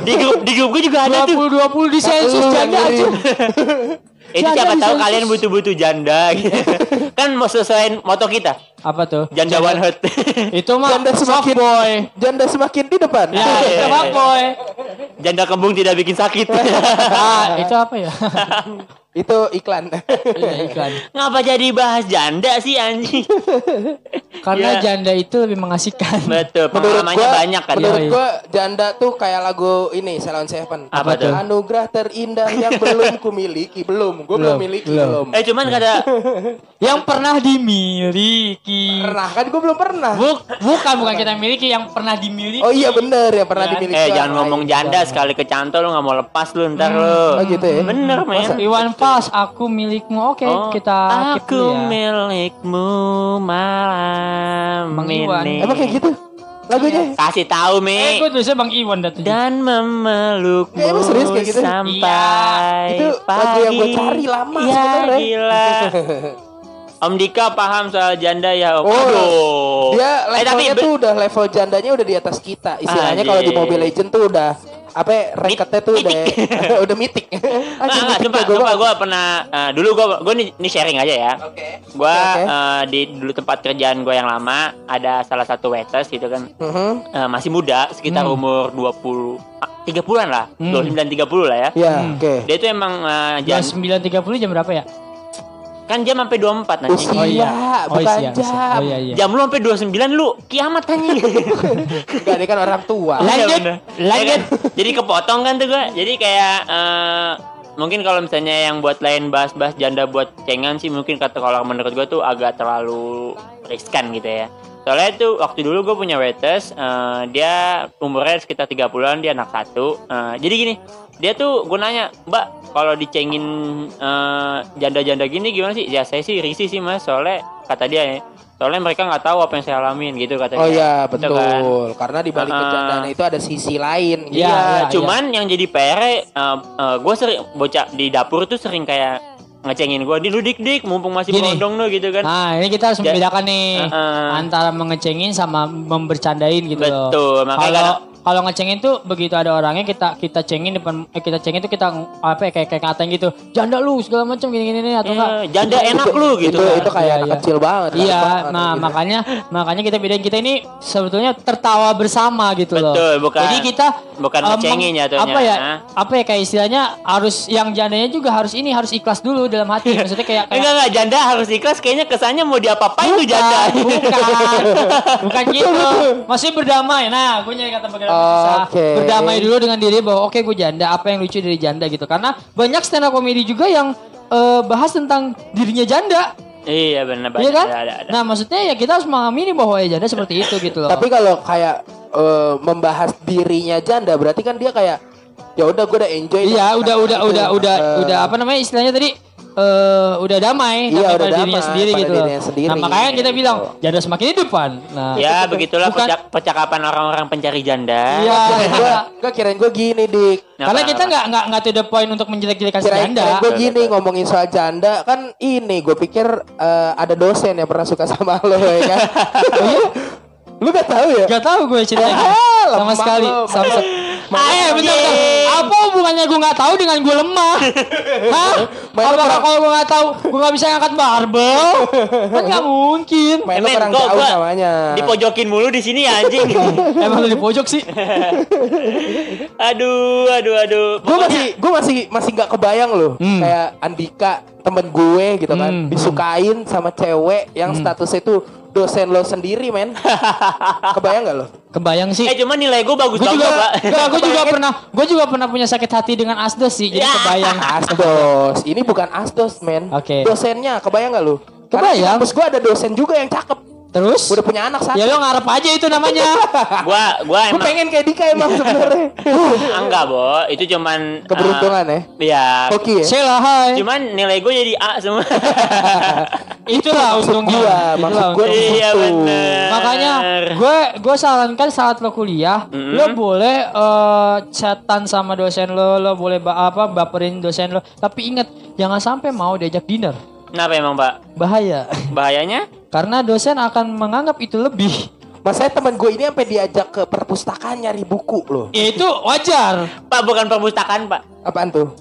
B: di grup di grup gue juga ada tuh.
C: 20 20 di sensus
A: Lu
C: janda
A: yang
C: aja.
A: ngirim.
B: Itu
C: janda
B: siapa
C: di
B: tahu
C: sensus.
B: kalian butuh-butuh janda (laughs) gitu. kan mau sesuaiin moto kita.
C: Apa tuh?
B: Janda one hot.
C: Itu mah
A: Janda
C: soft
A: semakin
C: boy.
A: Janda semakin di depan.
C: (laughs) Ya,
B: iya,
C: itu
B: iya.
C: soft boy.
B: (laughs) janda kembung tidak bikin sakit.
C: Ah, itu apa ya?
A: (laughs) Itu iklan.
C: (laughs) Iya, iklan.
B: Ngapa jadi bahas janda
A: (laughs)
B: sih anjing? Iya.
C: Karena janda itu lebih mengasihkan.
B: Betul, pengalamannya
A: gua-
B: banyak kan.
A: Menurut
C: Yoi.
A: gua janda tuh kayak lagu ini Salon Seven.
B: Apa tuh?
A: Anugerah terindah yang belum kumiliki, belum. Gua belum
C: Belum,
A: miliki belum.
C: belum.
B: Eh cuman
A: (laughs)
B: kata
C: Yang pernah dimiliki.
A: Pernah kan gua belum pernah.
C: Buk, bukan bukan kita yang miliki yang pernah dimiliki.
A: Oh iya bener ya pernah
C: Kan?
A: dimiliki.
B: Eh
A: orang
B: jangan
A: lain.
B: ngomong janda sekali kecantol lu nggak mau lepas lu ntar lu.
A: Iya, Oh gitu ya.
B: Bener
C: iya,
B: men.
C: Iwan Fals, aku milikmu. Oke,
B: Oh,
C: kita keep
B: aku
C: dulu ya.
B: milikmu malam
C: Bang
B: ini.
C: Iwan.
A: Emang kayak gitu lagunya.
B: Kasih tahu
C: iya, Eh,
B: mi
C: gue tulisnya Bang Iwan dah tuh.
B: dan memelukmu
A: Eh, emang serius kayak gitu? Iya,
B: sampai
A: Itu lagu yang gue
B: pagi.
A: cari lama
B: ya,
A: sebenarnya.
B: Gila.
A: (laughs)
B: Om Dika paham soal janda ya Om.
A: Oh,
B: Aduh.
A: Dia
B: eh,
A: levelnya
B: tapi be- Ah, iya,
A: tuh udah level jandanya udah di atas kita. Istilahnya kalau di
B: Anjir.
A: Mobile Legend tuh udah apa ya, ranketnya tuh udah (laughs) udah mitik.
B: Nggak,
A: Anjir,
B: nggak,
A: mitik
B: Ah, sumpah,
A: jago
B: sumpah
A: banget.
B: gue pernah eh, dulu gue gue nih, nih sharing aja ya.
A: Oke.
B: Gua
A: Oke, oke.
B: eh, di dulu tempat kerjaan gue yang lama ada salah satu waiters gitu kan
A: Mhm.
B: eh, masih muda sekitar
C: Hmm.
B: umur 20 ah, 30-an lah.
C: Hmm.
B: 29 30 lah ya.
A: Ya,
C: Hmm.
A: oke.
B: Dia itu emang eh,
C: Jam
B: jan-
C: 9.30 jam berapa ya?
B: Kan jam sampai 24 nanti.
A: Usia,
C: Oh iya. Oh,
A: bukan
C: iya,
A: jam.
C: usia. Oh iya iya.
B: Jam lu sampai 29 lu kiamat anjing.
A: (laughs) Enggak, dia kan orang tua.
C: Lah. Lanjut,
B: Iya, bener.
C: lanjut.
B: Ya kan? Jadi kepotong kan tuh gua. Jadi kayak eh, mungkin kalau misalnya yang buat lain bahas-bahas janda buat cengan sih mungkin kata kalau menurut gua tuh agak terlalu riskan gitu ya. Soalnya itu waktu dulu gue punya waiters, eh, dia umurnya sekitar 30-an, dia anak satu. Eh, jadi gini, dia tuh gue nanya, Mbak, kalau dicengin eh, janda-janda gini gimana sih? Ya saya sih risih sih mas, soalnya kata dia ya. Soalnya mereka nggak tahu apa yang saya alamin gitu kata
A: Oh
B: dia.
A: iya,
B: Gitu
A: betul.
B: kan.
A: Karena di balik
B: Ah.
A: kejadian itu ada sisi lain.
C: Iya,
B: Iya,
C: iya,
B: cuman yang jadi eh, PR gue sering bocah di dapur tuh sering kayak ngecengin gue, di lu dik dik, mumpung masih
C: Gini.
B: berondong lu gitu kan.
C: Nah, ini kita harus
B: Ja-
C: membedakan nih
B: Heeh.
C: antara mengecengin sama membercandain gitu loh.
B: Betul, makanya
C: Kalau
B: kadang-
C: kalau ngecengin tuh begitu ada orangnya kita kita cengin depan eh, kita cengin tuh kita ng- apa ya, kayak kayak katain gitu. Janda lu segala macam gini-gini nih atau
B: Eh,
C: enggak.
B: janda enak lu gitu.
A: Itu,
B: kan.
A: itu kayak
C: Iya,
A: anak
C: iya.
A: kecil banget.
C: Iya,
A: Anak
C: nah
A: gitu.
C: makanya makanya kita bedain kita ini sebetulnya tertawa bersama gitu loh.
B: Betul, bukan-
C: Jadi kita
B: bukan
C: eh, meng-
B: ngecengin jatuhnya,
C: Apa ya?
B: ha?
C: Apa ya kayak istilahnya harus yang jandanya juga harus ini harus ikhlas dulu dalam
B: (laughs)
C: hati. Maksudnya kayak kayak
B: Enggak enggak janda harus ikhlas kayaknya kesannya mau diapa-apain tuh janda. (laughs)
C: Bukan, bukan gitu. Masih berdamai. Nah, gue nyari kata berdamai susah.
A: Oke.
C: Berdamai dulu dengan diri bahwa oke gue janda. Apa yang lucu dari janda gitu? Karena banyak stand up comedy juga yang eh, bahas tentang dirinya janda,
B: iya benar banget.
C: iya kan?
B: Ada, ada, ada.
C: Nah, maksudnya ya kita harus mengamini bahwa ya janda seperti itu gitu loh.
A: Tapi kalau kayak eh, membahas dirinya janda, berarti kan dia kayak ya udah gue udah enjoy.
C: iya, udah, udah,
A: Gitu.
C: udah, udah,
A: Eh,
C: udah apa namanya istilahnya tadi? eh udah damai,
A: Iya,
C: damai
A: udah
C: pada dirinya
A: damai
C: sendiri
A: pada
C: gitu loh.
A: dirinya sendiri.
C: Nah, makanya kita
A: Gitu.
C: bilang janda semakin hidup kan. Nah,
B: ya begitulah
C: bukan-
B: percak- percakapan orang-orang pencari janda.
C: Iya.
A: kirain gua- Gua kirain gue gini dik.
B: Nah,
C: Karena
B: apa-
C: kita nggak nggak nggak to the point untuk menjelek-jelekan si
A: Kirain
C: janda.
A: gue gini ngomongin soal janda kan ini gue pikir eh, ada dosen yang pernah suka sama lo ya
C: (laughs)
A: kan. Oh, iya? lu gak tahu ya?
C: Gak tahu gue ceritanya
A: Ah,
C: sama
A: lemah
C: sekali.
A: lo.
C: Sama sekali.
B: Malu.
C: Ah, eh, bentar, bentar. Apa hubungannya gue gak tahu dengan gue
A: (laughs)
C: lemah? Hah?
A: Main lo
C: Apakah
A: kurang-
C: kalau gue gak tahu, gue gak bisa ngangkat barbel? Kan gak mungkin.
A: Main
B: Eh,
A: lo
B: men,
A: kurang
B: kok
A: jauh
B: gua
A: namanya.
B: Dipojokin mulu di sini ya anjing.
C: (laughs) Emang lu di pojok sih?
B: aduh, aduh, aduh.
A: Gue masih gue masih masih nggak kebayang loh
C: Hmm.
A: kayak Andika temen gue gitu kan
C: Hmm.
A: disukain sama cewek yang statusnya itu dosen lo sendiri
C: (laughs)
A: men. kebayang gak lo?
C: Kebayang sih.
B: Eh cuman nilai gue bagus
C: Gue
B: banget, Pak.
C: juga, gue juga pernah, gue juga pernah punya sakit hati dengan asdes sih, jadi
B: Ya.
C: kebayang.
A: Asdos, ini bukan Asdos men.
C: Oke.
A: Dosennya kebayang gak lo?
C: Kebayang.
A: Terus gue ada dosen juga yang cakep.
C: Terus?
A: Udah punya anak satu.
C: Ya lo ngarep aja
A: (laughs)
C: itu namanya.
B: Gua gua
A: Gue
B: emang
A: pengen kayak Dika
C: (laughs)
A: emang sebenarnya.
C: Uh.
B: Ah, enggak, Bo. Itu cuman
A: Keberuntungan ya.
B: eh, Iya.
A: Hoki ya.
C: Sheila, hai.
B: Cuman nilai gue jadi A
A: (laughs)
B: semua.
C: Itulah
A: Maksud
C: untungnya.
A: gua,
C: Itulah
A: maksud gua
C: untungnya.
B: iya
A: Betul.
B: benar.
C: Makanya gue gue sarankan saat lo kuliah,
B: Mm-mm.
C: lo boleh eh, chatan sama dosen lo, lo boleh ba- apa baperin dosen lo. Tapi ingat jangan sampai mau diajak dinner,
B: Kenapa emang, Pak?
C: bahaya. (laughs)
B: Bahayanya?
C: Karena dosen akan menganggap itu lebih.
A: Masalahnya teman gue ini sampai diajak ke perpustakaan nyari buku loh.
C: Ya, itu wajar.
B: Pak bukan perpustakaan, Pak.
A: Apaan tuh?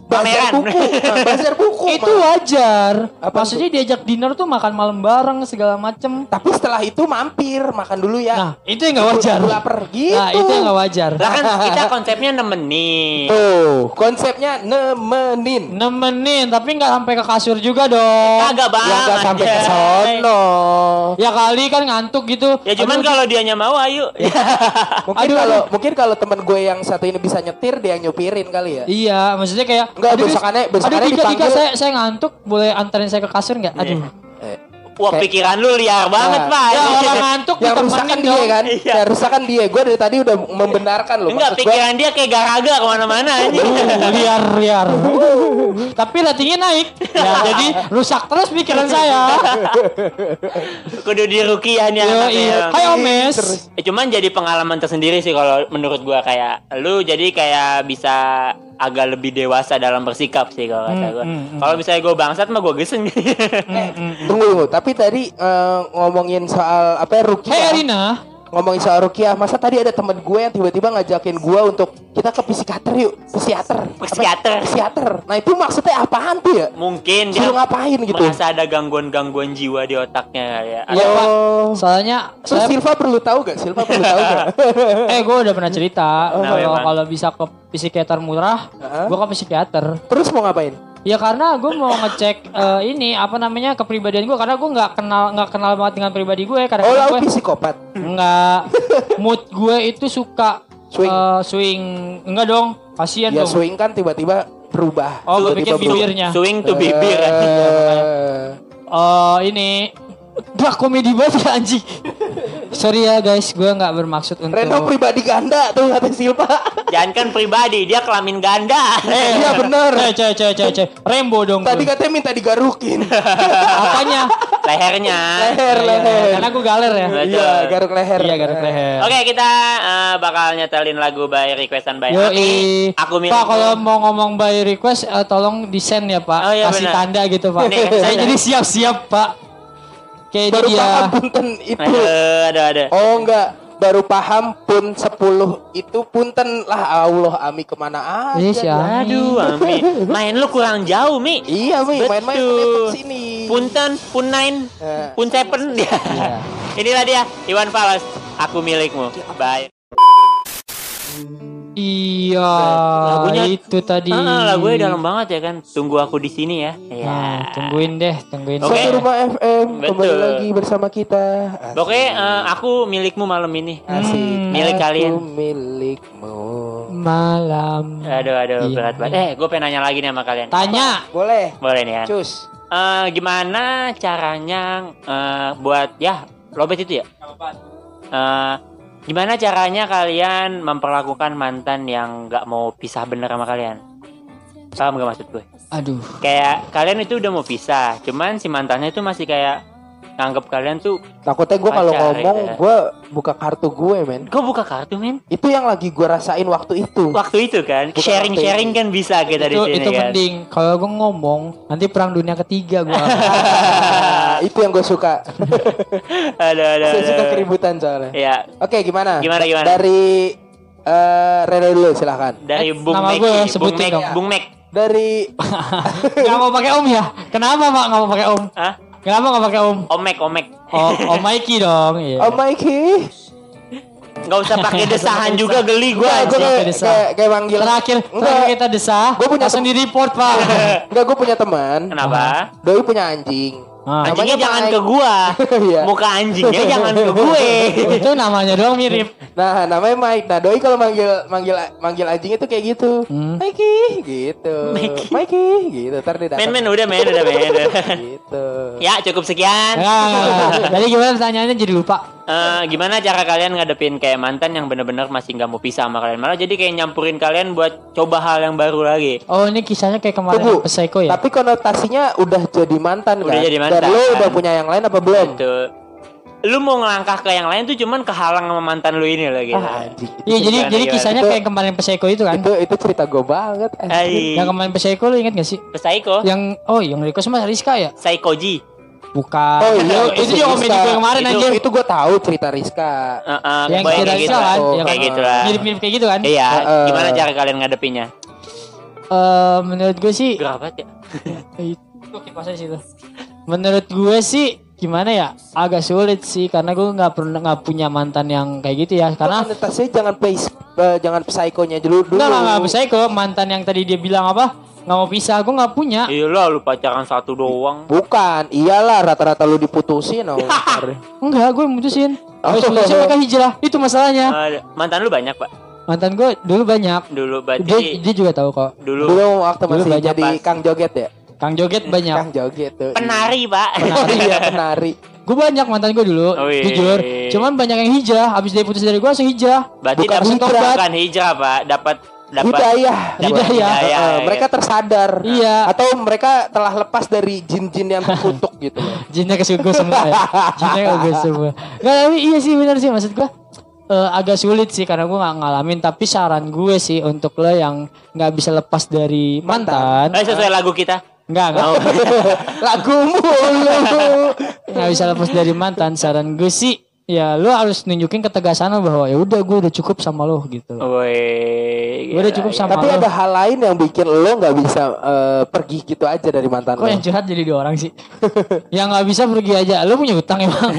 A: Bazar
B: Pameran.
C: (laughs)
A: buku. Nah, Bazar buku.
C: itu
A: Mak.
C: wajar.
A: Apa
C: Maksudnya diajak dinner tuh makan malam bareng segala macem.
A: Tapi setelah itu mampir makan dulu ya.
C: Nah itu yang nggak wajar.
A: Gue lapar gitu.
C: Nah itu yang nggak wajar.
B: Lah
C: (laughs)
B: kan kita konsepnya nemenin.
A: Tuh, konsepnya nemenin.
C: Nemenin tapi nggak sampai ke kasur juga dong.
B: Kagak
A: Ya
B: banget. Iya.
A: gak sampai ke
C: (laughs)
A: sono.
C: Ya kali kan ngantuk gitu.
B: Ya cuman
C: Aduh,
B: kalau dianya mau ayo.
A: Iya.
B: Iya.
A: Mungkin
C: Aduh,
A: kalau mungkin kalau teman gue yang satu ini bisa nyetir dia yang nyupirin kali ya.
C: Iya, maksudnya kayak
A: Enggak,
C: aduh,
A: besokannya-
C: Dis,
A: besokannya
C: aduh, Dika, Dika,
A: dipanggil.
C: saya saya ngantuk, boleh anterin saya ke kasur nggak? Aduh.
A: Eh,
B: Wah,
A: Kayak-
B: pikiran lu liar banget,
A: Nah,
B: Pak.
C: Ya orang ngantuk
A: yang
C: ditemenin
A: rusak kan dia
C: dong. Iya.
A: kan?
B: Iya.
A: Yang rusak kan dia. Gue dari tadi udah membenarkan loh.
B: Enggak,
A: Maksud gue-
B: pikiran dia kayak garaga kemana-mana anjing.
C: Uh, (laughs) liar liar. Tapi ratingnya naik. (laughs) Ya, jadi rusak terus pikiran saya.
B: (laughs) Kudu di rukiah nih
C: Yo,
B: anaknya.
C: (laughs)
B: ya.
A: Kan
C: iya. Hai Omes.
A: Terus.
B: Eh, cuman jadi pengalaman tersendiri sih kalau menurut gua kayak lu jadi kayak bisa agak lebih dewasa dalam bersikap sih kalau kata gua.
C: hmm,
B: Kalau misalnya gua bangsat mah gua geseng.
A: Eh, tunggu tunggu. Tapi tadi eh, ngomongin soal apa ya, Rukiah.
C: Hei Arina.
A: Ngomongin soal Rukiah, masa tadi ada teman gue yang tiba-tiba ngajakin gue untuk kita ke psikiater yuk, psikiater. Apa?
B: Psikiater.
A: Psikiater. Nah, itu maksudnya apaan tuh ya?
B: (laughs) Mungkin dia
A: Suruh ngapain gitu.
B: merasa ada gangguan-gangguan jiwa di otaknya kali
A: Iya,
B: ya. Atau-
A: Pak.
C: Soalnya
A: Terus
C: saya
A: Silva perlu tahu gak? Silva perlu tahu
C: (laughs)
A: gak?
C: eh gue udah pernah cerita
B: Kenapa
C: kalau
B: emang?
C: kalau bisa ke psikiater murah,
A: Heeh.
C: gue ke psikiater.
A: Terus mau ngapain?
C: Ya karena gue mau ngecek eh, ini apa namanya kepribadian gue karena gue nggak kenal nggak kenal banget dengan pribadi gue karena
A: Oh,
C: gue
A: lu psikopat.
C: nggak mood gue itu suka
A: Swing.
C: eh, swing enggak dong kasihan
A: Ya
C: Iya dong
A: swing kan tiba-tiba berubah.
C: Oh, gua Iya,
A: tiba-tiba
C: pikir bibirnya.
B: Swing to
A: berubah.
B: bibir. (laughs)
A: Eh,
C: Eh, ini Wah komedi banget ya anjing Sorry ya guys gue nggak bermaksud untuk Eh,
A: Reno pribadi ganda tuh kata Silva.
B: Jangan kan pribadi, dia kelamin ganda.
A: Iya bener.
C: Cek cek cek cek cek Rembo dong
A: Tadi kan-
C: gua.
A: katanya minta
C: (laughs)
A: digarukin.
C: Apanya
B: Lehernya.
A: leher,
C: Iya,
A: leher.
C: Karena gue galer ya
B: Betul.
A: Iya, garuk leher.
C: Iya garuk leher
B: Oke, kita eh, bakal nyetelin lagu by requestan by
C: Yo,
B: Aki. Aku milih.
C: Pak kalau mau ngomong by request eh, tolong di send ya Pak.
B: Oh, iya,
C: Kasih
B: benar.
C: tanda gitu Pak.
B: Nih,
C: Saya
B: tanda.
C: (laughs) jadi siap-siap Pak. Kayak ini
A: Baru
C: dia.
A: paham punten itu.
B: Aduh, aduh, aduh.
A: Oh enggak, baru paham pun 10 itu punten lah Allah Ami kemana aja.
C: Ini siapa?
B: Aduh, Ami. Main lu kurang jauh, Mi.
A: Iya, Mi, main-main ke
B: Betul.
A: sini.
B: Punten, pun nine,
A: Eh.
B: pun seven. (laughs) dia.
C: Iya.
B: Inilah dia, Iwan Fals. Aku milikmu.
C: Ya,
B: Bye.
C: Iya.
B: Lagunya-
C: itu tadi.
B: Ah, lagunya dalam banget ya kan. Tunggu aku di sini ya. Ya.
C: Nah, tungguin deh, tungguin.
B: Oke.
A: Satu rumah FM kembali
B: Betul.
A: lagi bersama kita.
B: Oke, eh, aku milikmu malam ini.
C: Nah.
A: Asik.
B: Milik
A: Aku
B: kalian.
A: Milikmu.
C: Malam.
B: Aduh, aduh,
C: Iya.
B: berat banget. Eh, gue pengen nanya lagi nih sama kalian.
C: Tanya.
A: Boleh.
B: Boleh nih ya.
A: Cus.
B: Eh, gimana caranya eh, buat ya lobet itu ya? Eh, gimana caranya kalian memperlakukan mantan yang nggak mau pisah bener sama kalian? Paham gak maksud gue?
C: Aduh.
B: Kayak kalian itu udah mau pisah, cuman si mantannya itu masih kayak nganggep kalian tuh,
A: Takutnya gue kalau
B: Pacar,
A: ngomong
B: gitu ya.
A: gue buka kartu gue men.
B: gue buka kartu men.
A: Itu yang lagi gue rasain waktu itu.
B: Waktu itu kan
A: Buka
B: sharing-sharing kan bisa kita di
C: itu
B: sini
C: itu
B: kan.
C: mending kalau gue ngomong nanti perang dunia ketiga gue
A: Ah, itu yang gue
B: (laughs)
A: suka.
B: (laughs) Aduh, aduh,
A: Saya suka
B: aduh.
A: keributan soalnya.
B: Ya,
A: Oke gimana?
B: iya, Gimana, gimana?
A: Dari eh Rene dulu silahkan.
B: dari
C: Eh,
B: Bung
C: nama
B: Mek,
C: gue
B: nih, Bung
C: sebutin
B: Mek,
C: dong.
B: Bung Mek.
A: Dari
C: Iya. nggak mau pakai om ya kenapa pak nggak mau pakai om
B: Hah?
C: kenapa nggak pakai om
B: Omek, Omek. (laughs)
C: oh om Mikey dong iya.
A: Oh Mikey.
B: Nggak usah pakai desahan juga geli gue.
A: Gua- gua
C: anjing,
A: kayak-
C: desa.
A: kayak kayak manggil.
C: terakhir terakhir
A: Enggak.
C: kita desah
A: Gua punya
C: langsung di report
B: (laughs)
C: pak
A: Enggak gue punya teman.
B: Kenapa?
A: Doi punya anjing.
C: Ah.
A: Namanya
B: Anjingnya jangan
A: Mike.
B: ke gua.
A: Iya.
B: Muka anjingnya jangan ke gue.
C: itu namanya doang
B: (laughs)
C: mirip
A: Nah, namanya Mike. Nah, doi kalau manggil manggil manggil anjing itu kayak gitu.
C: Hmm.
A: Mikey gitu.
B: Mikey.
A: Mikey gitu. Ntar dia datang.
B: Men, men, udah, men, udah, men.
A: (laughs) gitu.
B: Ya, cukup sekian.
C: Enggak, enggak, enggak. Nah, Tadi gimana pertanyaannya jadi lupa.
B: Eh, gimana cara kalian ngadepin kayak mantan yang bener-bener masih nggak mau pisah sama kalian? Malah jadi kayak nyampurin kalian buat coba hal yang baru lagi.
C: Oh ini kisahnya kayak kemarin
A: Tunggu.
C: Peseko ya?
A: Tapi konotasinya udah jadi mantan
B: Udah
A: kan?
B: jadi mantan,
A: Dan lo
B: kan?
A: udah punya yang lain apa belum?
B: Gitu. Lu mau ngelangkah ke yang lain tuh cuman kehalang sama mantan lu ini loh gitu.
A: Ah, anjing. Itu,
C: Iya jadi
B: Gimana,
C: jadi
B: gimana?
C: kisahnya
A: Itu-
C: kayak kemarin Peseko itu kan?
A: itu itu cerita gue banget.
B: Hai.
C: Yang kemarin Peseko lu inget gak sih?
B: Pesaiko,
C: Yang oh yang request mas Rizka ya?
B: Saikoji.
C: Bukan.
A: Oh iya,
C: itu yang komedi gue kemarin
A: itu,
C: anjir.
A: Itu gue tahu cerita Rizka.
B: Eh, eh,
C: Yang
B: kebayang
C: kira
B: kayak gitu
C: Rizka
B: lah.
C: kan?
A: Oh,
C: ya kan?
B: Kayak gitu lah.
C: Mirip-mirip kayak gitu kan?
B: Iya,
A: Heeh.
B: gimana cara kalian ngadepinnya?
C: Eh, menurut gue sih Eh,
B: Gerah banget ya.
C: itu kipasnya sih tuh. Menurut gue sih gimana ya agak sulit sih karena gue nggak pernah nggak punya mantan yang kayak gitu ya
A: Karena
C: karena
A: konotasinya jangan pais, eh, jangan psikonya dulu dulu.
C: Enggak, enggak, enggak bisa ke mantan yang tadi dia bilang apa? Enggak mau pisah, gue enggak punya.
B: Iya lah, lu pacaran satu doang.
A: Bukan, iyalah rata-rata lu diputusin. Oh, ntar.
C: Enggak, gue mutusin. Habis
A: Oh.
C: mutusin mereka hijrah. Itu masalahnya.
B: Eh, mantan lu banyak pak
A: Ah.
C: Mantan gue dulu banyak.
B: dulu
C: Dia,
B: berarti
C: dia juga tahu kok.
B: dulu
A: dulu waktu
C: Dulu
A: masih
C: banyak
A: jadi
B: pas.
A: Kang Joget ya.
C: Kang Joget
A: Kang
C: banyak.
A: Joget tuh.
B: penari pak
A: (laughs) Iya penari.
C: Gue banyak mantan gue dulu,
A: Oh, iya,
B: Wih.
C: jujur. Cuman banyak yang hijrah. Habis dia putus dari gue langsung hijrah. iya.
B: berarti
A: Bukan
B: dapat
A: hijrah.
B: bukan hijrah pak dapat dapat
A: Hidayah.
C: Hidayah.
A: Eh,
B: Hidayah,
A: eh, mereka tersadar.
C: Iya.
A: Atau mereka telah lepas dari jin-jin yang terkutuk gitu. (laughs)
C: Jinnya ke gue semua ya. Jinnya ke gue semua. Enggak, tapi iya sih benar sih maksud gue. eh, agak sulit sih karena gue nggak ngalamin tapi saran gue sih untuk lo yang nggak bisa lepas dari mantan
B: eh, sesuai lagu kita
C: nggak nggak
B: Oh.
A: Lagu mulu.
C: nggak bisa lepas dari mantan saran gue sih ya lu harus nunjukin ketegasan lo bahwa ya udah gue udah cukup sama lo gitu
B: Woi,
C: Gua udah
B: gila,
C: cukup
B: gila.
C: sama
A: Tapi
C: lo.
A: ada hal lain yang bikin lo nggak bisa eh, pergi gitu aja dari mantan
C: kok
A: lo.
C: yang curhat jadi dua orang sih (laughs) yang nggak bisa pergi aja lu punya utang emang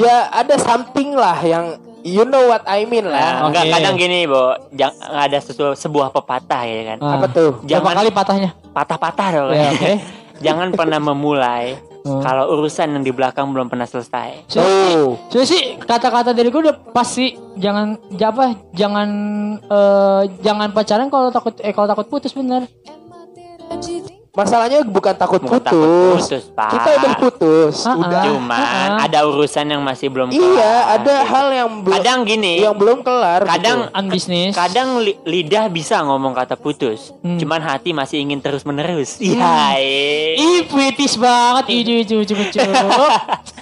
A: Ya ada something lah yang you know what I mean
B: Nah,
A: lah.
C: Oke.
B: enggak, kadang gini, Bo. Jang, ada sesu- sebuah pepatah ya kan.
C: Ah.
A: Apa tuh?
C: Berapa
B: Jangan-
C: kali patahnya?
B: Patah-patah dong.
C: Ya, oke.
B: (laughs) Jangan pernah memulai
C: Hmm.
B: kalau urusan yang di belakang belum pernah selesai.
A: Oh.
C: Saya sih kata-kata dari gue udah pasti jangan ja- apa jangan eh, jangan pacaran kalau takut eh kalau takut putus bener.
A: Masalahnya bukan takut
B: Bukan takut
A: putus.
B: putus, Pak.
A: Kita udah putus,
C: Ah, ah.
A: udah.
B: Cuman
C: ah.
B: ada urusan yang masih belum
A: Iya,
B: kelar.
A: ada hal yang belum
B: Kadang gini.
A: yang belum kelar.
B: kadang
A: gitu.
C: An bisnis.
B: kadang li- lidah bisa ngomong kata putus
C: Hmm.
B: cuman hati masih ingin terus
A: Hmm.
B: menerus iya eh.
C: Ih, puitis banget. Ih, cucu, cucu, cucu.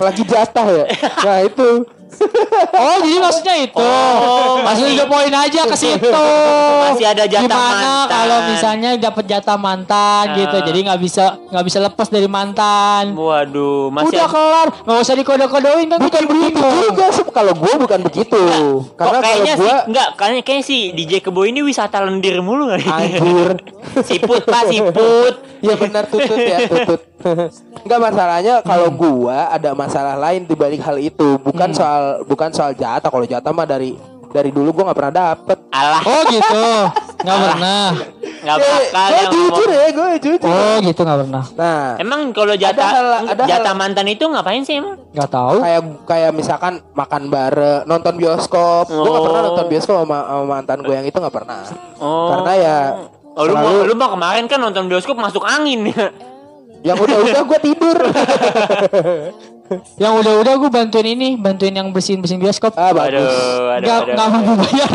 A: lagi jatah
B: (laughs)
A: ya. Nah, itu.
C: Oh, jadi maksudnya itu.
B: Oh,
C: maksudnya
B: masih-
C: udah poin aja ke situ.
B: Masih ada jatah
C: Gimana
B: mantan.
C: kalau misalnya dapat jatah mantan
B: Ah.
C: gitu. Jadi nggak bisa nggak bisa lepas dari mantan.
B: waduh masih
C: udah kelar, nggak usah dikode-kodein kan
A: Bukan begitu juga se- kalau gua bukan begitu. Karena
B: gitu. Kok
A: kalau
B: kayaknya
A: gua
B: sih enggak kayaknya, kayaknya si DJ Kebo ini wisata lendir mulu kan
A: anjir.
B: (laughs) siput pak siput
A: Ya benar tutut ya tutut. Enggak masalahnya kalau gua ada masalah lain di balik hal itu, bukan soal bukan soal jatah. Kalau jatah mah dari dari dulu gua nggak pernah dapet.
B: alah
C: Oh gitu, nggak pernah.
B: nggak
A: Eh,
B: bakal
A: gua
B: yang
A: jujur
B: ngomong
A: ya, gua jujur.
C: Oh gitu nggak pernah.
A: Nah,
B: emang kalau jatah
A: hal- ada
B: jatah
A: hal-
B: mantan itu ngapain sih emang
C: Nggak tahu.
A: kayak kayak misalkan makan bareng, nonton bioskop. Gue gak pernah
B: Oh.
A: nonton bioskop sama, sama mantan gue yang itu gak pernah.
B: oh
A: Karena ya
B: Oh, lu mau,
A: selalu-
B: lu mau kemarin kan nonton bioskop masuk angin ya.
A: yang udah-udah gue tidur. (laughs)
C: Yang udah-udah gue bantuin ini, bantuin yang bersihin bersihin bioskop.
A: ah bagus.
B: Aduh, aduh,
C: Nggak
B: aduh.
C: nggak mau bayar.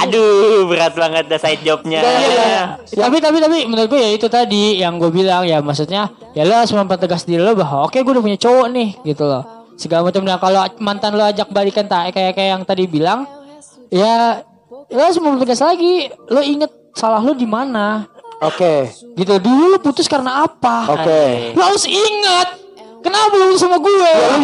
B: Aduh, berat banget dah side jobnya.
A: Nggak, nggak,
B: Iya.
A: nggak.
C: tapi tapi tapi menurut gue ya itu tadi yang gue bilang ya maksudnya ya lo harus mempertegas diri lo bahwa oke gue udah punya cowok nih gitu loh segala macam nah kalau mantan lo ajak balikan tak kayak kayak yang tadi bilang ya lo harus mempertegas lagi lo inget salah lo di mana
A: Oke.
C: gitu dulu lo putus karena apa
A: Oke.
C: lo harus inget kenapa lo sama gue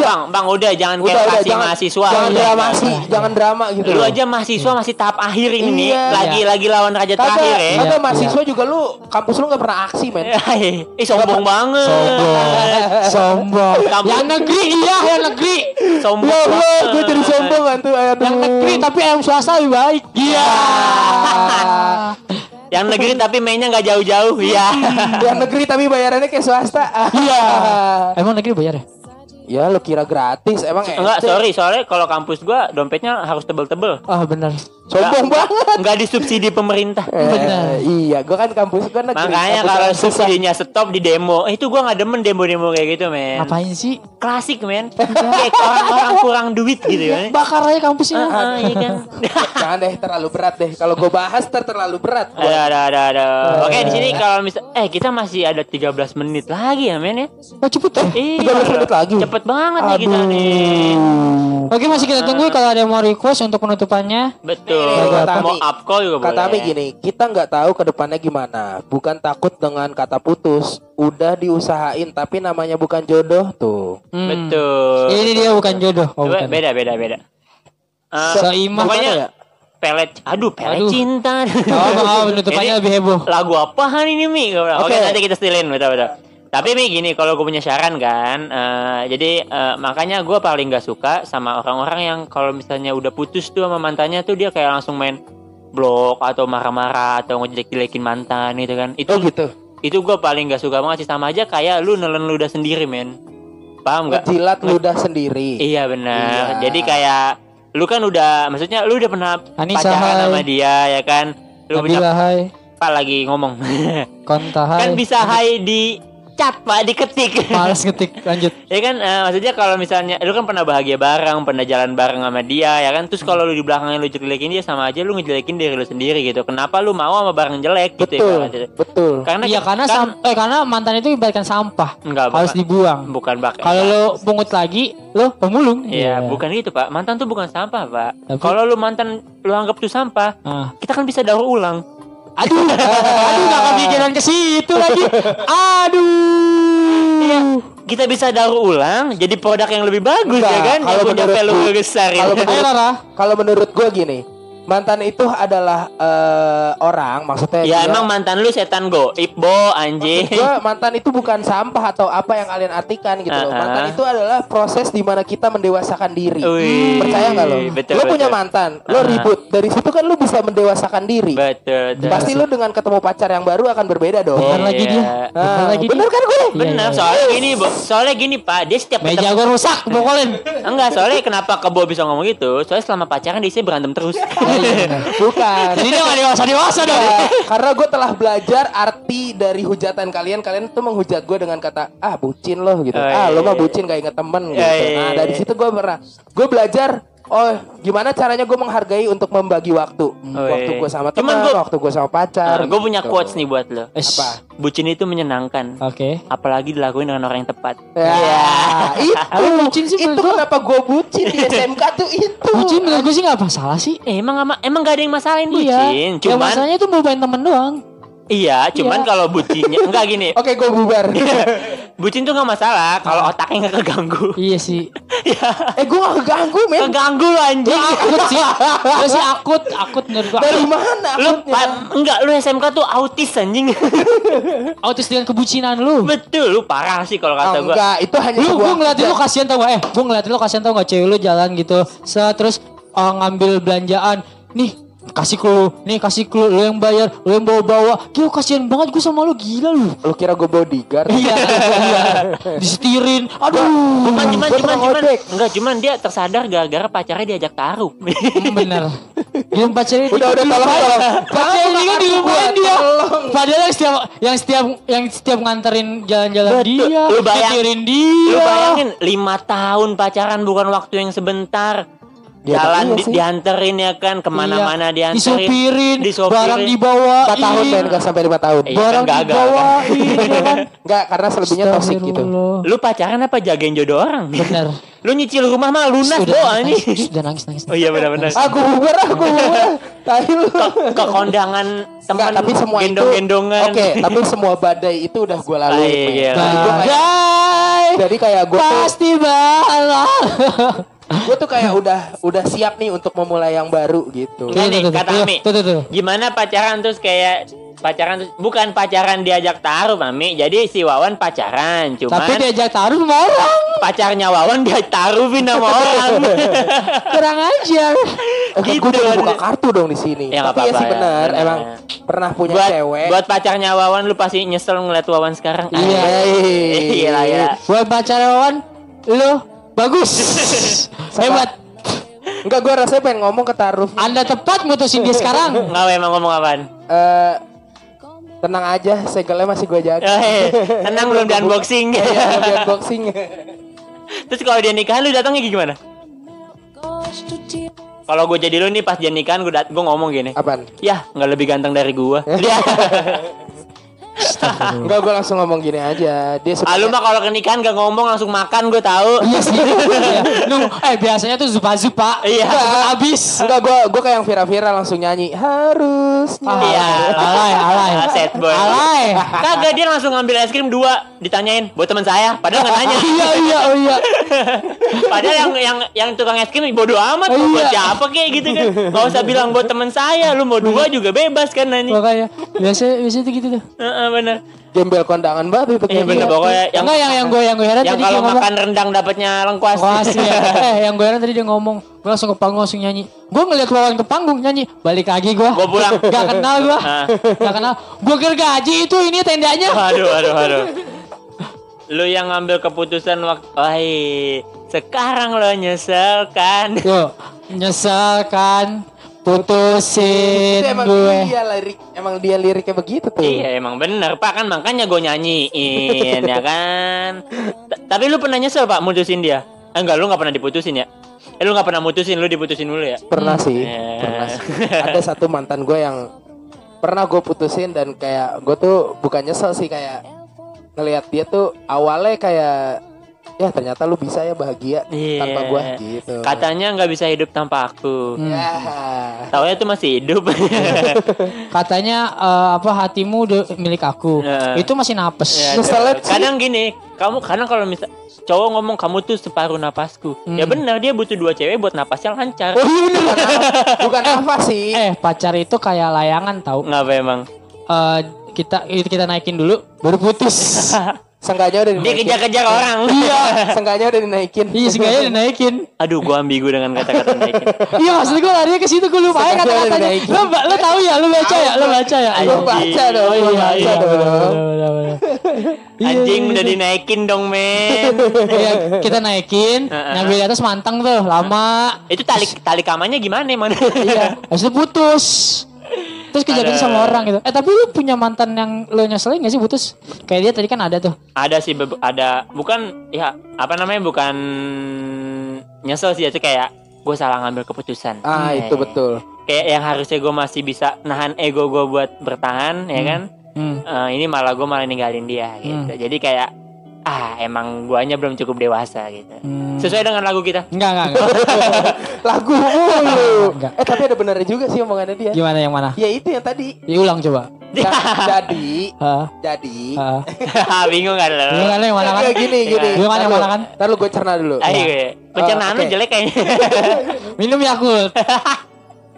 B: Bang, bang udah jangan
A: Udah
B: kayak
A: udah
B: kasih
A: jangan
B: mahasiswa.
A: Jangan
B: Udah.
A: drama sih, jangan drama gitu.
B: Lu
A: loh.
B: aja mahasiswa masih tahap akhir ini nih.
A: Iya.
B: Lagi lagi lawan raja
A: Kagak,
B: terakhir ya.
A: kagak
C: Iya,
A: mahasiswa juga lu kampus lu gak pernah aksi, men.
B: (laughs) Eh sombong banget.
C: sombong
B: Kamu-
C: yang negeri iya yang negeri
B: Sombong.
A: Ya Allah, gue
B: banget.
A: jadi sombong kan tuh ayat
C: yang negeri tapi yang swasta lebih baik iya
B: Yang negeri tapi mainnya nggak
A: (laughs)
B: jauh-jauh. Iya.
A: yang negeri tapi bayarannya kayak swasta.
C: Iya. (laughs) Emang negeri bayar ya?
A: (laughs) ya lu kira gratis emang
B: Enggak,
A: SD?
B: sorry, soalnya kalau kampus gua dompetnya harus tebel-tebel.
C: Ah benar.
A: Sombong
B: Nggak-
A: banget.
B: Nggak disubsidi pemerintah.
A: Eh,
C: Benar.
A: iya, gue kan kampus gue negeri. kampus
B: Makanya kalau
A: orang susah.
B: subsidinya stop di demo, eh, itu gua nggak demen demo-demo kayak gitu, men.
C: Ngapain sih?
B: Klasik,
A: (laughs)
B: men. Kayak orang-orang kurang duit gitu, men.
C: Bakar aja kampusnya.
B: Ah, ah, iya kan.
A: Jangan deh terlalu berat deh. Kalau gue bahas ter terlalu berat.
B: (laughs) ada, ada, ada, ada. Oke, di sini kalau misal, eh kita masih ada 13 menit lagi ya, men ya.
C: Oh cepet ya?
B: Iya.
A: 13 menit lagi?
B: Cepet banget nih kita nih.
C: Oke masih kita tunggu kalau ada yang mau request untuk penutupannya.
B: Betul.
A: Nih, kata Ami.
B: Mau up call juga boleh.
A: Kata Ami gini, kita nggak tahu ke depannya gimana. Bukan takut dengan kata putus. Udah diusahain tapi namanya bukan jodoh tuh.
C: Hmm.
B: Betul.
C: Ini dia bukan jodoh. Oh,
B: Coba
C: bukan.
B: beda, beda, beda. Eh,
C: Seimah.
B: pokoknya
A: Gimana ya?
B: pelet. Aduh, pelet
C: Aduh.
B: cinta.
C: (laughs) Oh, oh, penutupannya
B: Ini-
C: lebih heboh.
B: lagu apaan ini Mi? Gua bilang,
A: Oke.
B: Oke nanti kita stilin betul betul. Tapi Mi gini kalau gue punya saran kan, eh, jadi eh, makanya gue paling gak suka sama orang-orang yang kalau misalnya udah putus tuh sama mantannya tuh dia kayak langsung main blok atau marah-marah atau ngejelek-jelekin mantan gitu kan. Itu
A: Oh gitu.
B: itu gue paling gak suka banget sih sama aja kayak lu nelen ludah sendiri men. Paham gak?
A: Ngejilat ludah sendiri.
B: Iya
A: Iya.
B: benar. Jadi kayak lu kan udah maksudnya lu udah pernah
C: Anissa,
B: pacaran
C: hai.
B: sama dia ya kan. Lu punya
C: Nabila hai.
B: apa lagi ngomong? (laughs)
C: Konta hai.
B: kan bisa hai di chat pak diketik
C: Males ngetik lanjut.
B: (laughs) ya kan eh, maksudnya kalau misalnya lu kan pernah bahagia bareng pernah jalan bareng sama dia ya kan terus kalau lu di belakangnya lu jelekin dia sama aja lu ngejelekin diri lu sendiri gitu kenapa lu mau sama barang jelek gitu
A: Betul,
B: ya Pak?
A: betul.
B: karena
C: Iya
B: kita-
C: karena
B: kan-
C: sam- eh, karena mantan itu ibaratkan sampah.
B: Enggak,
C: Harus
B: bukan.
C: dibuang.
B: bukan bak
C: Kalau lo pungut lagi, lo pemulung.
B: Iya,
C: Iya.
B: bukan gitu pak. Mantan tuh bukan sampah pak.
C: Tapi-
B: Kalau lu mantan lu anggap tuh sampah,
C: Ah.
B: kita kan bisa daur ulang. (laughs)
C: Aduh, aduh gak kepikiran ke situ lagi. Aduh.
B: Kita bisa daur ulang jadi produk yang lebih bagus
A: Enggak,
B: ya kan? Yang
A: kalau
B: punya
A: menurut
B: value
A: gua-
B: besar. ya.
A: kalau
C: Ayo
A: menurut,
C: Rara.
A: kalau menurut gue gini, mantan itu adalah eh, orang maksudnya
B: Ya
A: dia-
B: emang mantan lu setan go, Iqbo anjing.
A: Maksud gua, mantan itu bukan sampah atau apa yang kalian artikan gitu loh.
B: Uh-uh.
A: Mantan itu adalah proses di mana kita mendewasakan diri.
B: Wih.
A: Percaya nggak lo?
B: Betul,
A: lo
B: betul.
A: punya mantan, lo
B: Uh-uh.
A: ribut. Dari situ kan lo bisa mendewasakan diri.
B: Betul, betul.
A: Pasti lo dengan ketemu pacar yang baru akan berbeda dong.
B: Iya.
C: Bentar lagi dia. Bentar
A: Ah,
C: lagi dia.
A: bener kan gue?
B: Benar,
C: Iya, iya,
B: soalnya gini, Bo. Soalnya gini, Pak. Dia setiap
C: Meja
B: ketemu-
C: gue rusak, bokolin.
B: Enggak, soalnya kenapa Kebo bisa ngomong gitu? Soalnya selama pacaran dia isinya berantem terus.
A: Bukan.
C: Jadi dia gak dewasa dewasa dong.
A: Ya, karena gue telah belajar arti dari hujatan kalian kalian tuh menghujat gue dengan kata ah bucin loh gitu
B: Oh,
A: ah
B: iya,
A: lo mah
B: iya.
A: bucin gak inget temen gitu
B: Iya, iya,
A: nah
B: iya.
A: dari situ gue pernah gue belajar oh gimana caranya gue menghargai untuk membagi waktu Hmm, waktu
B: iya.
A: gue sama
B: Cuman
A: teman
B: gua-
A: waktu gue sama pacar
B: Nah, gue punya
A: gitu.
B: quotes nih buat lo.
C: Ish.
A: Apa?
B: Bucin itu menyenangkan.
C: Oke.
B: Apalagi dilakuin dengan orang yang tepat. Iya.
A: ya (laughs)
C: Apa
A: itu
C: bucin sih
A: itu
C: menurut gua?
A: kenapa gue bucin di SMK tuh itu
C: Bucin menurut gue sih gak masalah sih.
B: Eh, emang ama- emang gak ada yang masalahin bucin.
C: Iya. Yang
B: Cuman
C: masalahnya itu bobain temen doang.
B: iya, cuman
C: Iya.
B: kalau bucinnya enggak
A: (laughs)
B: gini.
A: oke gue bubar
B: Iya. bucin tuh gak masalah kalau otaknya gak keganggu.
C: Iya sih.
B: (laughs)
C: Iya.
B: Iya.
A: eh gue gak keganggu men
B: keganggu lo anjing.
C: Akut sih. Gue sih akut, akut menurut gue.
A: dari mana
B: Lu
A: akutnya?
B: pa- enggak lu SMK tuh autis anjing. (laughs)
C: Autis dengan kebucinan lu.
B: Betul, lu parah sih kalau
A: Ah,
B: kata gua.
A: enggak itu hanya
C: lu gue
A: sebuah
C: ngeliatin lu kasihan tau gak eh gue ngeliatin lu kasihan tau gak cewek lu jalan gitu Set, terus eh, ngambil belanjaan nih kasih clue nih kasih clue lu yang bayar lu yang bawa bawa gila kasihan banget gue sama lu gila lu (laughs)
A: lu kira gue bodyguard
C: iya iya. disetirin aduh
B: Cuman cuman
A: Gua
B: cuman
A: tukang
B: cuman
A: ojek.
B: enggak cuman dia tersadar gara-gara pacarnya diajak taruh. (laughs)
C: Hmm, bener Gila pacarnya
A: udah udah tolong
B: Iya.
A: tolong
C: pacarnya
A: Jangan
C: dia
A: buka kartu gua,
C: kan di rumah dia
A: tolong.
C: padahal yang setiap yang setiap yang setiap nganterin jalan-jalan
B: Betul.
C: dia
B: Lu bayang-
C: nyetirin dia
B: Lu
A: Iya.
B: bayangin 5 tahun pacaran bukan waktu yang sebentar.
A: Dia
B: Jalan
A: tahu
B: di-
A: sih.
B: dianterin ya kan kemana-mana
C: Iya.
B: dianterin.
C: disupirin, barang dibawa
A: 4 tahun men enggak sampai 5 tahun
B: Iya.
C: barang
B: kan gagal,
C: dibawain ya
B: (laughs)
C: kan
A: enggak karena selebihnya toksik gitu
C: Astagfirullah.
B: Lu pacaran apa jagain jodoh orang?
C: Bener.
B: (laughs) Lu nyicil rumah mah lunas
C: Udah
B: doh
C: nangis, nangis,
B: anjing.
C: Udah nangis nangis.
B: Oh iya benar-benar.
A: aku bubar aku bubar tahu ah, lu
B: Ke kondangan
A: Enggak,
B: teman
A: tapi semua itu
B: gendong-gendongan.
A: oke tapi semua badai itu udah gue lalui
B: Ah, iya,
A: men.
B: iya.
A: Jadi gua kayak-
C: Badai
A: jadi kayak gue tuh,
C: pasti bakal.
A: gue tuh kayak udah udah siap nih untuk memulai yang baru gitu.
B: Enggak nih,
C: Tuh, tuh, tuh,
B: kata
C: tuh,
B: Ami.
C: tuh, tuh, tuh.
B: Gimana pacaran terus kayak pacaran terus bukan pacaran diajak taruh Mami. Jadi si Wawan pacaran, cuman
C: Tapi diajak taruh sama orang.
B: pacarnya Wawan dia taruhin
C: (laughs)
B: sama orang.
C: Kurang ajar.
A: Eh,
B: gitu.
A: Gue juga kan buka kartu dong di sini.
B: Ya, nggak
A: Tapi ya
B: apa-apa
A: sih
B: ya,
A: benar,
B: benar.
A: emang pernah punya
B: (laughs) buat
A: cewek.
B: buat pacarnya Wawan lu pasti nyesel ngeliat Wawan sekarang.
C: Iya. (laughs)
B: Anjing. Iya lah ya.
C: Buat pacar Wawan, lu
B: (laughs)
C: bagus. Hebat.
A: Enggak, gue rasanya pengen ngomong ke taruh.
C: Anda tepat mutusin dia sekarang.
B: Enggak emang ngomong apaan?
A: Eh, tenang aja, segelnya masih gue jaga. (laughs)
B: Eh, tenang belum di unboxing.
A: Iya, belum di
B: (laughs)
A: unboxing.
B: Terus kalau dia nikahan lu datangnya gimana? Kalau gue jadi lu nih pas dia nikahan gue dat- gue ngomong gini.
A: Apaan?
B: Yah, nggak lebih ganteng dari
C: (laughs)
B: gua. Dia.
A: Enggak, gue langsung ngomong gini aja. Dia
B: ah, lu
A: sebenarnya
B: mah kalau ke nikahan gak ngomong langsung makan gue tahu.
C: Iya
B: (laughs)
C: sih. Iya. Nung, eh biasanya tuh zupa-zupa. Pak.
B: Iya.
C: Cepet Habis.
A: Enggak, gue gue kayak yang Vira-Vira langsung nyanyi. Harusnya.
C: Ah,
B: Iya.
C: Alay, alay.
B: Ah, Sad boy.
C: Alay.
B: Kagak dia langsung ngambil es krim dua ditanyain buat teman saya padahal nggak nanya
C: (laughs) Iya, iya, oh iya.
B: padahal yang yang yang tukang es krim bodoh amat
C: Iya.
B: buat siapa kayak gitu kan
C: (laughs)
B: nggak usah bilang buat teman saya lu mau dua juga bebas kan nanya
C: Makanya biasanya biasanya tuh gitu tuh.
B: Heeh, bener
A: Gembel kondangan banget itu
B: iya bener pokoknya
C: Yang
B: yang
C: Enggak yang yang gue yang gue heran
B: yang
C: tadi
B: kalau
C: dia ngomong
B: makan rendang dapatnya lengkuas
C: Wah, sih,
B: (laughs)
C: ya. eh yang gue heran tadi dia ngomong gue langsung ke panggung langsung nyanyi gue ngeliat Wawan ke panggung nyanyi balik lagi gue
B: Gua pulang.
C: gak kenal gue
B: (laughs) Ah.
C: gak kenal gue kira gaji itu ini tendanya
B: Waduh, waduh, waduh. Lu yang ngambil keputusan waktu, wahai, sekarang lo nyesel kan?
C: yo nyesel kan putusin
A: Itu emang iya.
C: gue
A: dia lirik, emang dia liriknya begitu tuh.
B: iya emang bener pak kan makanya gue nyanyiin ya kan. T- Tapi lu pernah nyesel pak mutusin dia? Eh, Enggak, lu nggak pernah diputusin ya? Eh lu nggak pernah mutusin, lu diputusin dulu ya?
A: Pernah sih,
B: Eh.
A: pernah sih. Ada satu mantan gue yang pernah gue putusin dan kayak gue tuh bukan nyesel sih kayak ngelihat dia tuh awalnya kayak ya ternyata lu bisa ya bahagia
B: Iya.
A: tanpa gua gitu.
B: Katanya nggak bisa hidup tanpa aku.
C: Hmm.
A: Ya.
B: Taunya tuh masih hidup. (laughs) Ya,
C: Katanya eh, apa hatimu udah milik aku.
B: Nah.
C: Itu masih napes.
B: Ya,
A: Ngeselet
B: tuh.
A: sih.
B: kadang gini, kamu kadang kalau misal cowok ngomong kamu tuh separuh napasku. Ya benar dia butuh dua cewek buat napasnya lancar.
A: Oh iya bener. Bukan apa sih?
C: Eh, pacar itu kayak layangan tahu.
B: Ngapa emang?
C: Eh, kita kita naikin dulu baru putus.
A: Sengganya udah
B: Dia
A: dinaikin.
B: kejar-kejar orang.
A: Sengganya udah dinaikin.
C: Iya,
A: (laughs)
C: sengaja dinaikin.
B: (laughs) Aduh, gua ambigu dengan kata-kata naikin.
C: Iya maksud gue larinya ke situ gue lupa ya
B: Iya,
A: Sengaja
C: kata-katanya.
A: dinaikin.
C: Lo, ba- lo tahu ya, lo baca ya, lo baca ya.
A: Lu baca dong,
B: Oh,
A: lu
B: iya,
A: baca
B: iya,
A: dong.
B: Anjing udah dinaikin dong, men.
C: Iya, kita naikin,
B: Heeh.
C: nyampe di atas manteng tuh, lama.
B: Itu tali tali kamannya gimana, man?
C: Iya, habis itu putus. Terus kejadian
B: Ada.
C: sama orang gitu. Eh tapi lu punya mantan yang lo nyeselin gak sih putus? Kayak dia tadi kan ada tuh.
B: ada sih bebe- ada bukan ya apa namanya bukan nyesel sih ya. itu kayak gue salah ngambil keputusan.
A: Ah
B: Hmm.
A: itu betul.
B: Kayak yang harusnya gue masih bisa nahan ego gue buat bertahan, ya kan?
C: Hmm.
B: Eh, ini malah gue malah ninggalin dia gitu. Jadi kayak ah emang guanya belum cukup dewasa gitu.
C: Hmm.
B: Sesuai dengan lagu kita. (laughs)
C: Enggak, enggak, enggak.
A: (laughs) Lagu mulu.
C: Enggak.
A: Eh tapi ada benernya juga sih omongannya dia.
C: (laughs) Gimana yang mana?
A: Ya itu yang tadi.
C: Diulang coba.
A: Ja- jadi,
C: Heeh.
A: jadi.
C: Heeh.
B: Bingung kan lo?
C: Gimana yang mana kan?
A: Ya gini gini.
C: Gimana yang mana kan?
A: Ntar lu gue cerna dulu. Nah,
B: Ayo, ya. pencernaan lu
A: oke.
B: jelek kayaknya.
C: Minum ya, Yakult.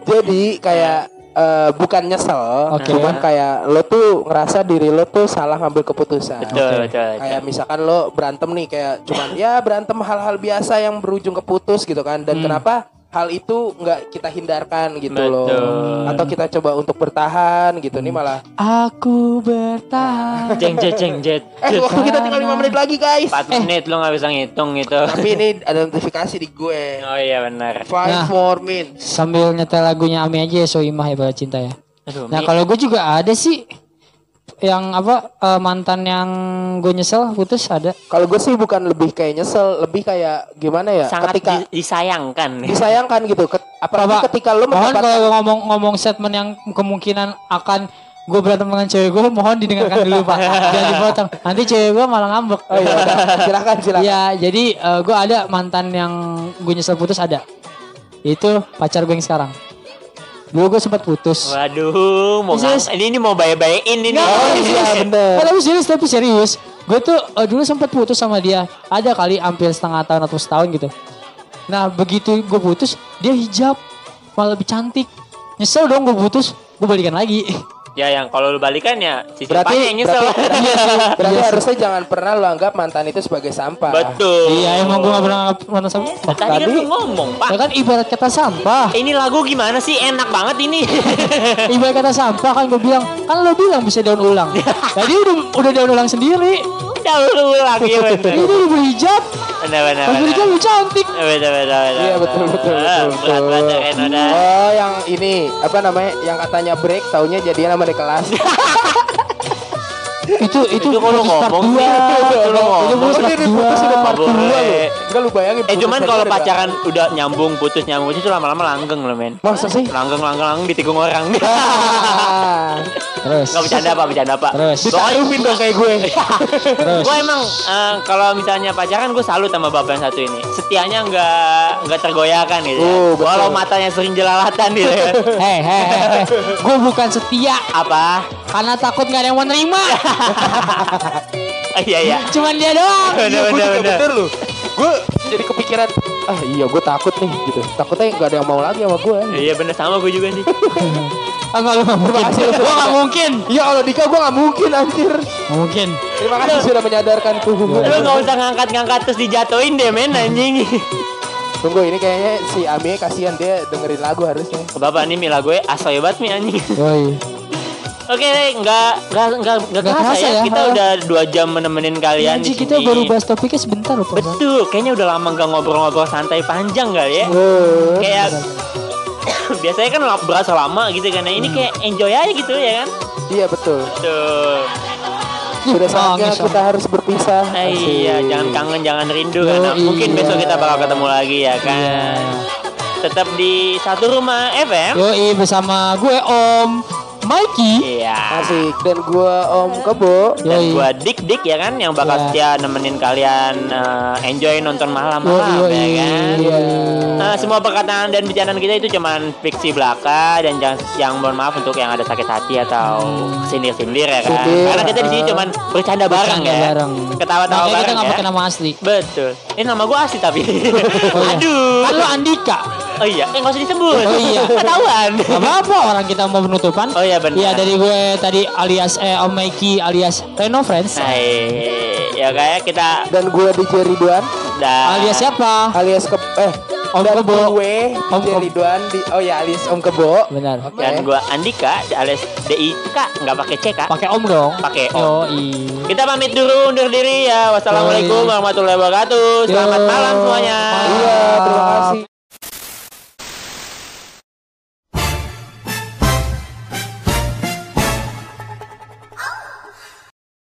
A: Jadi kayak eh, bukan nyesel,
C: Oke.
A: cuman kayak lo tuh ngerasa diri lo tuh salah ngambil keputusan.
B: betul,
C: Oke.
B: betul, betul.
A: Kayak misalkan lo berantem nih kayak cuman ya berantem hal-hal biasa yang berujung ke putus gitu kan.
C: Hmm.
A: Dan kenapa hal itu nggak kita hindarkan gitu loh.
B: Betul.
A: Atau kita coba untuk bertahan gitu nih malah.
C: Aku bertahan.
B: Jeng jeng jeng (laughs) jet.
A: Eh waktu kita tinggal 5 menit lagi guys.
B: 4 menit lu nggak bisa ngitung gitu.
A: Tapi ini ada notifikasi di gue.
B: Oh iya benar.
A: Five
C: Nah.
A: more minutes.
C: Sambil nyetel lagunya Ami aja ya, Soimah ya Bala Cinta ya.
B: Aduh,
C: Nah
B: Mi.
C: kalau gue juga ada sih yang apa eh, mantan yang gue nyesel putus ada.
A: Kalau gue sih bukan lebih kayak nyesel, lebih kayak gimana ya?
B: sangat
A: ketika
B: di- disayangkan.
A: disayangkan gitu. Ket, apalagi
C: Bapak,
A: ketika lo
C: Mohon
A: mendapat
C: kalau gua ngomong ngomong statement yang kemungkinan akan gue berantem dengan cewek gue mohon didengarkan dulu pak jangan dipotong nanti cewek gue malah ngambek
A: Oh iya, udah. silakan silakan.
C: Iya, jadi gue ada mantan yang gue nyesel putus ada. Itu pacar gue yang sekarang. Dulu gue sempat putus.
B: Waduh, mau
C: This is-
B: ngam- ini ini mau bayi-bayiin ini.
A: Oh iya bener.
C: Eh, tapi serius, tapi serius. Gue tuh eh, dulu sempat putus sama dia. Ada kali hampir setengah tahun atau setahun gitu. Nah, begitu gue putus, dia hijab. Malah lebih cantik. Nyesel dong gue putus. Gue balikan lagi.
B: Ya yang kalau lu balikan ya si
A: Berarti
B: depannya yang nyesel. Iya,
A: berarti, berarti harusnya jangan pernah lo anggap mantan itu sebagai sampah.
B: (laughs) Betul.
C: (laughs) Iya, emang gue gak pernah mana sama.
B: Nah, Tadi kan
A: Tadi-
B: lu ngomong, Pak.
C: Ya kan ibarat kata sampah.
B: Ini lagu gimana sih? Enak banget
A: (laughs)
B: ini.
C: Ibarat kata sampah kan gue bilang kan lo bilang bisa daun (laughs) ulang tadi udah udah daun ulang sendiri
B: Udah lu ulang ya bener.
C: ini udah berhijab
B: Bener bener.
C: pas berhijab
B: bener.
C: lu cantik
B: Betul betul betul. Ah,
A: Iya betul betul betul. betul.
B: Berat berat ya, Enoda.
A: Oh yang ini apa namanya? Yang katanya break, taunya jadinya nama di kelas.
C: itu itu
B: Itu kalau
C: putus part
B: ngomong
C: dua.
B: sih. Itu kalau
C: itu
B: ngomong.
C: putus
A: Udah
C: part
A: diputus udah
C: dua
A: part
B: Boleh.
A: dua lo. Enggak lu bayangin.
B: Eh
A: putus
B: cuman
A: aja
B: kalau
A: udah-
B: pacaran udah nyambung putus nyambung putus itu lama-lama langgeng loh men.
A: Masa sih?
B: Langgeng langgeng langgeng ditikung
C: (laughs)
B: orang.
A: Ah,
C: terus
B: Nggak bercanda apa bercanda apa.
C: Terus.
A: Ditaruhin dong kayak gue.
C: (laughs) terus
B: gue emang eh, kalau misalnya pacaran gue salut sama bapak yang satu ini setianya nggak nggak tergoyahkan gitu ya.
A: Oh, betul.
B: walau matanya sering jelalatan gitu ya.
C: hei hei hei gue bukan setia
B: apa
C: karena takut gak ada yang mau nerima
B: Eh, iya iya
C: cuman dia doang
A: Iya,
B: bener
A: gue
B: bener
A: juga
B: bener
A: bener lu. Gue jadi kepikiran, ah iya gue takut nih gitu. Takutnya nggak ada yang mau lagi sama gue.
B: iya bener sama gue juga sih
C: ah nggak, lu nggak mungkin
A: kasih, lu.
C: gue nggak mungkin
A: Ya Allah Dika gue nggak mungkin anjir.
C: Nggak mungkin
A: Terima kasih sudah menyadarkanku.
B: lu nggak usah ngangkat ngangkat terus dijatuhin deh men anjing
A: Tunggu ini kayaknya si Ami kasihan dia dengerin lagu harusnya.
B: bapak ini mila gue asoy banget mi anjing
C: Yoi.
B: oke nggak nggak nggak nggak
C: Nggak
B: kerasa
C: kerasa
B: ya,
C: ya,
B: kita
C: ha. Iya,
B: udah dua jam menemenin kalian
C: Anjing,
B: di
C: kita
B: sini.
C: baru bahas topiknya sebentar loh Pak.
B: betul kayaknya udah lama nggak ngobrol-ngobrol santai panjang kali ya
A: Oh.
B: kayak (coughs) biasanya kan lap- berasa lama gitu kan nah, ini kayak enjoy aja gitu ya kan
A: Iya betul.
B: tuh
A: Sudah saatnya
C: Nangis,
A: kita harus berpisah.
B: Ah, iya
A: Asik.
B: jangan kangen jangan rindu
C: Yo,
B: karena mungkin
C: iya.
B: besok kita bakal ketemu lagi ya kan tetap di satu rumah FM
C: Yoi bersama gue Om Mikey.
B: Iya.
A: Asik dan gua Om Kebo.
B: Dan
C: Yoi.
B: gua Dik Dik ya kan yang bakal setia nemenin kalian eh, enjoy nonton malam-malam
C: Yoi,
B: ya
C: yoi.
B: kan.
C: Iya.
B: Eh, semua perkataan dan bicaraan kita itu cuman fiksi belaka dan jangan yang mohon maaf untuk yang ada sakit hati atau
C: Hmm.
B: sindir-sindir ya kan.
A: Sindir,
B: Karena kita di sini
A: eh.
B: cuman bercanda bareng
C: Bercanda
B: ya.
C: bareng.
B: Ketawa-tawa
C: Makanya kita
B: bareng
C: nggak
B: ya.
C: pakai nama asli.
B: Betul. Ini nama gua asli tapi.
C: iya.
B: Aduh.
C: Halo Andika.
B: Oh iya, eh, nggak usah disebut.
C: Oh iya.
B: Ketahuan.
C: Gak apa-apa orang kita mau penutupan.
B: Oh iya, benar.
C: Iya dari gue tadi alias eh, Om Mikey alias Reno Friends.
B: Nah, eh, ya kayak kita
A: Dan gua DJ Ridwan
B: dah.
C: Alias siapa?
A: alias ke eh
C: Om
A: dan
C: Kebo.
A: gue
C: Om
A: DJ
C: Kebo.
A: Ridwan di oh ya alias Om Kebo.
C: Benar.
A: Oke.
B: Dan Kan gua Andika alias DIK nggak pakai C Kak.
C: Pakai Om dong.
B: Pakai Om.
C: Yo
B: Kita pamit dulu undur diri ya. Wassalamualaikum
C: Yoi.
B: warahmatullahi wabarakatuh. Selamat
C: Yo.
B: malam semuanya.
C: Malam.
A: Iya.